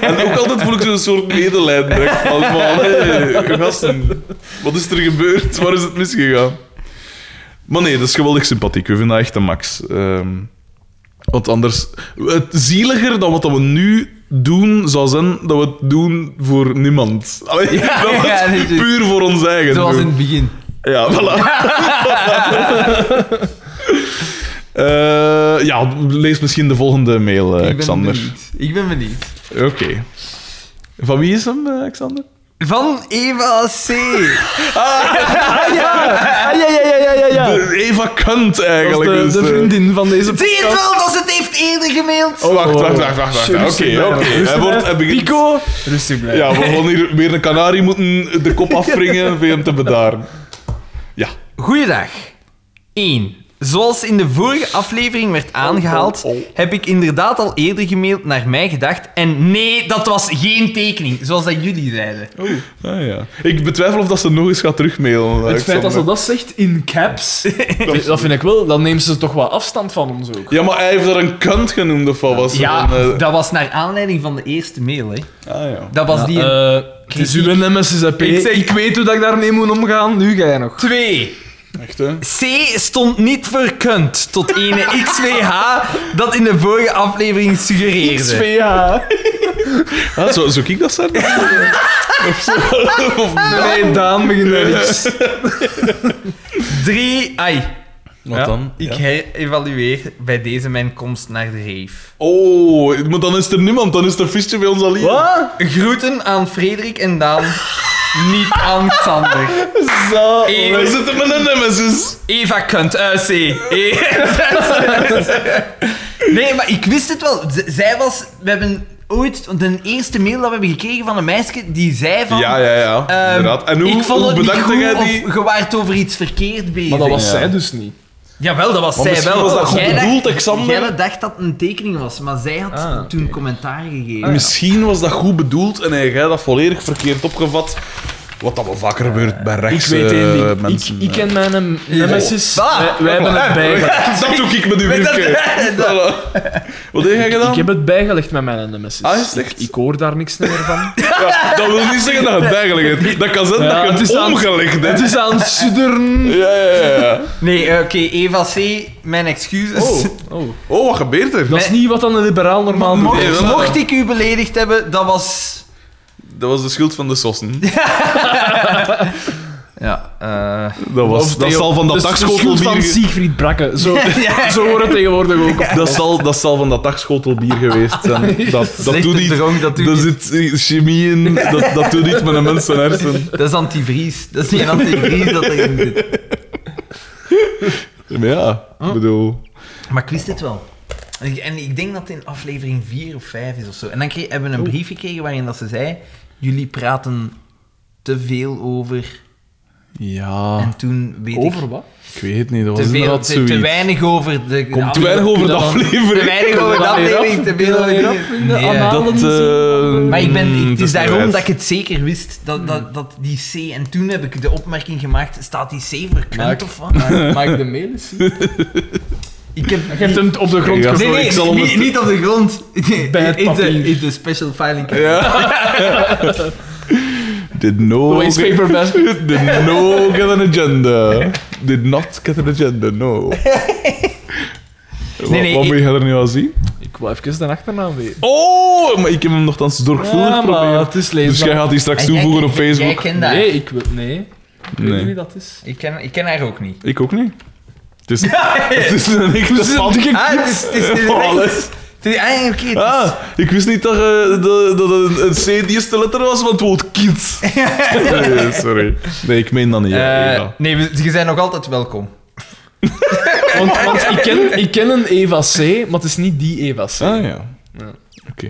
A: en ook altijd voel ik zo'n soort medelijden. direct Van, man, hé, gasten, wat is er gebeurd? Waar is het misgegaan? Maar nee, dat is geweldig sympathiek. We vinden dat echt een max. Ehm, want anders... Het zieliger dan wat we nu doen, zou zijn dat we het doen voor niemand. Allee, dat we
F: ja,
A: het
F: natuurlijk.
A: puur voor ons eigen
F: Zoals
A: doen.
F: in het begin.
A: Ja, voilà. Eh, ja, lees misschien de volgende mail, eh,
F: Ik ben
A: Xander.
F: benieuwd. Ik ben benieuwd.
A: Oké. Van wie is hem, eh, Xander?
F: Van Eva C.
C: Ah, ja, ja, ja, ja, ja. ja.
A: De Eva Kunt,
C: Dat
A: eigenlijk.
C: is de,
A: dus,
C: de
A: eh.
C: vriendin van deze
F: Zie je het wel dat ze het heeft eerder gemaild?
A: Oh, wacht, wacht, wacht, wacht. wacht. Oké,
C: Oh.
A: oké. Hij wordt... Hij begint...
C: Pico. Rustig blijven.
A: Ja, we gaan hier weer een kanarie moeten
F: Oh.
A: de kop afwringen om hem te bedaren. Ja.
B: Goeiedag. 1. Zoals in de vorige aflevering
F: Oh,
B: werd aangehaald, heb ik inderdaad al eerder gemaild naar mij gedacht. En nee, dat was geen tekening, zoals dat jullie zeiden.
F: Oh.
A: Ah, ja. Ik betwijfel of dat ze nog eens gaat terugmailen.
C: Het feit dat ze dat zegt in caps, vind- dat vind ik wel, dan neemt ze toch wel afstand van ons ook.
A: Ja, maar hij heeft er een kunt genoemd of wat was er
B: Ja,
A: een, eh,
B: dat was naar aanleiding van de eerste mail, hè.
A: Ah ja.
B: Dat was die...
C: Eh, het is uw
B: Ik
C: MSSP. Ik,
B: zeg-
C: ik weet hoe dat ik daarmee moet omgaan, nu ga je nog.
B: Twee.
A: Echt, hè?
B: C stond niet voor kunt tot ene XVH dat in de vorige aflevering suggereerde.
C: SVH.
A: Ah, zo, zoek ik dat zijn? Of zo? Of-
C: Nee, Daan begint daar niks.
B: Drie. Ai.
A: Wat dan?
B: Ik herevalueer bij deze mijn komst naar de reef.
A: Oh, maar dan is er niemand. Dan is er visje bij ons al hier.
C: Wat?
B: Groeten aan Frederik en Daan. Niet aan Xander.
C: Zo.
A: We
B: E-
A: zitten met een nemesis.
B: Eva kunt, eh, C. E- nee, maar ik wist het wel. Z- zij was... We hebben ooit de eerste mail dat we hebben gekregen van een meisje die zei van...
A: Ja, ja, ja.
B: ehm,
A: inderdaad. En hoe,
B: ik vond
A: hoe
B: het
A: bedankte
B: niet
A: jij
B: goed
A: die?
B: of je waart over iets verkeerd bezig.
C: Maar dat was
A: Ja.
C: zij dus niet.
B: Jawel, dat was
A: Maar
B: zij
A: misschien
B: wel. Oh,
A: was dat goed
B: Jij dacht-
A: bedoeld, Xander.
B: Jij dacht dat het een tekening was, maar zij had
C: Ah,
B: toen commentaar
A: Ah,
B: gegeven.
A: Misschien was dat goed bedoeld en heb jij dat volledig verkeerd opgevat. Wat dat wel vaker gebeurt bij
C: Ik
A: rechts
C: weet één
A: eh,
C: ding.
A: mensen.
C: ik, ik ken mijn em- nemesis.
B: Ah,
C: wij, wij hebben het bijgelegd.
A: Ja, dat doe ik met uw briefje. Voilà. Wat heb jij gedaan?
C: Ik heb het bijgelegd met mijn nemesis.
A: Ah, is het echt?
C: Ik, ik hoor daar niks meer van.
A: Ja, dat wil niet zeggen dat je het eigenlijk hebt. Dat kan zijn
C: Ja,
A: dat je
C: het
A: het
C: is aan-
A: omgelegd
C: Het
A: hebt.
C: is aan het sudderen.
A: Ja, ja, ja.
B: Nee, eh, oké, Eva C, mijn excuses.
C: Oh, oh.
A: Oh, wat gebeurt er?
C: Dat is niet wat een liberaal normaal doet.
B: Mocht,
A: Nee, eh. dat-
B: mocht ik u beledigd hebben, dat was.
A: Dat was de schuld van de sossen.
B: Ja, eh.
A: Dat,
C: Of
A: was, dat
C: Theo-
A: zal van dat
C: dus de
A: dagschotel
C: schuld van
A: bier... ge-
C: Siegfried Brakke. Zo, zo wordt het tegenwoordig ook.
A: Dat zal, dat zal van dat dagschotel bier geweest zijn. Dat, dat doet niet...
B: dronk, dat, doet
A: Daar
B: niet.
A: zit eh, chemie in, dat, dat doet niet met een mensenhersen.
B: dat is antivries. Dat is geen antivries dat erin zit.
A: Maar ja,
B: Oh.
A: ik bedoel...
B: Maar ik wist het wel. En- En ik denk dat het in aflevering 4 of 5 is of zo. En dan kreeg, hebben we een
A: Oh.
B: brief gekregen waarin dat ze zei: Jullie praten te veel over.
A: Ja,
B: En toen weet
C: Over
B: ik.
C: wat?
A: ik weet het niet. Dat
B: Te,
A: was
B: veel,
A: inderdaad
B: te,
A: zoiets.
B: te weinig over de.
A: Komt te weinig over de
C: Dan-
A: aflevering.
B: Te weinig over de aflevering, te veel over de. Nee, eh,
A: Dat, eh,
B: Maar ik ben, het
A: dat
B: is daarom
A: wijs. Mm.
B: dat ik het zeker wist, dat, dat, dat die C... En toen heb ik de opmerking gemaakt, staat die C voor kunt
C: Maak-
B: of wat?
C: Maak de mail eens zien.
B: Ik heb...
C: Je hebt hem op de grond
A: Ja.
C: gegooid.
B: Nee, nee,
A: ik zal hem
B: niet,
A: het-
B: niet op de grond.
C: Bij het
B: in, de,
C: papier.
B: in de special filing cabinet.
A: Ja. Did no,
C: Waste paper best.
A: did no get an agenda. Did not get an agenda, no.
B: nee,
A: wat
B: ik-
A: moet je er nu aan zien?
C: Ik wil even de achternaam weten.
A: Oh, maar ik heb hem nogthans zorgvuldig
C: Ja, maar
A: geprobeerd.
C: het is
A: Dus jij
C: leesbaar.
A: gaat die straks
B: En jij
A: toevoegen op
B: kent- Jij
A: Facebook?
B: kent dat.
C: Nee, ik wil... Nee. Ik weet
A: Nee.
C: niet wie dat is.
B: Ik, ken, ik ken haar ook niet.
A: Ik ook niet. Het is, het is een echte fan.
B: Ah, het is... Het is, het is,
A: Oh,
B: het is,
A: alles.
B: ah, oké, het is-
A: Ah, ik wist niet dat, eh, dat, dat een, een C de eerste letter was van het woord kids. Nee, sorry. Nee, ik meen dat niet. ja,
B: Eh,
A: ja.
B: nee, we- je bent nog altijd welkom.
C: Want, want ik, ken, ik ken een Eva C, maar het is niet die Eva C.
A: Ah ja.
C: Ja.
A: Oké.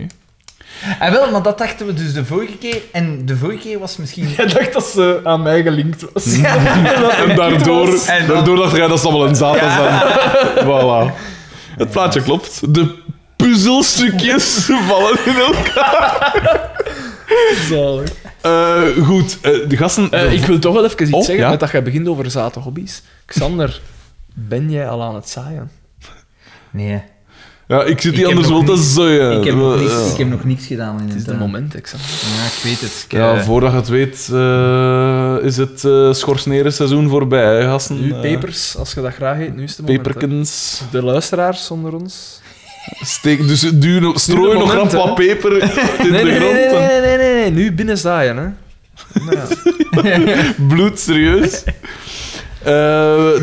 B: En Ah, wel, maar dat dachten we dus de vorige keer. En de vorige keer was misschien...
C: Jij dacht dat ze aan mij gelinkt was.
A: En daardoor,
B: En dan-
A: daardoor dacht jij dat ze allemaal een zaad zijn. Voilà. Het plaatje klopt. De puzzelstukjes vallen in elkaar.
C: Zalig.
A: Eh, goed, eh, de gasten...
C: Eh, ik wil toch wel even iets
A: Oh,
C: zeggen
A: ja?
C: met dat jij begint over zate hobby's. Xander, ben jij al aan het zaaien?
B: Nee.
A: ja, ik zit
B: ik
A: hier
B: heb
A: anders
B: nog
A: wel te
B: niks-
A: zoeien.
B: Ik heb, nog niks,
A: Ja.
B: ik heb nog niks gedaan in
C: Het is de
B: tuin.
C: moment, hè, Xander.
B: Ja, ik weet het. Ik,
A: Ja,
B: eh,
A: voordat je het weet eh, is het eh schorsneren seizoen voorbij, hè, gasten.
C: Nu,
A: Eh,
C: pepers, als je dat graag eet, nu is het moment. hè.
A: Peperkens.
C: De luisteraars onder ons.
A: Steek, dus duw, nog- strooi nog
C: moment,
A: rap wat peper in
C: Nee,
A: de
C: nee, nee,
A: grond.
C: nee,
A: en-
C: nee, nee, nee, nee, nu binnen zaaien, hè. Nou, ja.
A: Bloed, serieus. Eh,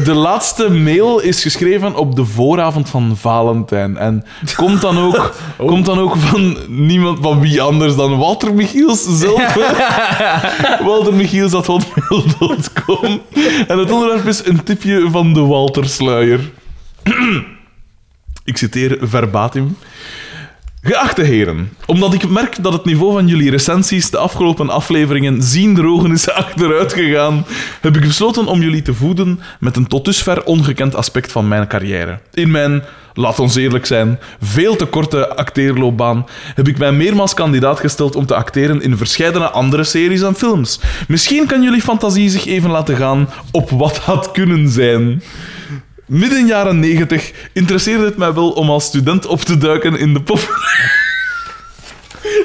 A: de laatste mail is geschreven op de vooravond van Valentijn. En komt dan ook, komt dan ook van niemand van wie anders dan Walter Michiels zelf. Walter Michiels at hotmail.com. En het onderwerp is een tipje van de Waltersluier. Ik citeer verbatim. Geachte heren, omdat ik merk dat het niveau van jullie recensies de afgelopen afleveringen zien drogen is achteruit gegaan, heb ik besloten om jullie te voeden met een tot dusver ongekend aspect van mijn carrière. In mijn, laat ons eerlijk zijn, veel te korte acteerloopbaan heb ik mij meermaals kandidaat gesteld om te acteren in verscheidene andere series en films. Misschien kan jullie fantasie zich even laten gaan op wat had kunnen zijn. Midden jaren 90 interesseerde het mij wel om als student op te duiken in de pop.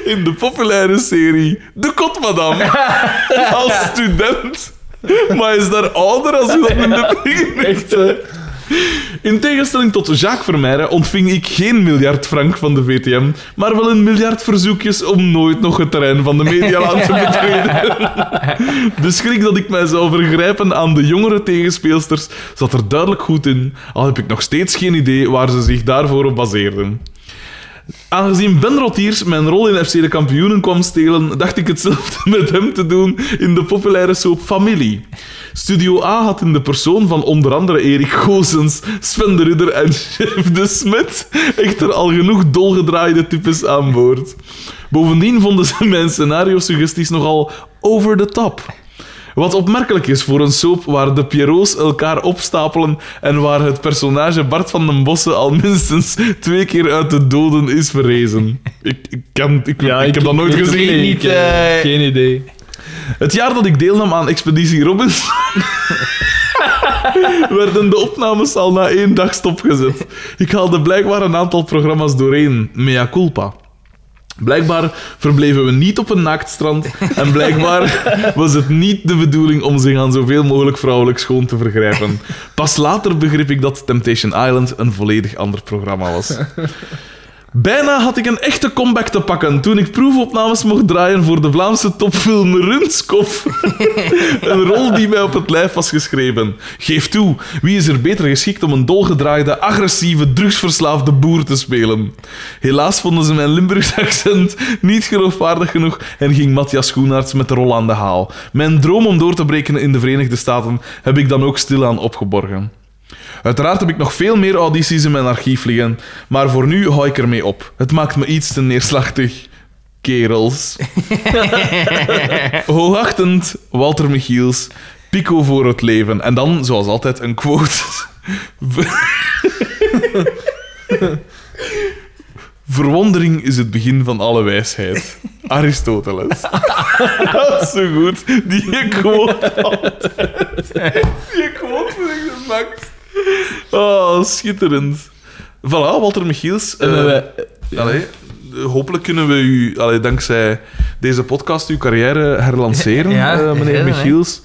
A: In de populaire serie De Kot Madame. Als student. Maar is daar ouder als u dat in de Echt, In tegenstelling tot Jacques Vermeijren ontving ik geen miljard frank van de VTM, maar wel een miljard verzoekjes om nooit nog het terrein van de medialaan te betreden. De schrik dat ik mij zou vergrijpen aan de jongere tegenspeelsters zat er duidelijk goed in, al heb ik nog steeds geen idee waar ze zich daarvoor op baseerden. Aangezien Ben Rotiers mijn rol in FC de Kampioenen kwam stelen, dacht ik hetzelfde met hem te doen in de populaire soap Familie. Studio A had in de persoon van onder andere Erik Goosens, Sven de Ridder en Chef de Smet echter al genoeg dolgedraaide types aan boord. Bovendien vonden ze mijn scenario-suggesties nogal over the top. Wat opmerkelijk is voor een soap waar de Pierrots elkaar opstapelen en waar het personage Bart van den Bossen al minstens twee keer uit de doden is verrezen. Ik, ik, kan, ik, ik heb dat nooit
C: weet het
A: gezien.
C: niet,
B: Niet,
C: eh,
B: eh,
C: Geen idee.
A: Het jaar dat ik deelnam aan Expeditie Robinson. werden de opnames al na één dag stopgezet. Ik haalde blijkbaar een aantal programma's doorheen. Mea culpa. Blijkbaar verbleven we niet op een naaktstrand en blijkbaar was het niet de bedoeling om zich aan zoveel mogelijk vrouwelijk schoon te vergrijpen. Pas later begrip ik dat Temptation Island een volledig ander programma was. Bijna had ik een echte comeback te pakken toen ik proefopnames mocht draaien voor de Vlaamse topfilm Runskop. een rol die mij op het lijf was geschreven. Geef toe, wie is er beter geschikt om een dolgedraaide, agressieve, drugsverslaafde boer te spelen? Helaas vonden ze mijn Limburgs accent niet geloofwaardig genoeg en ging Matthias Schoenaerts met de rol aan de haal. Mijn droom om door te breken in de Verenigde Staten heb ik dan ook stilaan opgeborgen. Uiteraard heb ik nog veel meer audities in mijn archief liggen, maar voor nu hou ik ermee op. Het maakt me iets te neerslachtig. Kerels. Hoogachtend, Walter Michiels, Pico voor het leven. En dan, zoals altijd, een quote. Ver- Verwondering is het begin van alle wijsheid. Aristoteles. Dat is zo goed. Die quote altijd. Die quote is de max. Oh, schitterend. Voilà, Walter Michiels. eh, Allee, hopelijk kunnen we u, allee, dankzij deze podcast, uw carrière herlanceren,
B: Ja,
A: eh, meneer
B: heel, hè.
A: Michiels.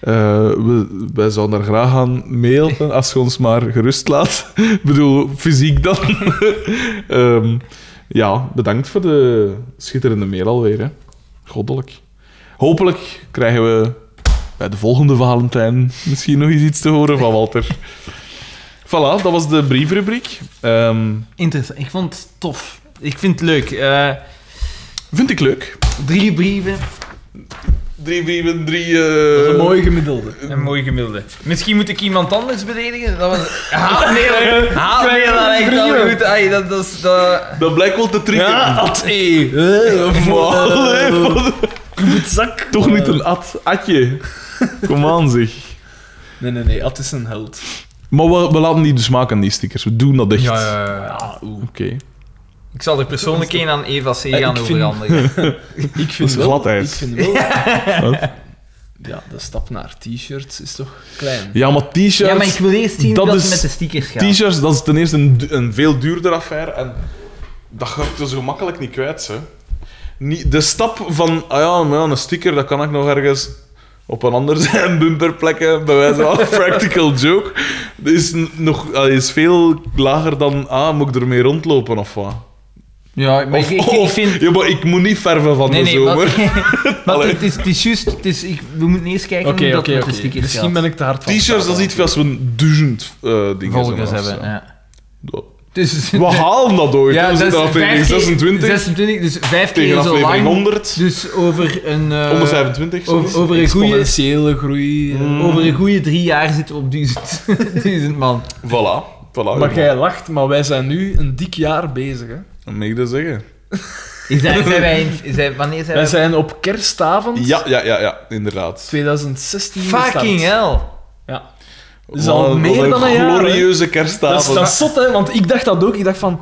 A: Eh, we, wij zouden er graag aan mailen, als je ons maar gerust laat. Ik bedoel, fysiek dan. Ehm, ja, bedankt voor de schitterende mail alweer. Hè. Goddelijk. Hopelijk krijgen we bij de volgende Valentijn misschien nog eens iets te horen van Walter. Voilà, dat was de briefrubriek. Ehm,
B: Interessant. Ik vond het tof. Ik vind het leuk. Eh,
A: vind ik leuk.
B: drie brieven.
A: Drie brieven, drie... eh,
C: Een mooi gemiddelde.
B: Een mooi gemiddelde. Misschien moet ik iemand anders beledigen. Dat was... Haatmeel, haatmeel, dat lijkt wel goed. Ai, dat, dat is... Dat...
A: Dat blijkt wel te trikken. Oh,
C: at E. Zak.
A: Eh, Toch niet een at. Atje. Kom aan, zeg.
C: Nee, nee, nee. At is een held.
A: Maar we, we laten die dus maken, die stickers. We doen dat echt.
B: Ja, ja, ja, ja.
C: Ah, oeh.
A: Oké.
B: Ik zal er persoonlijk een aan Eva C.
C: ik
B: gaan
C: vind-
B: overhandigen.
C: Ik vind
A: is
C: wel...
A: gladheid.
C: Ik vind wel...
A: Wat?
C: Ja, de stap naar t-shirts is toch klein.
A: Ja, maar t-shirts...
F: Ja, maar ik wil eerst zien
A: dat
F: dat, het
A: is-
F: met de stickers gaat.
A: T-shirts, dat is ten eerste een, du- een veel duurder affaire. En dat ga ik er zo makkelijk niet kwijt, hè. Niet, de stap van, ah ja, maar ja, een sticker, dat kan ik nog ergens op een ander zijn bumper plekken, bij wijze van practical joke, is, n- nog, ah, is veel lager dan, ah, moet ik ermee rondlopen of wat?
B: Ja, maar
A: Of, of- ja, maar ik moet niet verven van
B: Nee,
A: de
B: nee,
A: zomer.
B: maar, maar
A: Allee.
B: het, is, het is juist... Het is, ik, we moeten eerst kijken
C: Oké,
B: hoe dat
C: oké,
B: met
C: oké.
B: de stickers
C: Misschien ben
B: gaat.
C: ik te hard van.
A: T-shirts, dat is iets als we een duizend eh dingen
B: volgers
A: hebben, of
B: hebben. Ja.
A: zo.
B: Dus,
A: We halen dat ooit, hè. we
B: dat
A: zitten
B: is
A: aan aflevering
B: vijf keer-
A: 26,
B: 26, dus vijf
A: tegen
B: keer zo
A: aflevering
B: lang.
A: 100.
B: Dus over een... eh,
A: 125, zoiets.
B: over, over een goede...
C: Exponentiële groei. eh.
B: Over een goede drie jaar zitten we op duizend, duizend man.
A: Voilà. voilà. Oh,
C: Maar jij lacht, maar wij zijn nu een dik jaar bezig. Hè?
A: Dat mag ik dat zeggen.
F: Is dat, zijn wij in, zijn, wanneer zijn
C: Wij
F: wij...
C: zijn op kerstavond
A: Ja, ja, ja, ja, inderdaad.
C: 2016
B: Fucking
C: gestart.
B: hell.
C: Ja. is al meer dan een jaar, hè.
A: glorieuze
C: Dat is,
A: kerstavond.
C: dat is zot, hè, want ik dacht dat ook. Ik dacht van,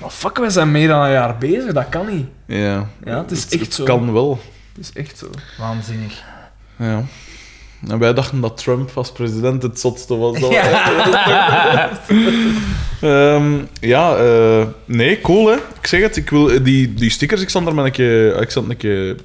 C: "Maar fuck, wij zijn meer dan een jaar bezig, dat kan niet.
A: Ja.
C: Ja, het is
A: Het-
C: echt
A: het
C: zo.
A: kan wel.
C: Het is echt zo.
F: Waanzinnig.
A: Ja. En wij dachten dat Trump als president het zotste was. Dat Ehm, ja, eh, nee, cool hè. Ik zeg het, ik wil eh, die, die stickers, ik zal er maar een keer, eh, ik zal het een keer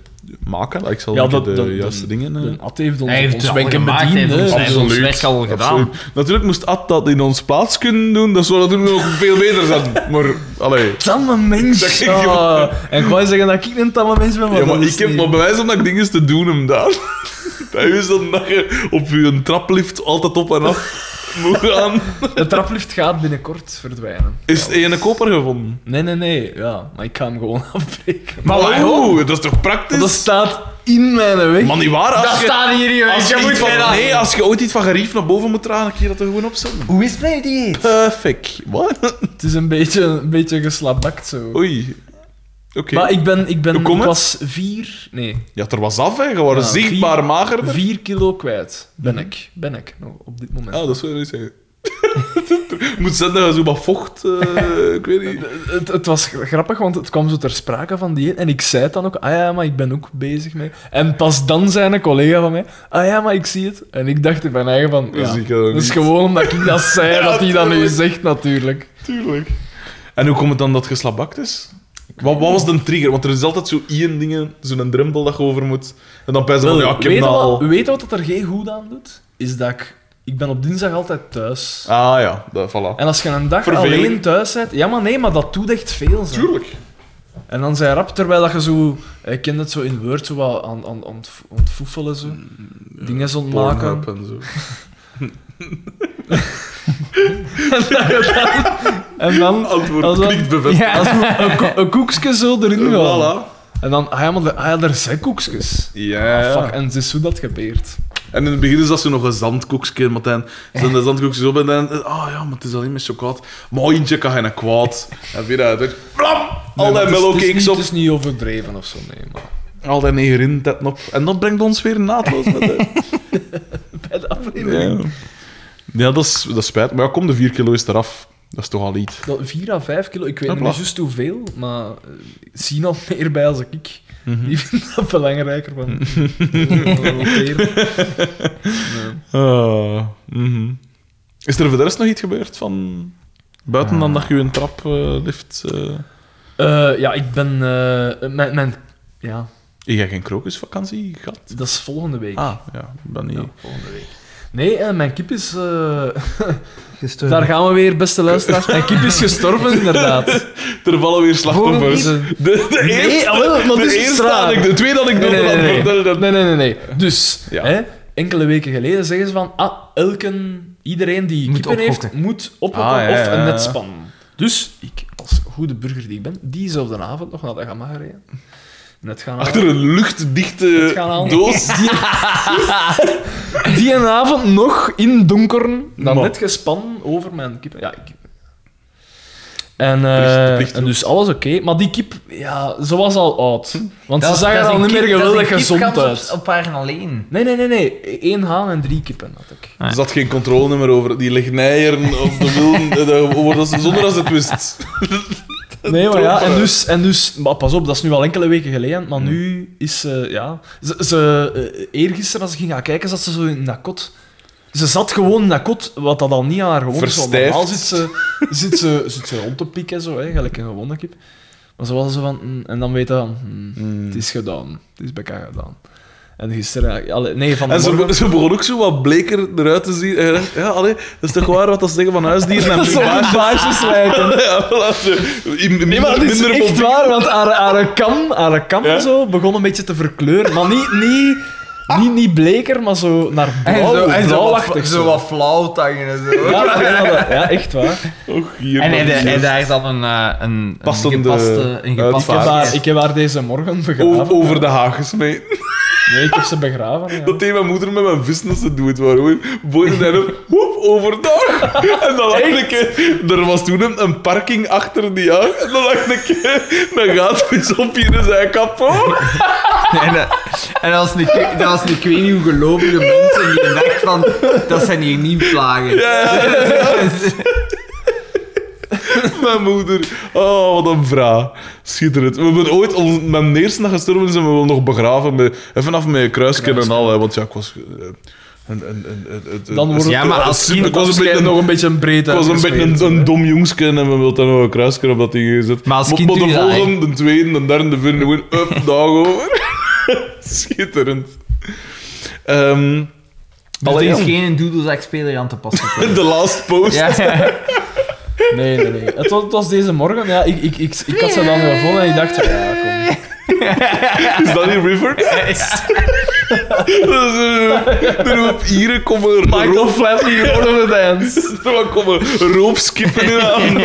A: maken. Ik zal
C: Ja,
A: een keer
C: dat-
A: de
C: dat-
A: juiste dingen. eh,
C: De Ad heeft ons,
F: Hij heeft
C: ons
B: dus
F: het al
C: wenken
F: gemaakt, hij
C: bediend.
F: heeft ons-
C: hè.
F: hij heeft ons
A: Absoluut.
F: werk al gedaan.
A: Absoluut. Natuurlijk moest Ad dat in ons plaats kunnen doen, dus dat zou natuurlijk nog veel beter zijn. Maar, allee.
C: Tamme
A: Dat
C: mens.
A: ik-
C: Ah, en ik wou zeggen dat ik een tamme mens ben, maar
A: Ja,
C: dat
A: maar
C: is
A: ik heb
C: niet.
A: maar bewijs omdat ik dingen te doen hem daar. Dat is dan dat je op je traplift altijd op en af moet gaan.
C: De traplift gaat binnenkort verdwijnen.
A: Is het ene koper gevonden?
C: Nee, nee, nee. Ja, maar ik ga hem gewoon afbreken. Oh.
A: Maar wow, oh, dat is toch praktisch?
C: Want dat staat in mijn weg.
A: Man, niet waar? Als
F: Dat
A: je,
F: staat hier, jongens.
A: als
F: je
A: je, iets
F: moet
A: van-
F: verder.
A: nee, als je ooit iets van gerief naar boven moet dragen, dan kun je dat er gewoon opzetten.
F: Hoe is het met je dieet?
A: Perfect. Wat?
C: Het is een beetje, een beetje geslabakt zo.
A: Oei. Oké.
C: Maar ik ben, ik ben,
A: Hoe komt
C: ik
A: het?
C: was vier, nee,
A: Ja, er was af, hè. Je was
C: Ja,
A: zichtbaar
C: vier-
A: magerder. Mhm.
C: vier kilo kwijt. Ben ik, ben ik nog op dit moment.
A: Ah, dat zou je niet zeggen. moet zijn dat je zo wat vocht... eh, ik weet niet.
C: Het, het was grappig, want het kwam zo ter sprake van die en ik zei het dan ook, ah ja, maar ik ben ook bezig mee. En pas dan zei een collega van mij, ah ja, maar ik zie het. En ik dacht in mijn eigen van,
A: Dat
C: ja,
A: zie ik wel
C: dat is
A: niet.
C: gewoon omdat ik dat zei,
A: Ja,
C: dat hij dat nu
A: tuurlijk.
C: zegt natuurlijk.
A: Tuurlijk. En hoe komt het dan dat je slabakt is? Wat, wat was de trigger? Want er is altijd zo één dingen, zo'n drempel dat je over moet. En dan bij ze van, ja, ik heb
C: weet,
A: nou
C: wat-
A: al...
C: weet wat dat er geen goed aan doet? Is dat ik, ik ben op dinsdag altijd thuis.
A: Ah ja, dat, voilà.
C: En als je een dag
A: Verveling.
C: alleen thuis bent, ja maar nee, maar dat doet echt veel. Zo.
A: Tuurlijk.
C: En dan zei rap, terwijl dat je zo... Ik ken het zo in Word, zo wat aan, aan, aan het ontfoefelen, zo. Dingen ontmaken.
A: Mm, Pornhub en zo.
C: En dan...
A: Antwoord
C: Als
A: als
C: dat-
A: klinkt bevestigd.
C: Als een, ko- een koekje zo erin gaan.
A: Voilà.
C: En dan, ah ja, maar de- ah ja, er zijn koekjes.
A: Ja.
C: Ah, fuck, en het is zo dat gebeurt.
A: En in het begin is dat zo nog een zandkoekje, maar dan zijn de zandkoekjes op en dan... Ah ja, maar het is alleen met chocolade. Maar oh, eentje kan geen kwaad. En weer uit. hè. Blam! Al die
C: Nee, maar het is- het is
A: mellowcakes
C: niet-
A: op.
C: Het is niet overdreven of zo, nee, maar...
A: Al die negerintetten op. En dat brengt ons weer naadloos met de...
C: Bij de aflevering.
A: Ja, ja dat, is, dat is spijt. Maar ja, kom, de 4 kilo is eraf. Dat is toch al iets.
C: Dat 4 à 5 kilo, ik weet
A: Hopla.
C: niet juist hoeveel, maar eh, ik zie al meer bij als ik.
A: Mhm.
C: Die vindt dat belangrijker van.
A: Ah, mhm. Is er voor de rest nog iets gebeurd van... Buiten dan
C: Ah.
A: dat je een traplift... eh
C: Eh, ja, ik ben. eh, mijn, mijn, ja,
A: Heb jij geen krokusvakantie gehad?
C: dat is volgende week.
A: Ah, ja. Ben niet...
C: Ja, volgende week. Nee, eh, mijn kip is. eh,
B: Gestorven.
C: daar gaan we weer, beste luisteraars. Mijn kip is gestorven, inderdaad.
A: Er vallen weer slachtoffers.
C: Voor een
A: De, de
C: Nee,
A: eerste,
C: jawel, maar
A: de
C: dit is
A: eerste
C: raar.
A: dat ik, de tweede dat ik
C: Nee,
A: doe,
C: nee,
A: dan
C: nee,
A: vertel je dat.
C: Nee, nee, nee. nee. Dus,
A: Ja.
C: hè, enkele weken geleden zeggen ze van. Ah, elke, iedereen die
B: Moet
C: kippen heeft,
B: opgokken.
C: moet ophokken
A: Ah, ja,
C: of
A: ja,
C: een
A: ja.
C: net spannen. Dus ik, als goede burger die ik ben, diezelfde avond nog naar de gamma gereden. Net gaan halen.
A: Achter een luchtdichte
C: gaan halen.
A: doos.
C: Ah, Die een avond nog in donkeren, dan
A: Man.
C: net gespannen over mijn kip. Ja, ik... En, eh,
A: Plicht- plicht
C: en dus alles oké. Maar die kip, ja, ze was al oud. Want
F: Hm. Dat
C: ze
F: is-
C: zag
F: dat
C: er
F: is
C: al
F: een
C: niet meer
F: kip- dat is
C: geweldig
F: een
C: gezond
F: kipkans
C: uit.
F: Op, op haar alleen.
C: Nee, nee, nee, nee. Eén haan en drie kippen had ik.
A: Er zat geen controle meer over. Die legneieren of de wilden, eh, dat wordt als- zonder dat ze het wist.
C: Nee, maar ja, en dus, en dus maar pas op, dat is nu al enkele weken geleden, maar nu is ze, ja... Ze, ze, eh, eergisteren, als ik ging gaan kijken, zat ze zo in dat kot. Ze zat gewoon in dat kot, wat dat al niet aan haar gewoonte is. want
A: Verstijfd.
C: Normaal zit ze, zit, ze, zit ze rond te pikken, zo, hè, gelijk een gewone kip. Maar ze was zo van... mm, en dan weet je van... mm, Het is gedaan. Het is bekend gedaan. En gisteren... ja, allee, nee, van
A: En ze,
C: morgen-
A: be- ze begon ook zo wat bleker eruit te zien. En je dacht, ja, allee, dat is toch waar wat dat ze zeggen van huisdieren en
C: Ze op
A: primaat.
C: een baasjes lijken.
A: Ja, voilà, zo. In- in
C: Nee, maar het is
A: minder
C: echt
A: mobiel.
C: waar, want haar, haar kam, haar kam
A: Ja?
C: zo, begon een beetje te verkleuren. Maar niet, niet, niet, niet bleker, maar zo naar
B: En
C: blauw,
B: zo, en zo,
C: blauwachtig.
B: wat, zo wat flauwtangen en zo.
C: Ja, ja, ja, ja, echt waar.
A: Och, hier,
B: En, en,
A: man.
B: en daar is dan een, eh, een,
A: Passende
B: een gepaste... Een
A: uitvaart.
C: Ik heb,
B: gepaste
C: haar, ik heb haar deze morgen
A: O-
C: begraven.
A: over de haag gesmeten.
C: Nee, ik heb ze begraven. ja.
A: Dat deed mijn moeder met mijn visnes te doen. Het waren gewoon boven en op, woep, overdag. En dan lag een keer... Er was toen een, een parking achter die jacht. En dan lag een keer een gaatvis op hier zijn kapot.
B: En, eh, en dat was een, ik- dat was een, ik weet niet hoe gelovige mensen die dachten van, dat zijn hier niet plagen. Dus
A: Mijn moeder. Oh, wat een vrouw. Schitterend. We hebben ooit... ons- Mijn eerste dag gestorven is en we wel nog begraven. Met, en vanaf met een kruisje en al. hè, Want ja, ik was... eh, een- een- een- een- een-
C: Dan wordt het
B: Ja, maar als
A: super-
C: Ik was een beetje, nog een beetje een breed
A: Het was een beetje een, een dom jongske en we wilden daar nog een kruisje op dat ding gezet.
B: Maar als kind
A: de
B: doe je dat,
A: volgende, de tweede, de derde, de vierde, gewoon up, dag over. Schitterend. Ehm
B: Er
A: allee,
B: is
A: ja.
B: geen doedelzakspeler aan te passen.
A: de last post.
B: Ja,
C: Nee, nee, nee. Het was, het was deze morgen. Ja, ik, ik, ik, ik had ze dan gevonden en ik dacht, ja, kom.
A: Is dat die River? Dat is, eh, er roep hier komen
C: Michael
A: roop,
C: Flatley, Lord of the Dance.
A: er komen roopskippen in aan.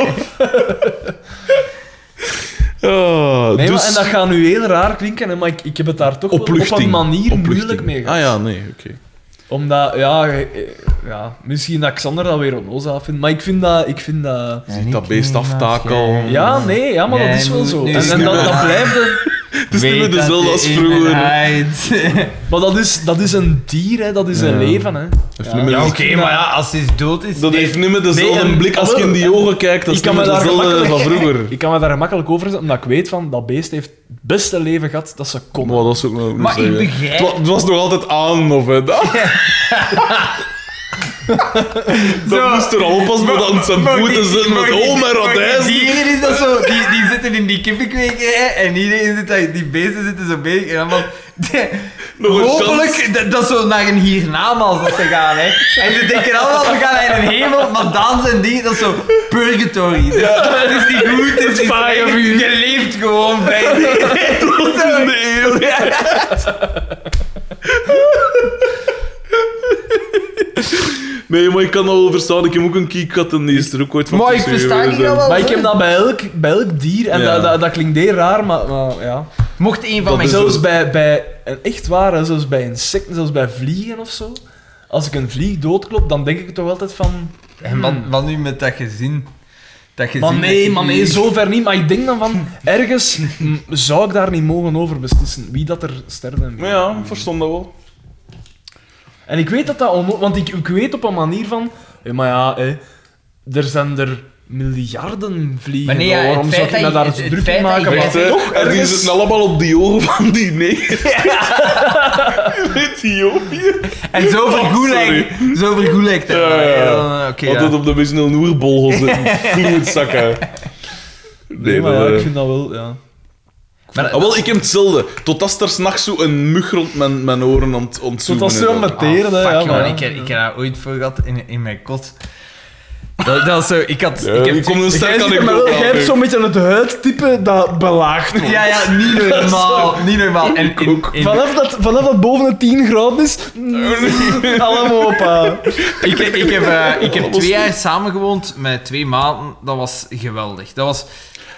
A: Ja,
C: Nee, maar,
A: dus...
C: en dat gaat nu heel raar klinken, hè, maar ik, ik heb het daar toch wel op een manier moeilijk mee gehad.
A: Ah ja, nee, oké.
C: Omdat, ja, eh, eh, ja, misschien dat Xander dat weer onnozel vindt, maar ik vind dat... Ik vind dat...
A: Ziet dat beest aftakel.
C: Ja, nee, ja, maar
B: Jij
C: dat is wel
B: moet
C: zo.
B: nu-
C: En, en dat, dat blijft een...
A: Het is niet meer Dus dezelfde als vroeger.
C: Maar dat is, dat is een dier, hè. dat is een leven. Hè.
A: Dat is niet meer
B: Ja,
A: dezelfde-
B: oké, maar ja, als hij dood is...
A: Dat heeft niet meer dezelfde
C: nee, en-
A: blik als je in die ogen kijkt. Dat is
C: Ik kan
A: niet meer
C: me daar
A: dezelfde van
C: gemakkelijk-
A: vroeger.
C: Ik kan me daar gemakkelijk over zetten, omdat ik weet van dat beest heeft het beste leven gehad dat ze kon.
A: Maar dat is ook nog niet
B: Maar ik
A: zeggen.
B: begrijp-
A: Het wa- Het was nog altijd aan, of hè, dat. dat moest er al pas bij dat zijn voeten zitten met oh mijn radijs.
B: Hier is dat zo, die, die zitten in die kippenkwekerij en iedereen zit daar, die beesten zitten zo bezig en dan van...
A: Nog een
B: Hopelijk, dat, dat is zo naar een hiernamaals dat ze gaan, hè. En ze denken allemaal, we gaan naar een hemel, maar dan zijn die, dat is zo purgatory. Dat, dat is niet goed, het is niet
C: Fire
B: slecht. Je leeft gewoon bij
A: Nee, maar ik kan dat wel verstaan. Ik heb ook een kiek gehad en die is er ook ooit van
B: Maar ik
A: tussen
B: versta
A: geweest,
B: niet
A: hè.
B: dat wel.
C: Maar ik nou heb dat bij elk, bij elk dier, en
A: Ja.
C: dat, dat, dat klinkt heel raar, maar, maar ja.
B: Mocht een van
A: Dat
B: mijn
A: is
B: zoons...
C: Zelfs bij, bij, en echt waar, hè, zelfs bij insecten, zelfs bij vliegen of zo. Als ik een vlieg doodklop, dan denk ik toch altijd van...
B: En wat, wat nu met dat gezin? Dat gezin
C: Maar nee,
B: dat
C: maar
B: jullie-
C: nee, zover niet. Maar ik denk dan van, ergens mm, zou ik daar niet mogen over beslissen wie dat er sterven en wie
A: Maar ja, ik verstond dat wel.
C: En ik weet dat dat onmo- want ik, ik weet op een manier van, hé, maar ja, hé, er zijn er miljarden vliegen.
B: Maar nee, ja,
C: maar
B: het
C: waarom zou
B: feit
C: ik
B: dat je-
C: me daar
B: het-
C: zo
B: het
C: druk
B: feit
C: mee
B: dat je-
C: maken?
B: Ja,
A: Wacht,
C: Maar
A: hè.
C: toch,
A: En die
C: ergens-
A: zitten allemaal op die ogen van die neger. In Ethiopië.
B: En zo vergoed
A: Oh, sorry.
B: lijkt- zo vergoed lijkt het.
A: Ja, ja, ja.
B: dan, Oké,
A: Altijd
B: ja.
A: op de beetje een oerbol gezet. Bloedzakken.
C: Nee,
A: Nee,
C: maar
A: dat,
C: ja,
A: eh.
C: ik vind dat wel, ja.
B: Maar
A: Ah, wel, ik heb hetzelfde. Tot als er s'nachts zo een mug rond mijn, mijn oren ont,
C: Tot
A: ontzoeken.
C: als ze
A: is.
C: met teren, hè,
B: Ah,
C: ja,
B: fuck,
C: maar
B: man,
C: ja.
B: ik, heb, ik heb daar ooit voor gehad in, in mijn kot. Dat, dat is zo, ik had...
A: Ja,
B: ik heb
A: hier komt een sterk
C: Jij ziet er wel-
A: anekdote
C: jij
A: aan.
C: hebt zo'n beetje het huidtype dat belaagd wordt.
B: Ja, ja, niet normaal, niet normaal. En in, in,
C: Vanaf, dat, vanaf dat boven de 10 graden is,
A: Oh,
C: mm, allemaal opa.
B: ik, heb- ik heb, eh, ik heb twee jaar samengewoond met twee maanden. Dat was geweldig. Dat was,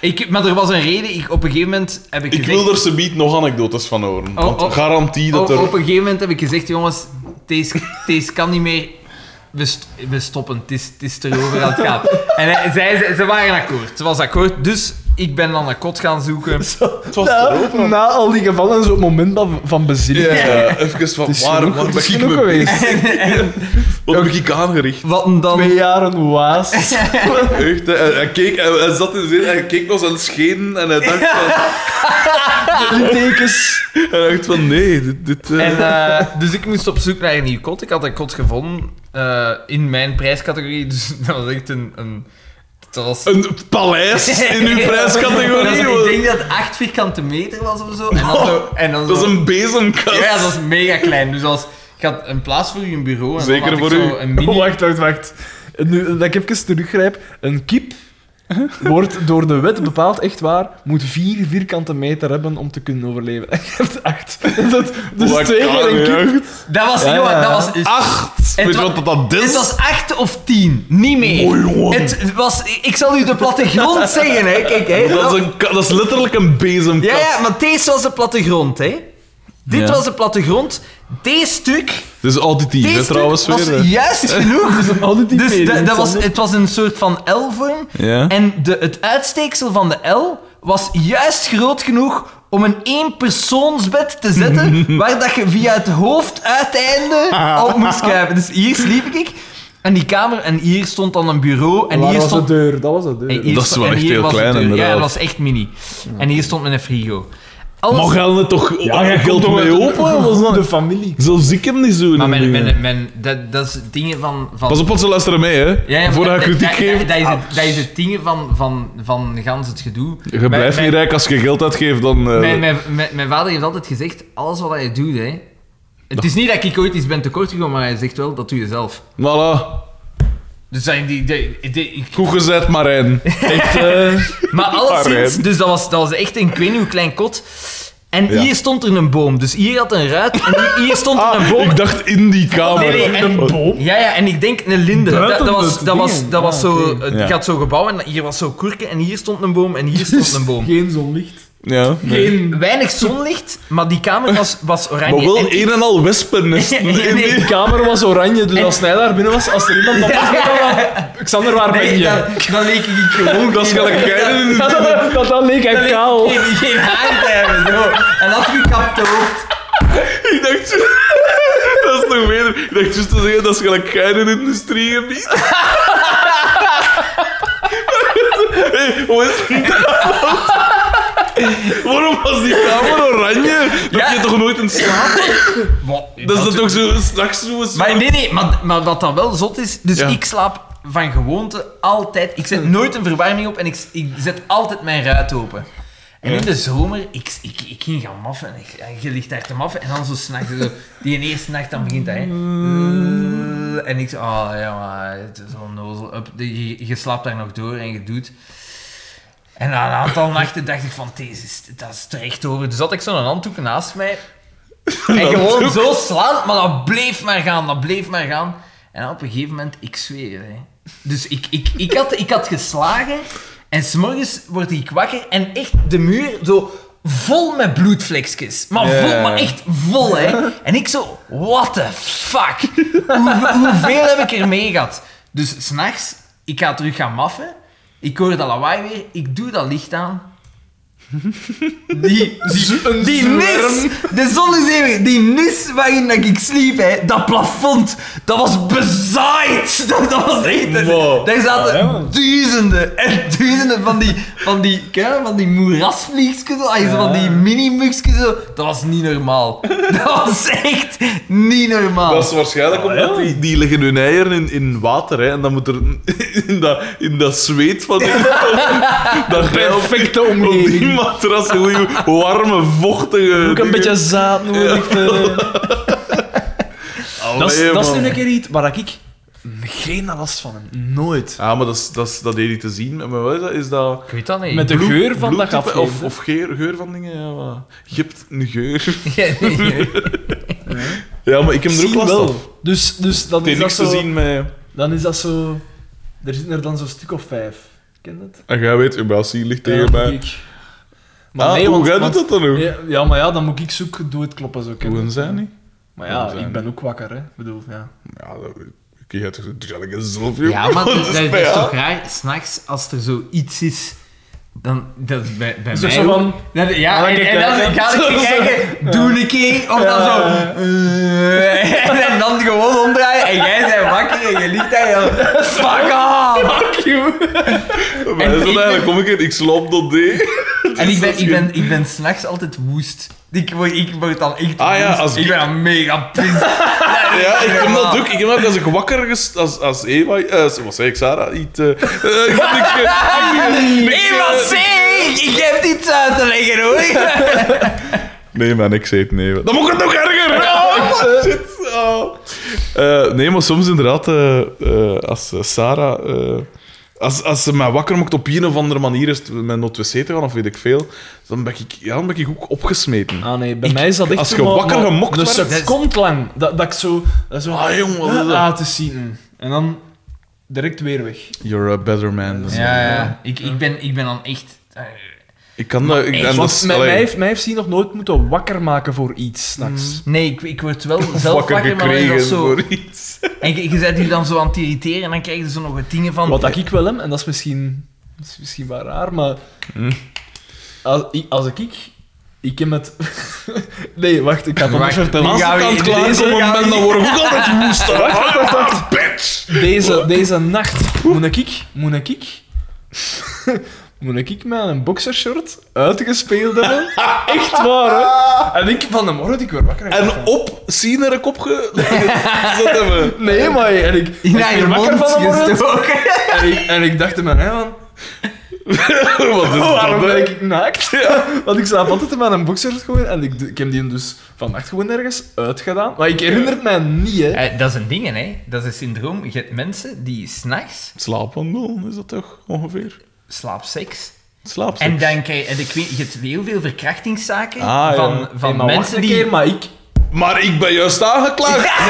B: ik, maar er was een reden. Ik, op een gegeven moment heb ik,
A: Ik
B: gezegd...
A: wil er subiet nog anekdotes van horen.
B: Oh,
A: Want
B: oh.
A: garantie dat
B: Op,
A: er...
B: op een gegeven moment heb ik gezegd, jongens, deze- deze kan niet meer. We, st- we stoppen, het is, het is erover aan het gaan. En eh, zij, ze, ze waren akkoord. Ze was akkoord, dus ik ben dan een kot gaan zoeken.
A: Het was
B: Oh,
A: er ook
C: Na,
A: nog.
C: na al die gevallen, zo'n moment van, van bezinning.
A: Ja, even van,
C: Het is
A: waar,
C: genoeg-
A: waar
C: het
A: ben
C: is
A: ik
C: genoeg
A: mee
C: geweest.
A: bezig? Wat heb ik aangericht?
B: Wat een dan?
C: Twee jaar een waas.
A: Echt, hè. Hij, hij keek, hij, hij zat in zin, hij keek nog zijn schenen en hij dacht van,
C: Littekens.
A: hij dacht van nee, dit... dit eh,
B: En, eh, dus ik moest op zoek naar een nieuw kot. Ik had een kot gevonden eh, in mijn prijscategorie. Dus dat was echt een. een dat was
A: Een paleis in uw prijscategorie.
B: Dat was-
A: hoor.
B: Ik denk dat het 8 vierkante meter was of zo. En dan zo, en dan
A: Oh, Dat
B: zo-
A: is een bezemkast.
B: Ja, ja, dat is mega klein. Dus als, ik had een plaats voor u een bureau. En
A: Zeker
B: dan had
A: voor
B: ik
A: u.
B: Zo een mini...
C: Oh, wacht, wacht, wacht. Nu, dat ik even teruggrijp. Een kip wordt door de wet bepaald, echt waar, moet vier vierkante meter hebben om te kunnen overleven. En je hebt acht. Dat, dus
A: Wat
C: twee
A: kan
C: keer een
A: je?
C: kip.
B: Dat was,
C: Ja,
B: jongen,
C: ja.
B: dat was...
A: Acht! Ah,
B: Het
A: Weet je
B: wa-
A: wat dat, dat is?
B: Het was 8 of 10, niet meer.
A: Oh, jongen.
B: Het was, ik zal u de plattegrond zeggen, hè. Kijk, hè.
A: dat, is een, ka- dat is letterlijk een bezemkast.
B: Ja, ja, maar deze was de plattegrond, hè. Dit
A: Ja.
B: was de plattegrond. Dit stuk.
A: Het is auditief,
B: Dit
A: hè,
B: stuk
A: trouwens
B: was
A: weer. eh. hè.
B: juist genoeg.
C: Auditief
B: Dus
C: meedoen,
B: dat, dat was,
C: Sander.
B: het was een soort van L-vorm.
A: Ja.
B: En de, het uitsteeksel van de L was juist groot genoeg om een éénpersoonsbed te zetten waar dat je via het hoofduiteinde op moest kruipen. Dus hier sliep ik. En die kamer, en hier stond dan een bureau. En
C: Waar
B: hier
C: was
B: stond
C: de deur? Dat was de deur.
B: en hier
A: Dat is
B: sto-
A: wel
B: en
A: echt
B: hier
A: heel
B: was de
A: klein,
B: deur. Ja,
A: inderdaad.
B: dat was echt mini. En hier stond mijn frigo.
A: Mag
B: Alles...
A: Helne toch ja,
C: Ah, jij komt
A: geld
C: toch
A: mee
C: uit-
A: open? Wat is dat?
C: De familie.
A: Zelfs ik hem niet zo.
B: Maar mijn,
A: dingen.
B: mijn, mijn, dat, dat is dingen van...
A: eh,
B: van
A: Pas op, want ze luisteren mee, hè.
B: Ja, ja,
A: Voordat je
B: dat-
A: kritiek
B: dat-
A: geeft.
B: Dat, dat, is het, dat is het ding van, van, van gans het gedoe.
A: Je blijft niet rijk als je geld uitgeeft, dan... eh,
B: Mijn, mijn, mijn, mijn vader heeft altijd gezegd, alles wat je doet, hè. Het is niet dat ik ooit iets ben tekort gekomen, maar hij zegt wel, dat doe je zelf.
A: Voilà.
F: Dus zijn die... die, die, ik-
A: Goed gezet, Marijn. Echt, eh,
B: Maar alleszins,
A: Arjen.
B: dus dat was, dat was echt een, ik weet niet hoe klein kot. En
A: Ja.
B: hier stond er een boom, dus hier had een ruit en hier- hier stond er een
A: Ah,
B: boom.
A: ik dacht in die kamer.
B: Nee, nee, en-
A: Oh.
B: Ja, ja, en ik denk een linde. Dat, dat
C: Buiten
B: was,
C: het
B: dat was,
C: ding.
B: dat was
C: Ah,
B: zo...
C: oké.
B: Het
A: Ja.
B: gaat zo gebouw en hier was zo kurken en hier stond een boom en hier stond een boom.
C: Geen zonlicht.
A: Ja, nee.
C: Geen
B: Weinig zonlicht, maar die kamer was, was oranje.
A: Maar wel
B: En-
A: een en al wespennesten.
B: Nee, nee,
A: in die-
B: nee.
C: De kamer was oranje, dus als hij daar binnen was, als er iemand anders was, dan was- Xander, waar ben
B: Nee,
C: je?
B: dan, dan leek ik gewoon...
A: Oh, Dat is gelijk geil.
C: Dat, dat, dat, dat leek hem kaal.
B: Geen, geen haar te hebben, zo. Een afgekapte hoofd.
A: Ik dacht... zo- Dat is nog beter. Ik dacht juist te zeggen, dat is gelijk geil in de industriegebied. Hé, hoe is het niet Waarom was die kamer oranje? Dat je toch nooit in slaap? Dat is dat ook zo, straks zo... zo-
B: Maar nee, nee, maar, maar wat dan wel zot is... Dus
A: Ja.
B: ik slaap van gewoonte altijd... Ik zet nooit een verwarming op en ik, ik zet altijd mijn ruit open. En in de zomer, ik, ik, ik ging gaan maffen. Ik, en je ligt daar te maffen en dan zo s'nachts... zo, Die eerste nacht, dan begint dat, hè. En ik zo, ah ja, maar het is onnozel. Up, je, je slaapt daar nog door en je doet... En na een aantal nachten dacht ik van, deze is, dat is terecht over. Dus had ik zo'n handdoek naast mij. En gewoon zo slaan, maar dat bleef maar gaan, dat bleef maar gaan. En op een gegeven moment, ik zweer het, hè. Dus ik, ik, ik, had, ik had geslagen en s'morgens word ik wakker en echt de muur zo vol met bloedvlekjes. Maar vol,
A: Ja.
B: maar echt vol, hè. En ik zo, what the fuck? Hoe- hoeveel heb ik er mee gehad? Dus s'nachts, ik ga terug gaan maffen. Ik hoor dat lawaai weer, ik doe dat licht aan. Die, die, die nis, de zon is even, die nis waarin dat ik sliep, hè, dat plafond, dat was bezaaid. Dat, dat was echt,
A: Wow. Ah,
B: daar zaten
C: Ja, man.
B: duizenden en duizenden van die, van die, ken je, van die moerasvliegjes, zo, ay, zo van die mini-mugsjes, zo. dat was niet normaal. Dat was echt niet normaal.
A: Dat is waarschijnlijk
C: Ah,
A: omdat die, die leggen hun eieren in, in water, hè, en dan moet er in dat, in dat zweet van die, dat geil
C: Perfecte
A: op die
C: omgeving.
A: matras, goeie warme, vochtige...
C: Ook een beetje zaad nodig. eh.
A: Oh,
C: Dat is, dat is nu een keer iets waar ik geen last van heb. Nooit.
A: Ja, Ah, maar dat is, dat is dat deed niet te zien. Maar wat is dat? Is dat
B: Ik weet dat niet.
C: Met de
A: bloed-
C: geur van dat
A: bloedtype
C: café.
A: Of, of geur, geur van dingen, ja. Maar... Je hebt een geur. Ja, maar ik heb er ook
C: Zie
A: last
C: wel.
A: van.
C: Dus, dus dan,
A: Het heeft
C: is dat
A: niks te
C: zo,
A: zien met...
C: dan is dat zo... Er zitten er dan zo'n stuk of vijf. Ken je dat?
A: En Ah, jij weet, Ubrassi ligt tegen
C: Ja,
A: mij.
C: ik- Maar
A: Maar
C: nee,
A: hoe
C: want-
A: gaat
C: want-
A: dat dan ook?
C: Ja, ja, maar ja, dan moet ik zoeken, doe het kloppen zo. ken je
A: Hoe
C: dat?
A: zijn niet?
C: Maar ja,
A: Hoe zijn
C: ik ben ook wakker, hè. Ik bedoel, ja.
A: Ja, dat... Ik heb het zelf, joh.
B: Ja, maar dat,
A: Wat
B: dat
A: dus bij
B: is
A: jou?
B: toch raar? S'nachts, als er zoiets is, dan... Dat is bij, bij
C: Dus
B: mij
C: zo
B: ook.
C: van-
B: Dat- ja,
C: dan
B: en,
C: kijk
B: en
C: ik
B: dan
C: uit,
B: ga ik
C: hè.
B: kijken, doe een keer, of dan zo... eh, en, dan gewoon omdraaien, en jij bent wakker en je ligt daar en dan... Fuck off!
A: Maar dat is het
B: ik ben-
A: eigenlijk, kom ik in, ik slaap dat D.
B: En ik ben, ik ben, ik ben s'nachts altijd woest. Ik word, ik word dan echt
A: Ah ja,
B: woest.
A: als
B: Ik
A: ik-
B: ben dan mega pissed.
A: Ja, ik heb dat ook. Ik heb dat als ik wakker ges... Als, als Eva... eh wat zei ik, Sarah? Iets... eh, eh, ik heb niks... eh, niks- niks, eh,
B: Iemand zeg, ik heb iets uit te leggen hoor.
A: Nee, maar niks eten, nee. Dan moet ik het nog erger! Oh, shit. Oh. Eh, nee, maar soms inderdaad, eh, eh, als eh, Sarah... eh, als, als ze mij wakker maakt op een of andere manier, is het met naar het wc te gaan of weet ik veel, dan ben ik, ja, dan ben ik ook opgesmeten.
C: Ah nee, bij mij is dat echt
A: als
C: zo
A: je
C: maar-
A: wakker
C: maar
A: gemokt
C: Een
A: werd-
C: seconde lang. Dat, dat ik zo... Dat zo
A: Ah, jongen, wat is dat?
C: Ah, te zien. En dan direct weer weg.
A: You're a better man. than
B: Ja, ja. Ik, ik, ben, ik ben dan echt. eh,
A: Ik kan dat... Ik, en dat
C: Want
A: is-
C: mij,
A: allee,
C: mij heeft, mij heeft zien nog nooit moeten wakker maken voor iets s'nachts.
B: Nee, ik, ik word wel zelf
A: wakker
B: wakker, maar dan is
A: gekregen
B: dat zo...
A: voor iets.
B: En je, je bent hier dan zo aan het irriteren en dan krijg je zo nog wat dingen
A: Mm.
B: van...
C: Wat dat ik wel hem, en dat is misschien, dat is misschien wel raar, maar
A: Mm.
C: als, ik, als ik, ik, ik heb het. nee, wacht, ik ga het anders vertellen.
A: Als ik aan het klaarkomen ben, dan word ik ook altijd woester. Wacht, wacht, wacht. Bitch.
C: Deze, deze nacht moet ik- ik, moet ik, ik, moet ik met een boxershort uitgespeeld hebben. Echt waar, hè? En ik van de morgen, ik word wakker.
A: En op Siener kop ge... Zat hebben.
C: Nee, maar en ik, ik
B: in
C: werd
B: eigen
C: wakker
B: mond
C: van de morgen.
B: gestoken.
C: En ik, en ik dacht in mijn eigen van,
A: Wat is
C: waarom
A: dat, hè?
C: ben ik naakt? Want ik slaap altijd in mijn boxers gewoon en ik, ik heb die dus vannacht gewoon ergens uitgedaan. Maar ik herinner het mij niet, hè.
B: Eh, dat is een ding, hè. Dat is een syndroom. Je hebt mensen die s'nachts
A: Slaapwandel, is dat toch ongeveer?
B: slaapseks...
A: Slaapseks.
B: En dan krijg je... En ik weet, je hebt heel veel verkrachtingszaken
A: Ah, ja.
B: van,
A: Nee,
B: van
C: Nee, maar wacht
B: mensen
C: een
B: die...
C: keer, maar ik...
A: Maar ik ben juist aangeklaagd.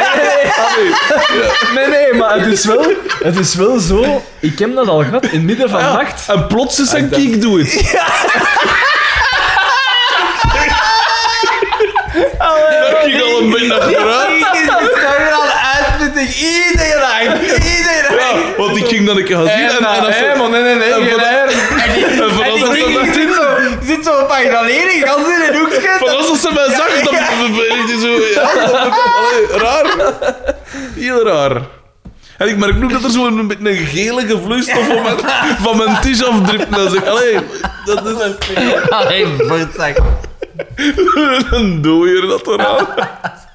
C: Nee, nee, nee, maar het is, wel, het is wel zo... Ik heb dat al gehad, in het midden van de nacht.
A: Ah, En plots is een
C: Ah, ik dacht-
A: kiek doe het. Dat ging al een beetje achteruit.
B: Iedereen al uitputting. Iedereen aan. Iedereen
A: Ja, Ah, want ik ging dan een keer gaan zien. En, en, als-
C: Nee, man, nee, nee, nee.
A: en
C: geen
A: vanaf-
C: eieren.
A: en vanaf
B: En
A: dat
B: die
A: ze-
B: ding zit zo, zit zo een pagina leren, gans in een hoekje.
A: vanaf dat ze mij zag, dan ben ik zo... Ja, dan- allee, raar. Heel raar. En ik merk ook dat er zo'n beetje een gelige vloeistof van mijn, van mijn tisch afdript. Dan zeg ik, allee, dat is
B: Allee, Ah, voortzak.
A: een dooier dat eraan.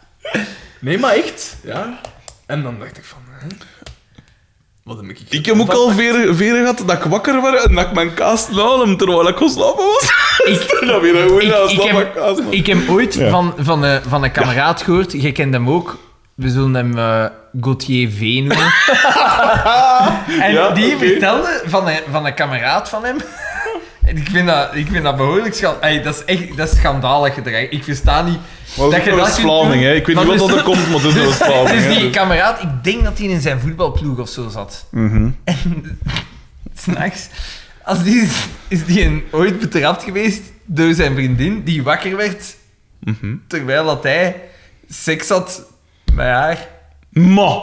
C: Nee, maar echt. Ja. En dan dacht ik van... Hè? Wat heb ik...
A: Ik heb ook al veren, veren gehad dat ik wakker werd en dat ik mijn kaas nam terwijl ik geslapen was.
B: Ik,
A: En dan weer een goeie
B: Ik-
A: kaas,
B: ik
A: dan
B: heb-
A: mijn kaas. man.
B: ik heb ooit van, van, een, van een kameraad gehoord, jij kent hem ook, we zullen hem eh Gauthier V noemen. en
A: Ja,
B: die
A: oké.
B: vertelde van een, van een kameraad van hem... En ik vind dat, ik vind dat behoorlijk schandalig. Dat is echt dat is schandalig gedrag. Ik versta niet...
A: Maar dat is
B: je kunt
A: West-Vlaming,
B: doen.
A: hè. Ik weet niet
B: Maar
A: wat dat
B: dus-
A: er komt, maar dat is West-Vlaming.
B: Dus
A: hè.
B: die kameraad, ik denk dat hij in zijn voetbalploeg of zo zat.
A: Mhm.
B: En s'nachts, als die is, is die een, ooit betrapt geweest door zijn vriendin die wakker werd
A: Mhm.
B: terwijl dat hij seks had met haar.
A: Ma!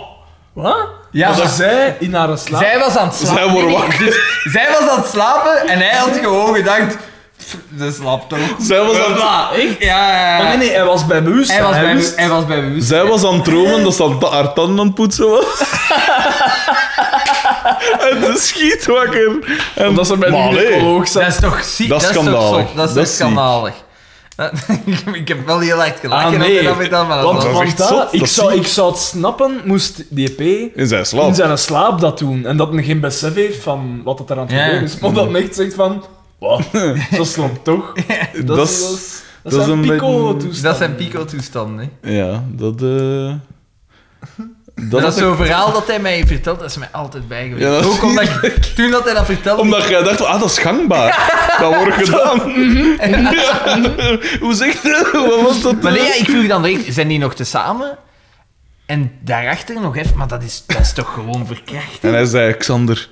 C: Wat?
B: Ja,
C: Ja,
B: maar-
C: zij in haar slaap...
B: Zij was aan het slapen.
A: Zij worden
B: Nee, nee,
A: wakker.
B: dus zij was aan het slapen en hij had gewoon gedacht, "Pff, ze slaapt toch.
A: Zij was Oh, aan, het-
B: Bla, echt? Ja, ja, ja.
C: Maar nee, nee, hij was bij bewust.
B: Hij was, bij,
C: wist-
B: hij was bij bewust.
A: zij was aan het dromen dat ze aan ta- haar tanden aan het poetsen was. en ze schiet wakker. En
C: Omdat ze bij de
A: Maar allee,
C: gynaecoloog zat.
B: Dat is toch ziek?
A: Dat is
B: toch
A: schandalig.
B: zot? Dat
A: Dat
B: is toch
A: is ziek.
B: schandalig? Eh, ik heb wel heel hard gelachen.
C: Ah,
B: om
C: nee.
B: dat met dat, maar dat
C: Want,
A: is Oh.
B: was-
A: echt
C: want dat-
A: zot,
C: ik,
A: dat
C: zou,
A: zie
C: ik zou het snappen, moest die EP
A: In zijn
C: in
A: slaap.
C: zijn slaap dat doen. En dat men geen besef heeft van wat het eraan te
B: Ja.
C: doen is. Maar dat men echt zegt van... Wat? Zo slom toch?
A: Dat,
C: dat
A: is-
C: is-
A: dat
C: Dat
A: is
C: zijn
A: een
C: pico-toestanden.
B: dat zijn pico-toestanden. hè.
A: Ja, dat... eh
B: Dat,
A: had
B: is zo'n verhaal dat hij mij vertelt, dat is mij altijd bijgebleven.
A: Ja, dat is
B: Ook omdat ik, toen dat hij dat vertelde...
A: Omdat jij dacht, ah, dat is gangbaar. Dat wordt gedaan.
C: Mhm.
A: Ja. Hoe zegt je? Wat was dat?
B: Maar nee, ja, ik vroeg dan direct, zijn die nog tezamen? En daarachter nog even, maar dat is, dat is toch gewoon verkracht?
A: En hij zei, Xander,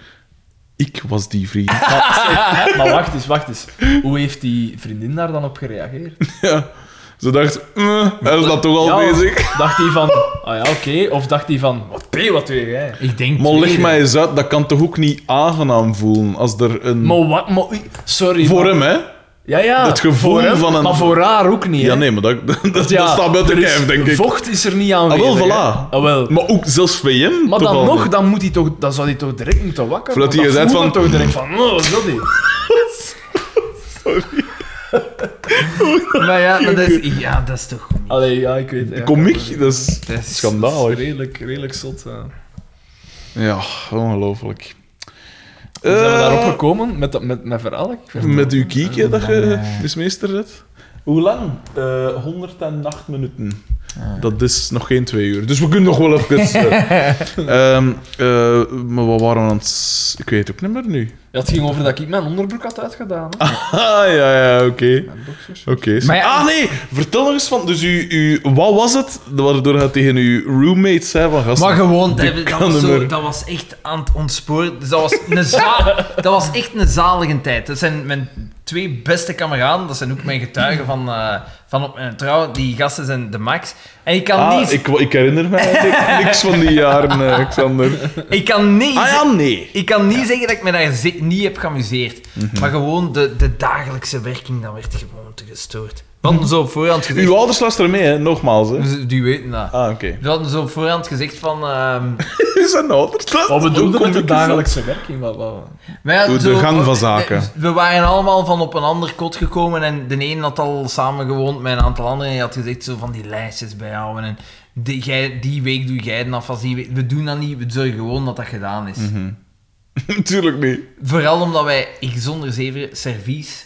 A: ik was die vriend.
C: Maar wacht eens, wacht eens. Hoe heeft die vriendin daar dan op gereageerd?
A: Ja. Ze dacht, eh, hij is dat toch al
C: Ja,
A: bezig.
C: Dacht hij van... Ah ja, oké. Of dacht hij van... Wat p, wat doe jij?
B: Ik denk...
A: Maar leg
B: tweede.
A: mij eens uit, dat kan toch ook niet aangenaam voelen als er een...
C: Maar wat... Maar, oei, sorry.
A: voor
C: maar-
A: hem, hè?
C: Ja, ja.
A: Het gevoel
C: voor hem,
A: van een-
C: Maar voor haar ook niet, hè.
A: Ja, nee, maar dat, dat, dat
C: Ja,
A: staat buiten
C: er is-
A: kijf, denk ik.
C: Vocht is er niet aan.
A: Ah, wel,
C: hè.
A: voilà.
C: Ah, wel.
A: Maar ook zelfs VM.
C: Maar dan
A: toevallig.
C: nog, dan, moet hij toch, dan zou hij toch direct moeten wakker
A: Voordat
C: want
A: hij
C: dan
A: gezegd
C: voelt
A: van-
C: hij toch direct van, oh, wat is dat hier?
B: Maar ja, maar dat is, ja, dat is toch...
C: Allee, ja, ik weet het. ja.
A: Komiek, dat is
B: Dat is-
C: Dat is
A: schandalig.
C: redelijk, redelijk zot. ja.
A: Ja, ongelooflijk.
C: Hoe zijn we
A: Eh,
C: daarop gekomen met, dat- met mijn verhaal? Ik vind-
A: Met uw kiekje dat je is meester zet. Hoe lang? Eh 108 minuten. Dat is nog geen twee uur. Dus we kunnen nog wel even. eh. Ehm, eh, maar wat waren we aan het. s- Ik weet het ook niet meer nu.
C: Ja, het ging over dat ik mijn onderbroek had uitgedaan. hè.
A: Ah, ja, ja, oké.
C: Mijn boxers.
A: Oké.
B: Maar ja-
A: ah, nee! Vertel nog eens van. Dus u, u, wat was het waardoor hij tegen uw roommate zei van gasten?
B: Maar gewoon, dat,
A: die
B: dat
A: kan
B: was
A: hem
B: zo,
A: er.
B: dat was echt aan het ontsporen. Dus dat, was een za- dat was echt een zalige tijd. Dat zijn mijn twee beste kameraden, dat zijn ook mijn getuigen van, eh, van op mijn trouw, die gasten zijn de max. En ik kan
A: Ah,
B: niet...
A: ik, ik herinner me eigenlijk niks van die jaren, eh, Xander.
B: Ik kan niet...
A: Ah ja, nee.
B: Ik kan niet zeggen dat ik me daar zi- niet heb geamuseerd.
A: Mhm.
B: Maar gewoon de, de dagelijkse werking, dat werd gewoon te gestoord. We hadden zo op voorhand gezegd...
A: Uw ouders luisteren mee, hè? nogmaals. Hè?
B: Ze- Die weten dat.
A: Ah, oké.
B: nou. We hadden zo op voorhand gezegd van... ehm,
A: Is Zijn ouders
C: Wat bedoel je
A: Hoe kom
C: met de
A: ik eens aan?
C: dagelijkse werking? Wat, wat, wat?
B: wij hadden
A: De gang van zaken.
B: eh, We, we waren allemaal van op een ander kot gekomen en de een had al samen gewoond met een aantal anderen. En je had gezegd zo van die lijstjes bijhouden. En die, jij, die week doe jij dan afwas. Die week- we doen dat niet, we zorgen gewoon dat dat gedaan is.
A: Mhm. Natuurlijk niet.
B: Vooral omdat wij, ik zonder zeven, servies.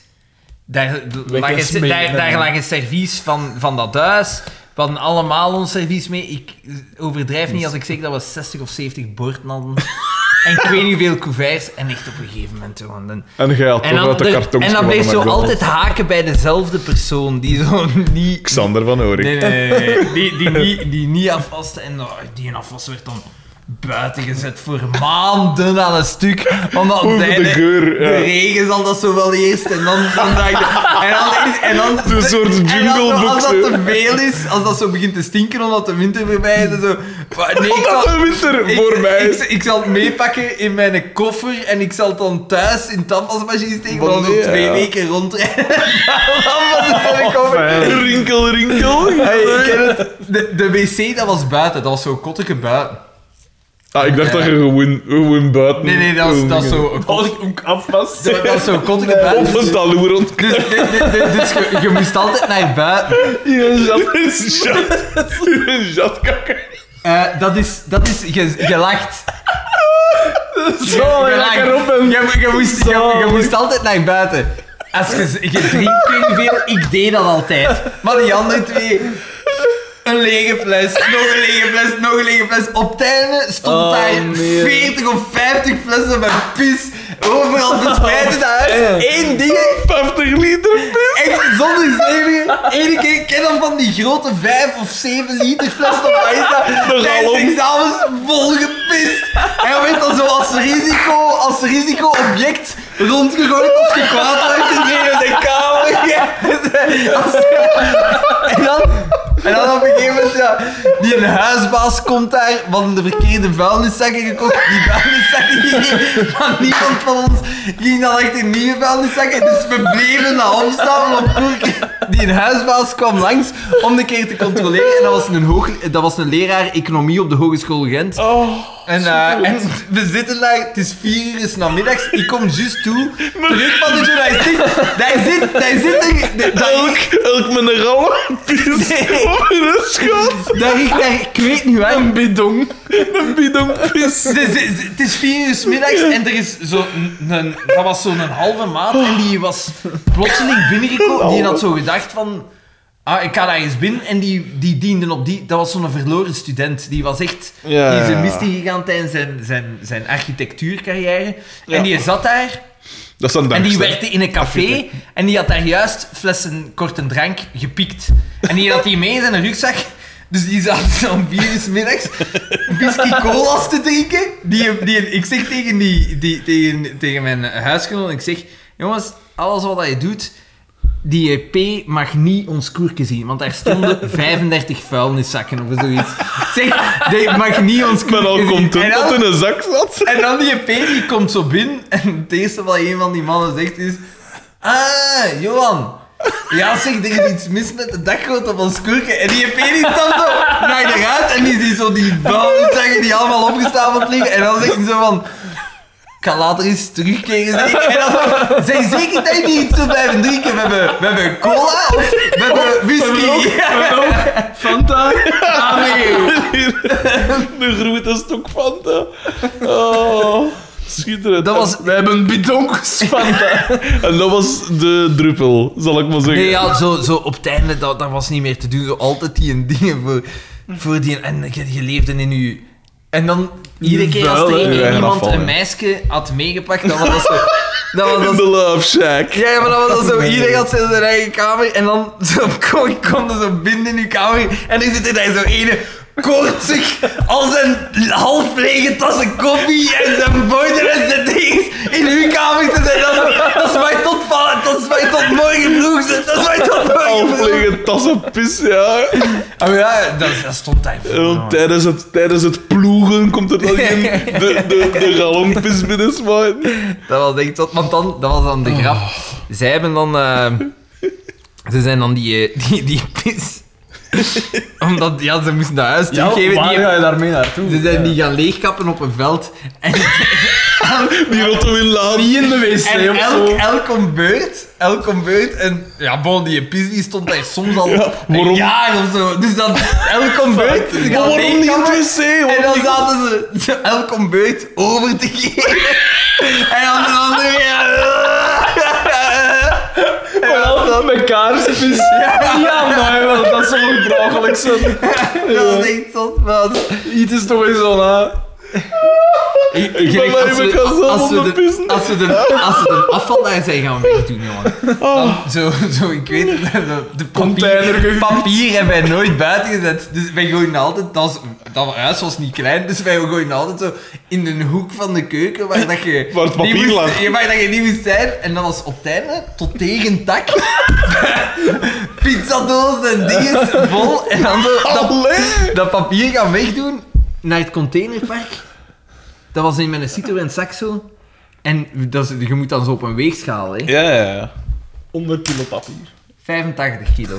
B: Daar
C: Wij
B: lag
C: gaan
B: een,
C: smeren,
B: daar, daar
C: hè.
B: lag een servies van, van dat huis. We hadden allemaal ons servies mee. Ik eh, overdrijf niet als ik zeg dat we 60 of 70 borden hadden. en ik weet niet hoeveel couverts. En echt op een gegeven moment gewoon. dan-
A: En jij had
B: En
A: toch
B: dan,
A: uit de
B: er-
A: kartons
B: en dan bleef zo
A: gewonnen, McDonald's.
B: altijd haken bij dezelfde persoon. Die zo niet.
A: Xander van Oorik.
B: Nee, nee, nee, nee. Die, die, niet- die niet afwaste. En oh, die afwas werd dan buiten gezet voor maanden aan een stuk. Omdat
A: Over
B: zij
A: de geur, ja.
B: De regen zal dat zo wel eerst. En dan, dan dacht ik- En dan... is- En dan
A: Zo'n soort
B: en dan-
A: jinglebox,
B: Als
A: hè.
B: dat te veel is, als dat zo begint te stinken omdat de winter voorbij is en zo... Maar Nee, ik
A: Omdat
B: zal...
A: de winter
B: Ik,
A: voor mij
B: ik,
A: is.
B: ik, zal het meepakken in mijn koffer en ik zal het dan thuis in het afwasmachine steken.
A: Maar
B: Dan zo
A: nee,
B: twee
A: ja.
B: weken rondrijden. Dan
A: Oh,
B: in mijn koffer.
A: Rinkel, rinkel.
B: Hey, ik ken het. De, de wc dat was buiten, dat was zo'n kotteke buiten.
A: Ah, ik dacht
B: Ja.
A: dat je gewoon, gewoon buiten...
B: Nee, nee, dat was, dat was zo. een
A: Oh,
B: kot-
C: Als ik ook afwas.
B: Dat, dat was zo'n kotteke
A: Op
B: buiten.
A: een
B: Dus,
A: taloer rond.
B: dus, dus- dus- dus je, je moest altijd naar buiten.
A: Een jatkakker.
B: Eh, dat is, dat is, je, je lacht.
C: Zo,
B: Je lacht.
C: lekker op hem.
B: Je, je moest, je, je moest altijd naar buiten. Als je, je drinkt, ik weet niet veel, ik deed dat altijd. Maar die andere twee, een lege fles, nog een lege fles, nog een lege fles. Op het einde stond
C: Oh,
B: daar
C: nee.
B: 40 of 50 flessen met pis overal verspreid in het huis. Eén ding,
A: 50 liter pil.
B: echt zonder zeven. Eén keer, ik ken dan van die grote 5 of 7 liter flessen op
A: De
B: Tijdens
A: galon.
B: examens volgepist. En dan werd dan zo als risico, als risico-object rondgegooid als je kwaad werd in de kamer. Als- En dan, en dan op een gegeven moment, ja, die een huisbaas komt daar, we hadden de verkeerde vuilniszakken gekocht, die vuilniszakken gingen van niemand van ons, ging dan echt in nieuwe vuilniszakken, dus we bleven dat opstapelen op koek. Die een huisbaas kwam langs om de keer te controleren en dat was een, hoog, dat was een leraar economie op de Hogeschool Gent.
A: Oh,
B: En, eh, en we zitten daar, het is vier uur 's namiddags, ik kom juist toe, terug van de journalistiek, daar zit, daar zit een... de- daar-
A: elk, elk met een ralle pis op een schat.
B: daar ik, daar, ik weet niet waar.
C: Een bidong.
A: Een bidon pis.
B: Het is- het is- het is vier uur 's middags en er is zo een, een- dat was zo'n halve maat en die was plotseling binnengekomen. Die had zo gedacht van, ah, ik ga daar eens binnen. En die, die diende op die, dat was zo'n verloren student. Die was echt,
A: Ja,
B: die is
A: ja, ja.
B: een mist ingegaan tijdens zijn, zijn, zijn architectuurcarrière.
A: Ja.
B: En die zat daar
A: Dat is dan
B: en die
A: dankzij.
B: werkte in een café en die had daar juist flessen korte drank gepikt. En die had die mee in zijn rugzak. Dus die zaten zo om vier uur 's middags whisky cola's te drinken. Die, die, ik zeg tegen, die, die, tegen, tegen mijn huisgenoot, ik zeg... Jongens, alles wat je doet, die EP mag niet ons koerken zien. Want daar stonden 35 vuilniszakken of zoiets. Ik Zeg, die mag niet ons
A: Ik ben al
B: koerken zien. En
A: content
B: dan-
A: dat in een zak zat.
B: en dan die EP die komt zo binnen en het eerste wat een van die mannen zegt is... Ah, Johan. Ja, zeg, er is iets mis met de dakgoot op ons kurken. En die EP die stapt zo naar eruit en die ziet zo die vuilniszakken die allemaal opgestapeld liggen. En dan zegt hij zo van... Ik ga later eens terugkeren. Zeg. En dan zo, zijn zeker dat je niet iets wil blijven drinken. We hebben, we hebben cola of we hebben whisky.
C: Fanta.
B: Ah, nee.
A: Hier, De grote stok Fanta. Oh, schitterend.
B: Dat was...
C: We hebben bidongs Fanta.
A: En dat was de druppel, zal ik maar zeggen.
B: Nee, ja, zo, zo op het einde, dat, dat was niet meer te doen. Zo altijd die en dingen voor, voor die... En je, je leefde in je... En dan, iedere keer als
C: Vuil,
B: er
A: hè?
B: één
A: Ja,
B: iemand
A: afval,
B: een
A: ja.
B: meisje had meegepakt, dan was dat zo... Dat was
A: In
B: dat
A: de Love Shack.
B: ja, ja, maar dan was dat zo, iedereen had zijn eigen kamer en dan zo, kom, kom er zo binnen in uw kamer en dan zit er daar zo ene koortsig als een half lege tassen koffie en zijn boter en zijn dingen in uw kamer te zijn. Dat, dat is mij tot, va- dat is mij tot morgen vroeg. ze- Dat is mij tot morgen vroeg.
A: Halflege tassen pis, ja.
B: Oh ja, dat, dat stond daar
A: En dan tijdens, het, tijdens het ploegen komt er dan in de, de, de galon pis binnen smijten.
B: Dat was echt tot, want dan, dat was dan de grap. Zij hebben dan, eh, ze zijn dan die, eh, die, die pis. Omdat, ja, ze moesten dat huis teruggeven.
C: waar
B: die,
C: ga je daarmee naartoe?
B: Ze zijn die gaan leegkappen op een veld. En,
A: Die rotte in laan.
C: Niet in de wc
B: en
C: of zo.
B: elk, elk om beurt, elk om beurt. En ja, bon, die pis die stond daar soms al
A: Ja, waarom?
B: een jaar of zo. Dus dan elk om beurt. ze gaan
A: Maar waarom niet in
B: leegkappen.
A: het wc?
B: En
A: Waarom
B: dan
A: niet-
B: zaten ze, ze elk om beurt over te geven. en dan de andere weer. En dan-
C: Wel, met kaarspis. Ja, maar wel, dat is wel draaglijk zo.
B: Dat was echt zot, man.
C: Iets is toch eens zo aan.
B: Ik
A: ben
B: als
A: blij
B: we-
A: dat ik aan
B: als we
A: zoveel
B: de-
A: pissen.
B: als we de- Als we de afval daar zijn gaan wegdoen, jongen.
A: Ah.
B: Dan, zo, zo, ik weet het, de, de papier,
C: Containergebied.
B: papier hebben wij nooit buiten gezet. Dus wij gooien altijd, dat, is- dat huis was niet klein, dus wij gooien altijd zo in de hoek van de keuken waar dat je...
A: Waar het
B: niet
A: papier
B: moest-
A: lag.
B: ja, waar dat je niet moest zijn. En dat was op het einde, tot tegen tak. Pizzadozen en dingen vol. En dan zo, dat
A: Allee!
B: dat papier gaan wegdoen naar het containerpark. Dat was in mijn Cito en Saxo. En dat is, je moet dan zo op een weegschaal, hè?
A: Ja, ja, ja.
C: 100 kilo papier.
B: 85 kilo.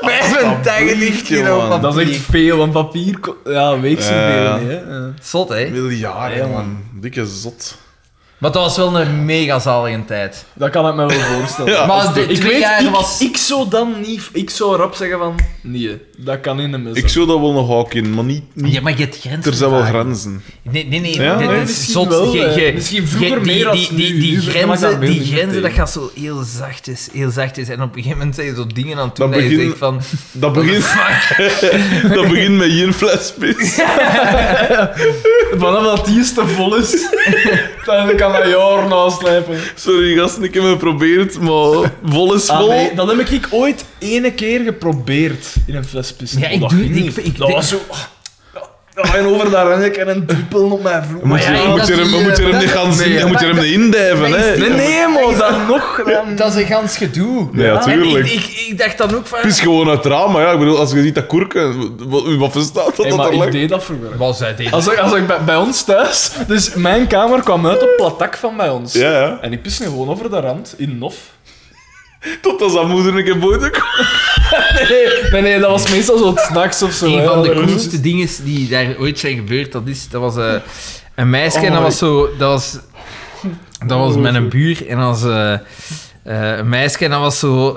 B: 85 kilo
A: jongen.
B: papier.
C: Dat is echt veel, want papier... ko- Ja, weegt zoveel
A: Ja.
C: niet, hè. Ja.
B: Zot, hè?
A: Miljarden, man. Dikke zot.
B: Maar dat was wel een mega zalige tijd.
C: Dat kan ik me wel voorstellen.
A: Ja.
B: maar de
C: Ik
B: twee
C: weet,
B: jaar
C: ik,
B: was...
C: ik zou dan niet... Ik zou rap zeggen van... Nee, dat kan in de mis.
A: Ik zou dat wel nog ook in, maar niet... niet
B: Ja, maar je hebt grenzen.
A: er zijn wel
B: vaak.
A: grenzen.
B: Nee, nee, nee.
A: Ja?
B: dit
A: Nee,
B: is
C: misschien
B: zot.
C: wel,
B: Je- je-
C: eh, misschien vroeger
B: je- die-
C: meer als
B: die, die,
C: nu.
B: die
C: Nu maakt dat
B: grenzen,
C: beeld
B: die
C: niet meer
B: grenzen, dat
C: tegen.
B: gaat zo heel zachtjes, heel zachtjes. En op een gegeven moment zijn je zo dingen aan het doen
A: Dat
B: dat, je
A: begin-
B: zegt van...
A: Dat begint, dat begint met je fles pis.
C: Vanaf dat die is te vol is, dan kan dat jaren naslijpen.
A: Sorry, gasten, ik heb het geprobeerd, maar vol is
C: Ah,
A: vol.
C: nee, dat heb ik ooit ene keer geprobeerd in een fles pissen.
B: Ja, ik
C: dat
B: doe-
C: ging
B: ik-
C: niet.
B: ik-
C: dat
B: ik-
C: was zo... Ja, en over daar en ik en een druppel op mijn vloer.
A: Moet
B: ja,
A: je,
B: ik
A: moet
B: dacht
A: je, hem-
B: die,
A: moet je hem
B: eh,
A: niet gaan
B: dat-
A: zien,
B: nee,
A: je moet je hem niet indijven, hè.
C: Nee, nee, maar dan nog... Dan...
B: Dat is een gans gedoe.
A: Nee,
B: En
A: natuurlijk.
B: Ik, ik, ik dacht dan ook van...
A: Het is gewoon uit het raam, maar ja, ik bedoel, als je ziet dat kurken, wat, wat verstaat dat
C: Hey,
A: dat
C: maar
A: er
C: ik
A: lag?
C: deed dat vroeger.
B: Was hij dit?
C: Als ik, als ik bij, bij ons thuis... Dus mijn kamer kwam uit op het platak van bij ons.
A: Ja, ja.
C: En ik piste gewoon over de rand, in Nof.
A: Tot als dat moeder een keer boven komt.
C: Nee, nee, nee, dat was meestal zo 's nachts of zo.
B: Een
C: hè.
B: van de
C: Dat was-
B: coolste dingen die daar ooit zijn gebeurd, dat is... Dat was eh, een meisje en
C: Oh,
B: dat
C: ik-
B: was zo... Dat was, dat was met een buur en dat was eh, eh, een meisje en dat was zo...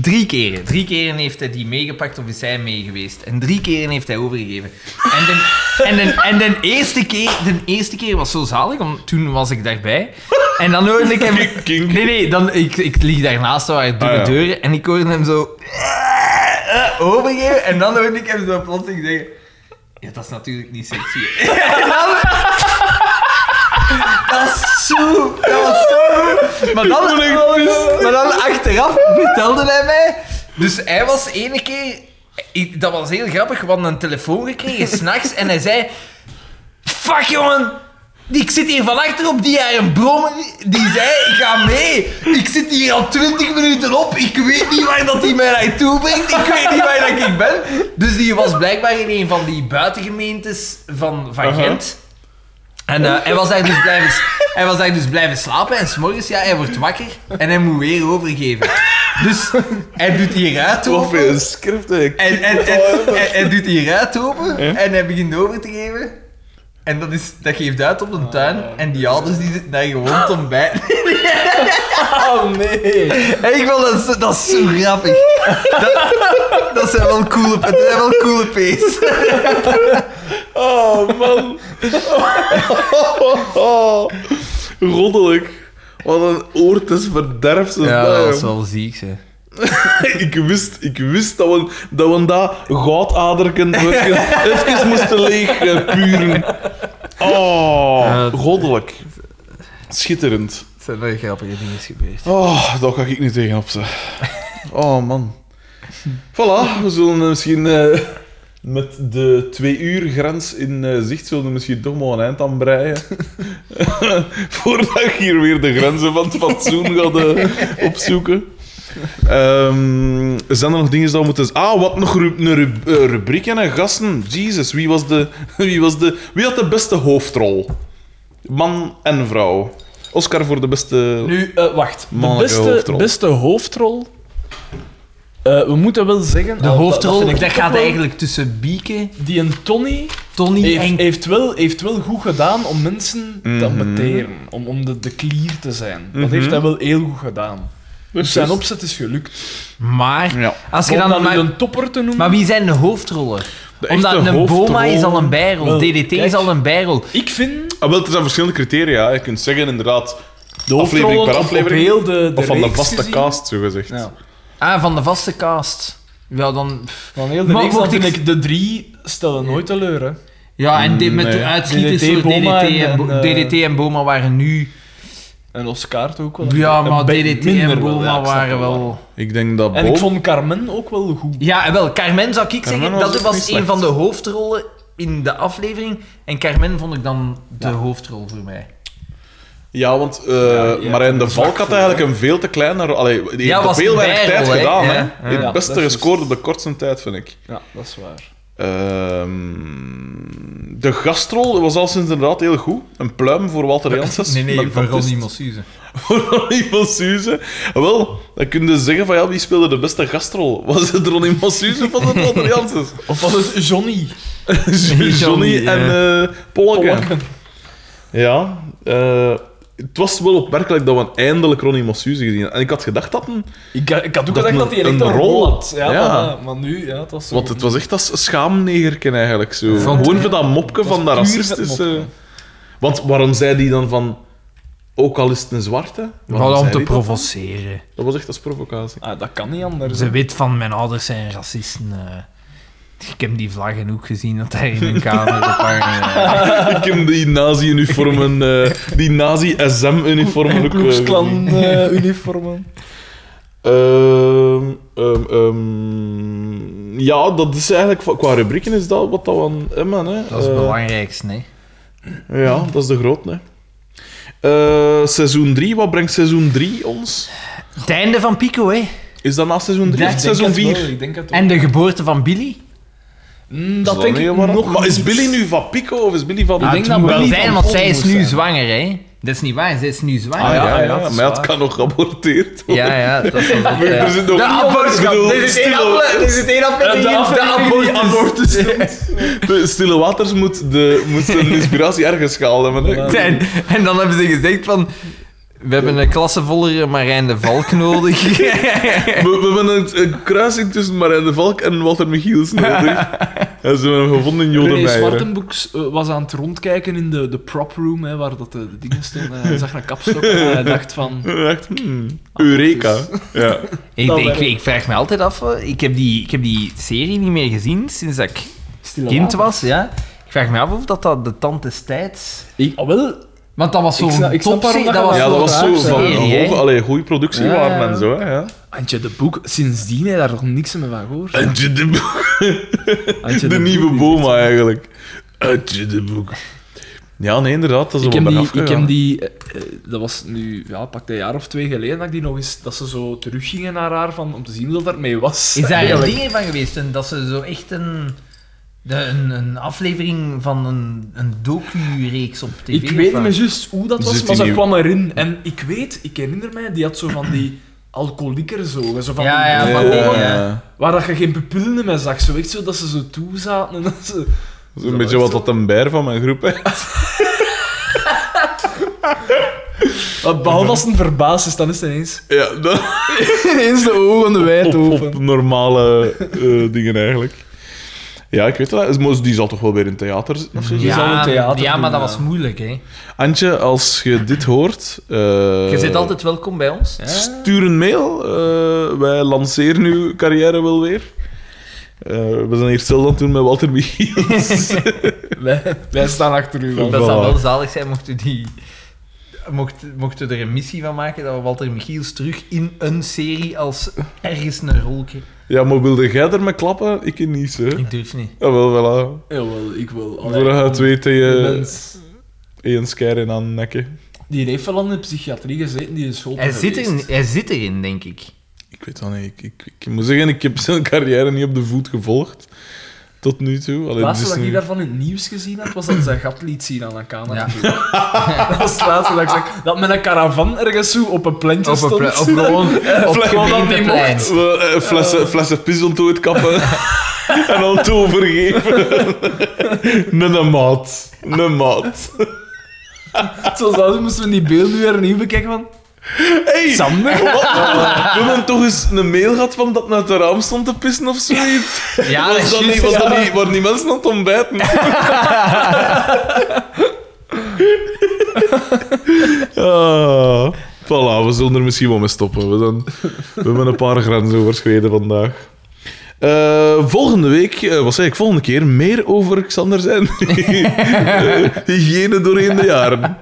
B: Drie keren. Drie keren heeft hij die meegepakt of is zij mee geweest. En drie keren heeft hij overgegeven. En de, en de, en de, eerste, keer, de eerste keer was zo zalig, want toen was ik daarbij. En dan hoorde ik hem...
A: Kink.
B: Nee, nee, dan, ik, ik lieg daarnaast waar het
A: Ah,
B: dubbele
A: ja.
B: deuren en ik hoorde hem zo... eh, Overgeven. En dan hoorde ik hem zo plotseling zeggen... Ja, dat is natuurlijk niet sexy. En dan- dat is zo... Dat was zo... Maar dan, maar dan achteraf vertelde hij mij... Dus hij was ene keer... ik- dat was heel grappig, we hadden een telefoon gekregen s'nachts en hij zei... Fuck jongen! Ik zit hier van achter op die haar een brommer. Die zei: Ga mee. Ik zit hier al 20 minuten op. Ik weet niet waar dat hij mij naartoe brengt. Ik weet niet waar dat ik ben. Dus die was blijkbaar in een van die buitengemeentes van, van Gent. En eh, hij, was daar dus blijven, hij was daar dus blijven slapen. En s'morgens, ja, hij wordt wakker. En hij moet weer overgeven. Dus hij doet hieruit
A: Wat voor
B: open.
A: een script, hè.
B: En, en, en,
C: Oh,
B: en- hij doet die ruit open en hij begint over te geven. En dat, is, dat geeft uit op
C: Ah,
B: een tuin. En die ouders die zitten daar gewoon te ontbijten.
C: Oh, nee.
B: En ik vond dat, zo- dat is zo grappig. Dat, dat zijn wel coole, dat zijn wel coole pees.
A: Oh, man. Goddelijk. Wat een oort is verderfs.
B: wel ziek, hè.
A: ik, wist, ik wist dat we dat, we dat goudaderken even, even moesten leegpuren. Oh, goddelijk. Schitterend.
B: Er zijn wel grappige dingen gebeurd.
A: Oh, daar ga ik niet tegenop, ze. Oh, man. Voilà, we zullen eh, misschien eh, Met de twee uur grens in eh, zicht zullen we misschien toch maar een eind aan breien. Voordat ik hier weer de grenzen van het fatsoen ga eh, opzoeken. Ehm, zijn er nog dingen die we moeten... Ah, wat nog ru- een ru- eh, rubriek en een gasten. Jezus, wie was, de, wie was de... Wie had de beste hoofdrol? Man en vrouw. Oscar voor de beste...
C: Nu, eh, wacht. De
A: Mannelijke
C: beste
A: hoofdrol.
C: hoofdrol. Beste hoofdrol Eh, we moeten wel zeggen...
B: De
C: al, dat-
B: hoofdrol,
C: vind ik
B: dat,
C: toch
B: gaat
C: wel-
B: eigenlijk tussen Bieke,
C: Die een Tony
B: Tony
C: heeft,
B: en...
C: heeft, wel, heeft wel goed gedaan om mensen te
A: Mhm.
C: amputeren. Om, om de, de klier te zijn. Dat
A: Mhm.
C: heeft hij wel heel goed gedaan. Dus zijn opzet is gelukt.
B: Maar,
A: Ja.
B: als je
C: Om
B: dan...
C: dan nu
B: Maar,
C: een topper te noemen...
B: maar wie zijn de hoofdrollen?
A: De
B: Omdat
A: echte
B: een Boma
A: hoofdrol-
B: is al een bijrol,
C: Wel,
B: DDT is
C: kijk.
B: al een bijrol.
C: Ik vind
A: Ah, wel, er zijn verschillende criteria. Je kunt zeggen inderdaad
C: de
A: Aflevering
C: hoofdrollen
A: per
C: op-
A: aflevering.
C: op heel de, de
A: Of van de
C: reeks
A: vaste
C: gezien-
A: cast, zo gezegd.
C: Ja.
B: Ah, van de vaste cast. Ja, dan... pff.
C: Van heel de
B: Maar
C: reeks,
B: mocht
C: dan vind
B: ik-
C: ik de drie stellen nooit teleur. Hè.
B: Ja, en dit met
A: Nee.
B: de uitschieters
C: DDT,
B: DDT,
C: Boma
B: DDT, en,
C: en,
B: Bo-
C: eh,
B: DDT en Boma waren nu...
C: En Oscar ook wel.
B: Ja,
C: Een
B: maar
C: bij-
B: DDT
C: minder
B: en
C: wel, ja,
B: Boma
C: ik snap
B: waren
C: wel.
B: wel...
A: Ik denk dat
C: En ik
A: Bob-
C: vond Carmen ook wel goed.
B: Ja, wel, Carmen zou ik
A: Carmen
B: zeggen,
A: was
B: dat
A: ook niet
B: was
A: slecht.
B: een van de hoofdrollen in de aflevering. En Carmen vond ik dan de hoofdrol voor mij.
A: Ja, want eh
C: ja,
A: Marijn de
C: dat is
A: Valk
C: zwak
A: had
C: voor,
A: eigenlijk een veel te kleine... ro- Allee, die
B: Ja,
A: heeft op
B: was
A: heel weinig
B: een
A: tijd
B: bijrol, hè.
A: gedaan, hè.
B: Ja,
A: Die
B: ja.
A: heeft
C: Ja,
A: het beste
C: dat is
A: gescoord op de kortste tijd, vind ik.
C: Ja, dat is waar.
A: Ehm, de gastrol was al sinds inderdaad heel goed. Een pluim voor Walter Janssens. met Baptiste.
B: Mossuze.
A: Voor Ronnie Massuze. Wel, dan kun je zeggen van ja, wie speelde de beste gastrol? Was het Ronnie Massuze of was het Walter Janssens?
C: Of was het Johnny?
A: Johnny,
B: Johnny,
A: en eh Polleke.
C: Polleke.
A: Ja, eh, het was wel opmerkelijk dat we eindelijk Ronnie Massuze gezien hadden. En ik had gedacht dat een,
C: Ik, ik had ook
A: Dat
C: gedacht dat hij echt
A: een
C: een rol,
A: rol
C: had. Ja,
A: Ja.
C: Maar, maar nu, ja, dat was zo.
A: want het was echt als schaamnegerken eigenlijk zo.
B: Vond-
A: Gewoon voor dat mopje
C: Het was
A: van dat
C: puur het
A: racistische.
C: mopje.
A: Want waarom zei die dan van. Ook al is het een zwarte? Waarom
B: Wat om
A: zei
B: te
A: die dat?
B: provoceren.
A: Dat was echt als provocatie.
C: Ah, dat kan niet anders.
B: Ze weet van mijn ouders zijn racisten. eh. ik heb die vlaggen ook gezien dat hij in een kamer gevangen eh.
A: Ik heb die nazi-uniformen, eh, die nazi-SM-uniformen ook eh, gezien.
C: Kloeksklan-uniformen.
A: Ehm, ehm, ehm, ja, dat is eigenlijk va- qua rubrieken is dat wat dat we aan hebben. Hè.
B: Dat is het
A: Eh,
B: belangrijkste, hè.
A: Ja, dat is de groot. Hè. Eh, seizoen 3, wat brengt seizoen 3 ons?
B: Het einde van Pico, hè.
A: Is dat na seizoen 3 of seizoen 4?
C: Ik denk het wel.
B: En de geboorte van Billy.
C: Mm, dat denk ik nog
A: Maar is
C: niet.
A: Billy nu van Pico of is Billy van...
C: Ik
B: Ah,
C: denk
B: het
C: dat
B: moet wel
C: Billy
B: zijn,
C: van
B: want zij
C: Polen
B: is
C: moet
B: nu
C: zijn.
B: zwanger, hè. Dat is niet waar, zij is nu zwanger.
A: Ah, ja, ja,
C: ja, dat is
A: maar ja, het
C: waar.
A: kan nog geaborteerd worden.
B: Ja, ja, dat is wel
A: Er
B: ja.
A: zit nog niet aan bedoel, stille-
C: De aflevering die abortus
A: De Stille Waters moet, de, moet zijn inspiratie ergens gehaald hebben. hè.
B: En, en dan hebben ze gezegd van... We hebben een klassevollere Marijn de Valk nodig.
A: We, we hebben een, een kruising tussen Marijn de Valk en Walter Michielsen. nodig. en ze hebben hem gevonden in
C: René
A: Jodenmeijer.
C: Zwartenboeks eh, was aan het rondkijken in de, de prop room, hè, waar dat de, de dingen stonden. Hij zag een kapstok en hij dacht van...
A: En Echt, hmm, Eureka. Ja.
B: ik,
C: Ah, Dat
B: ik,
C: werkt.
B: ik vraag me altijd af... eh, Ik heb, die, ik heb die serie niet meer gezien sinds dat ik
C: Stille
B: kind
C: water.
B: was. Ja. Ik vraag me af of dat, dat de tand des tijds...
C: Ah, wel,
B: Want dat was
C: Ik snap-
B: zo'n
C: ik snap
B: topserie.
C: waarom
B: Dat was
C: dat
A: ja,
C: wel
A: dat
B: zo'n
A: was zo
B: raar
A: van
B: serie, hè.
A: hoge, allee, goede productie
C: Ja.
A: waren en zo. hè, Ja.
C: Antje de Boek, sindsdien heb je daar nog niks meer van gehoord.
A: En je de,
C: Antje
A: de
C: Boek,
A: nieuwe
C: die-
A: Boma eigenlijk. Uit je de boek. Ja, nee, inderdaad. Dat is
C: Ik
A: wel
C: heb, die,
A: bergaf
C: ik
A: gegaan.
C: heb die, eh, eh, dat was nu, ja, pakte een jaar of twee geleden, dat ik die nog eens, dat ze zo teruggingen naar haar van, om te zien hoe dat daarmee was.
B: Is daar een
C: eigenlijk.
B: ding van geweest? En dat ze zo echt een, de, een, een aflevering van een, een docu-reeks op tv...
C: Ik weet
B: of
C: niet
B: wat?
C: meer juist hoe dat
A: Zit
C: was, maar
A: die
C: ze
A: nieuw-
C: kwam erin. En ik weet, ik herinner mij, die had zo van die alcoholieker zo. Zo van
B: Ja, ja,
C: die
B: van
C: ogen,
B: die-
A: Ja,
B: ja.
C: Waar dat je geen pupillen meer zag. Zo echt zo dat ze zo toe zaten en dat ze...
A: Dat is een beetje wat dat een beer van mijn groep hè.
C: Maar Behalve als het verbaasd is, dan is het ineens...
A: Ja, dat,
C: ineens de ogen wijd
A: op, op normale eh, dingen eigenlijk. Ja, ik weet dat. Maar Die zal toch wel weer in theater zitten of zo?
C: Je zal een theater
B: ja, maar
C: doen,
B: dat
C: ja.
B: was moeilijk, hè.
A: Antje, als je dit hoort... eh,
B: Je zit altijd welkom bij ons.
A: Stuur een mail. eh, wij lanceren uw carrière wel weer. Eh, we zijn hier stil aan het doen met Walter Michiels.
C: Wij, wij staan achter u.
A: Dat
B: Dat
A: Voilà.
B: zou wel zalig zijn mocht u die mocht, mochten we er een missie van maken dat we Walter Michiels terug in een serie als ergens een rol kreeg.
A: Ja, maar wilde jij er mee klappen? Ik niet, hè?
B: Ik durf niet.
A: Jawel, voilà.
C: Jawel, ik wil...
A: Voordat je het weet, eh,
C: Die
A: je
C: mens,
A: Ian Skyrim aan nekken.
C: die heeft wel aan de psychiatrie gezeten, die is open
B: Hij zit,
C: geweest.
B: erin, hij zit erin, denk ik.
A: Ik weet dat niet. Ik, ik, ik moet zeggen, ik heb zijn carrière niet op de voet gevolgd. Tot nu toe.
C: Het
A: Allee,
C: laatste
A: dus
C: dat
A: nu-
C: ik daarvan in het nieuws gezien had, was dat ze een gat liet zien aan een kamer.
B: Ja.
C: Dat was het laatste dat ik zag. Dat met een caravan ergens zo op een plantje
B: Op, een
C: stond.
B: pla- op gewoon op
C: gewoon dat
B: gemeente
C: die
B: plein.
A: Wel, eh, Flessen, flessen pizzelt kappen en al het overgeven. Met een maat. Een maat.
C: Zoals dat moesten we die beelden weer opnieuw bekijken van...
A: Hey,
C: Sander?
A: wat? We hebben toch eens een mail gehad van dat naar het raam stond te pissen of zoiets.
B: Ja, dat
A: was
B: is
A: dat niet,
B: juist,
A: was
B: ja.
A: dat niet, waren die mensen aan het ontbijten? ah, voilà, we zullen er misschien wel mee stoppen. We, zijn, we hebben een paar grenzen overschreden vandaag. Eh, volgende week, eh, wat zei ik, volgende keer meer over Xander zijn. Eh, hygiëne doorheen de jaren.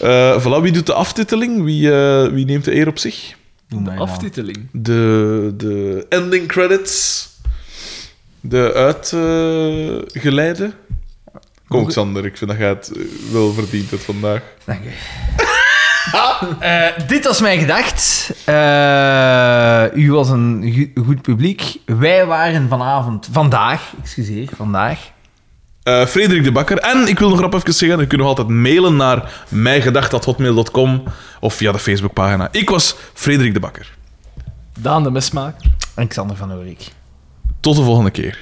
A: Eh voilà, wie doet de aftiteling? Wie, eh, wie neemt de eer op zich?
B: Doe mij nou.
C: Aftiteling.
A: de, de ending credits. De uitgeleide. Kom, Xander, ik vind dat jij het eh, wel verdient hebt vandaag.
B: Dank u. Eh, dit was mijn gedacht. Eh, u was een go- goed publiek. Wij waren vanavond, vandaag, excuseer, vandaag.
A: Eh, Frederik de Bakker. En ik wil nog rap even zeggen, je kunt nog altijd mailen naar mijgedacht.hotmail.com of via de Facebookpagina. Ik was Frederik de Bakker.
C: Daan de mesmaak.
B: Alexander van Oerik.
A: Tot de volgende keer.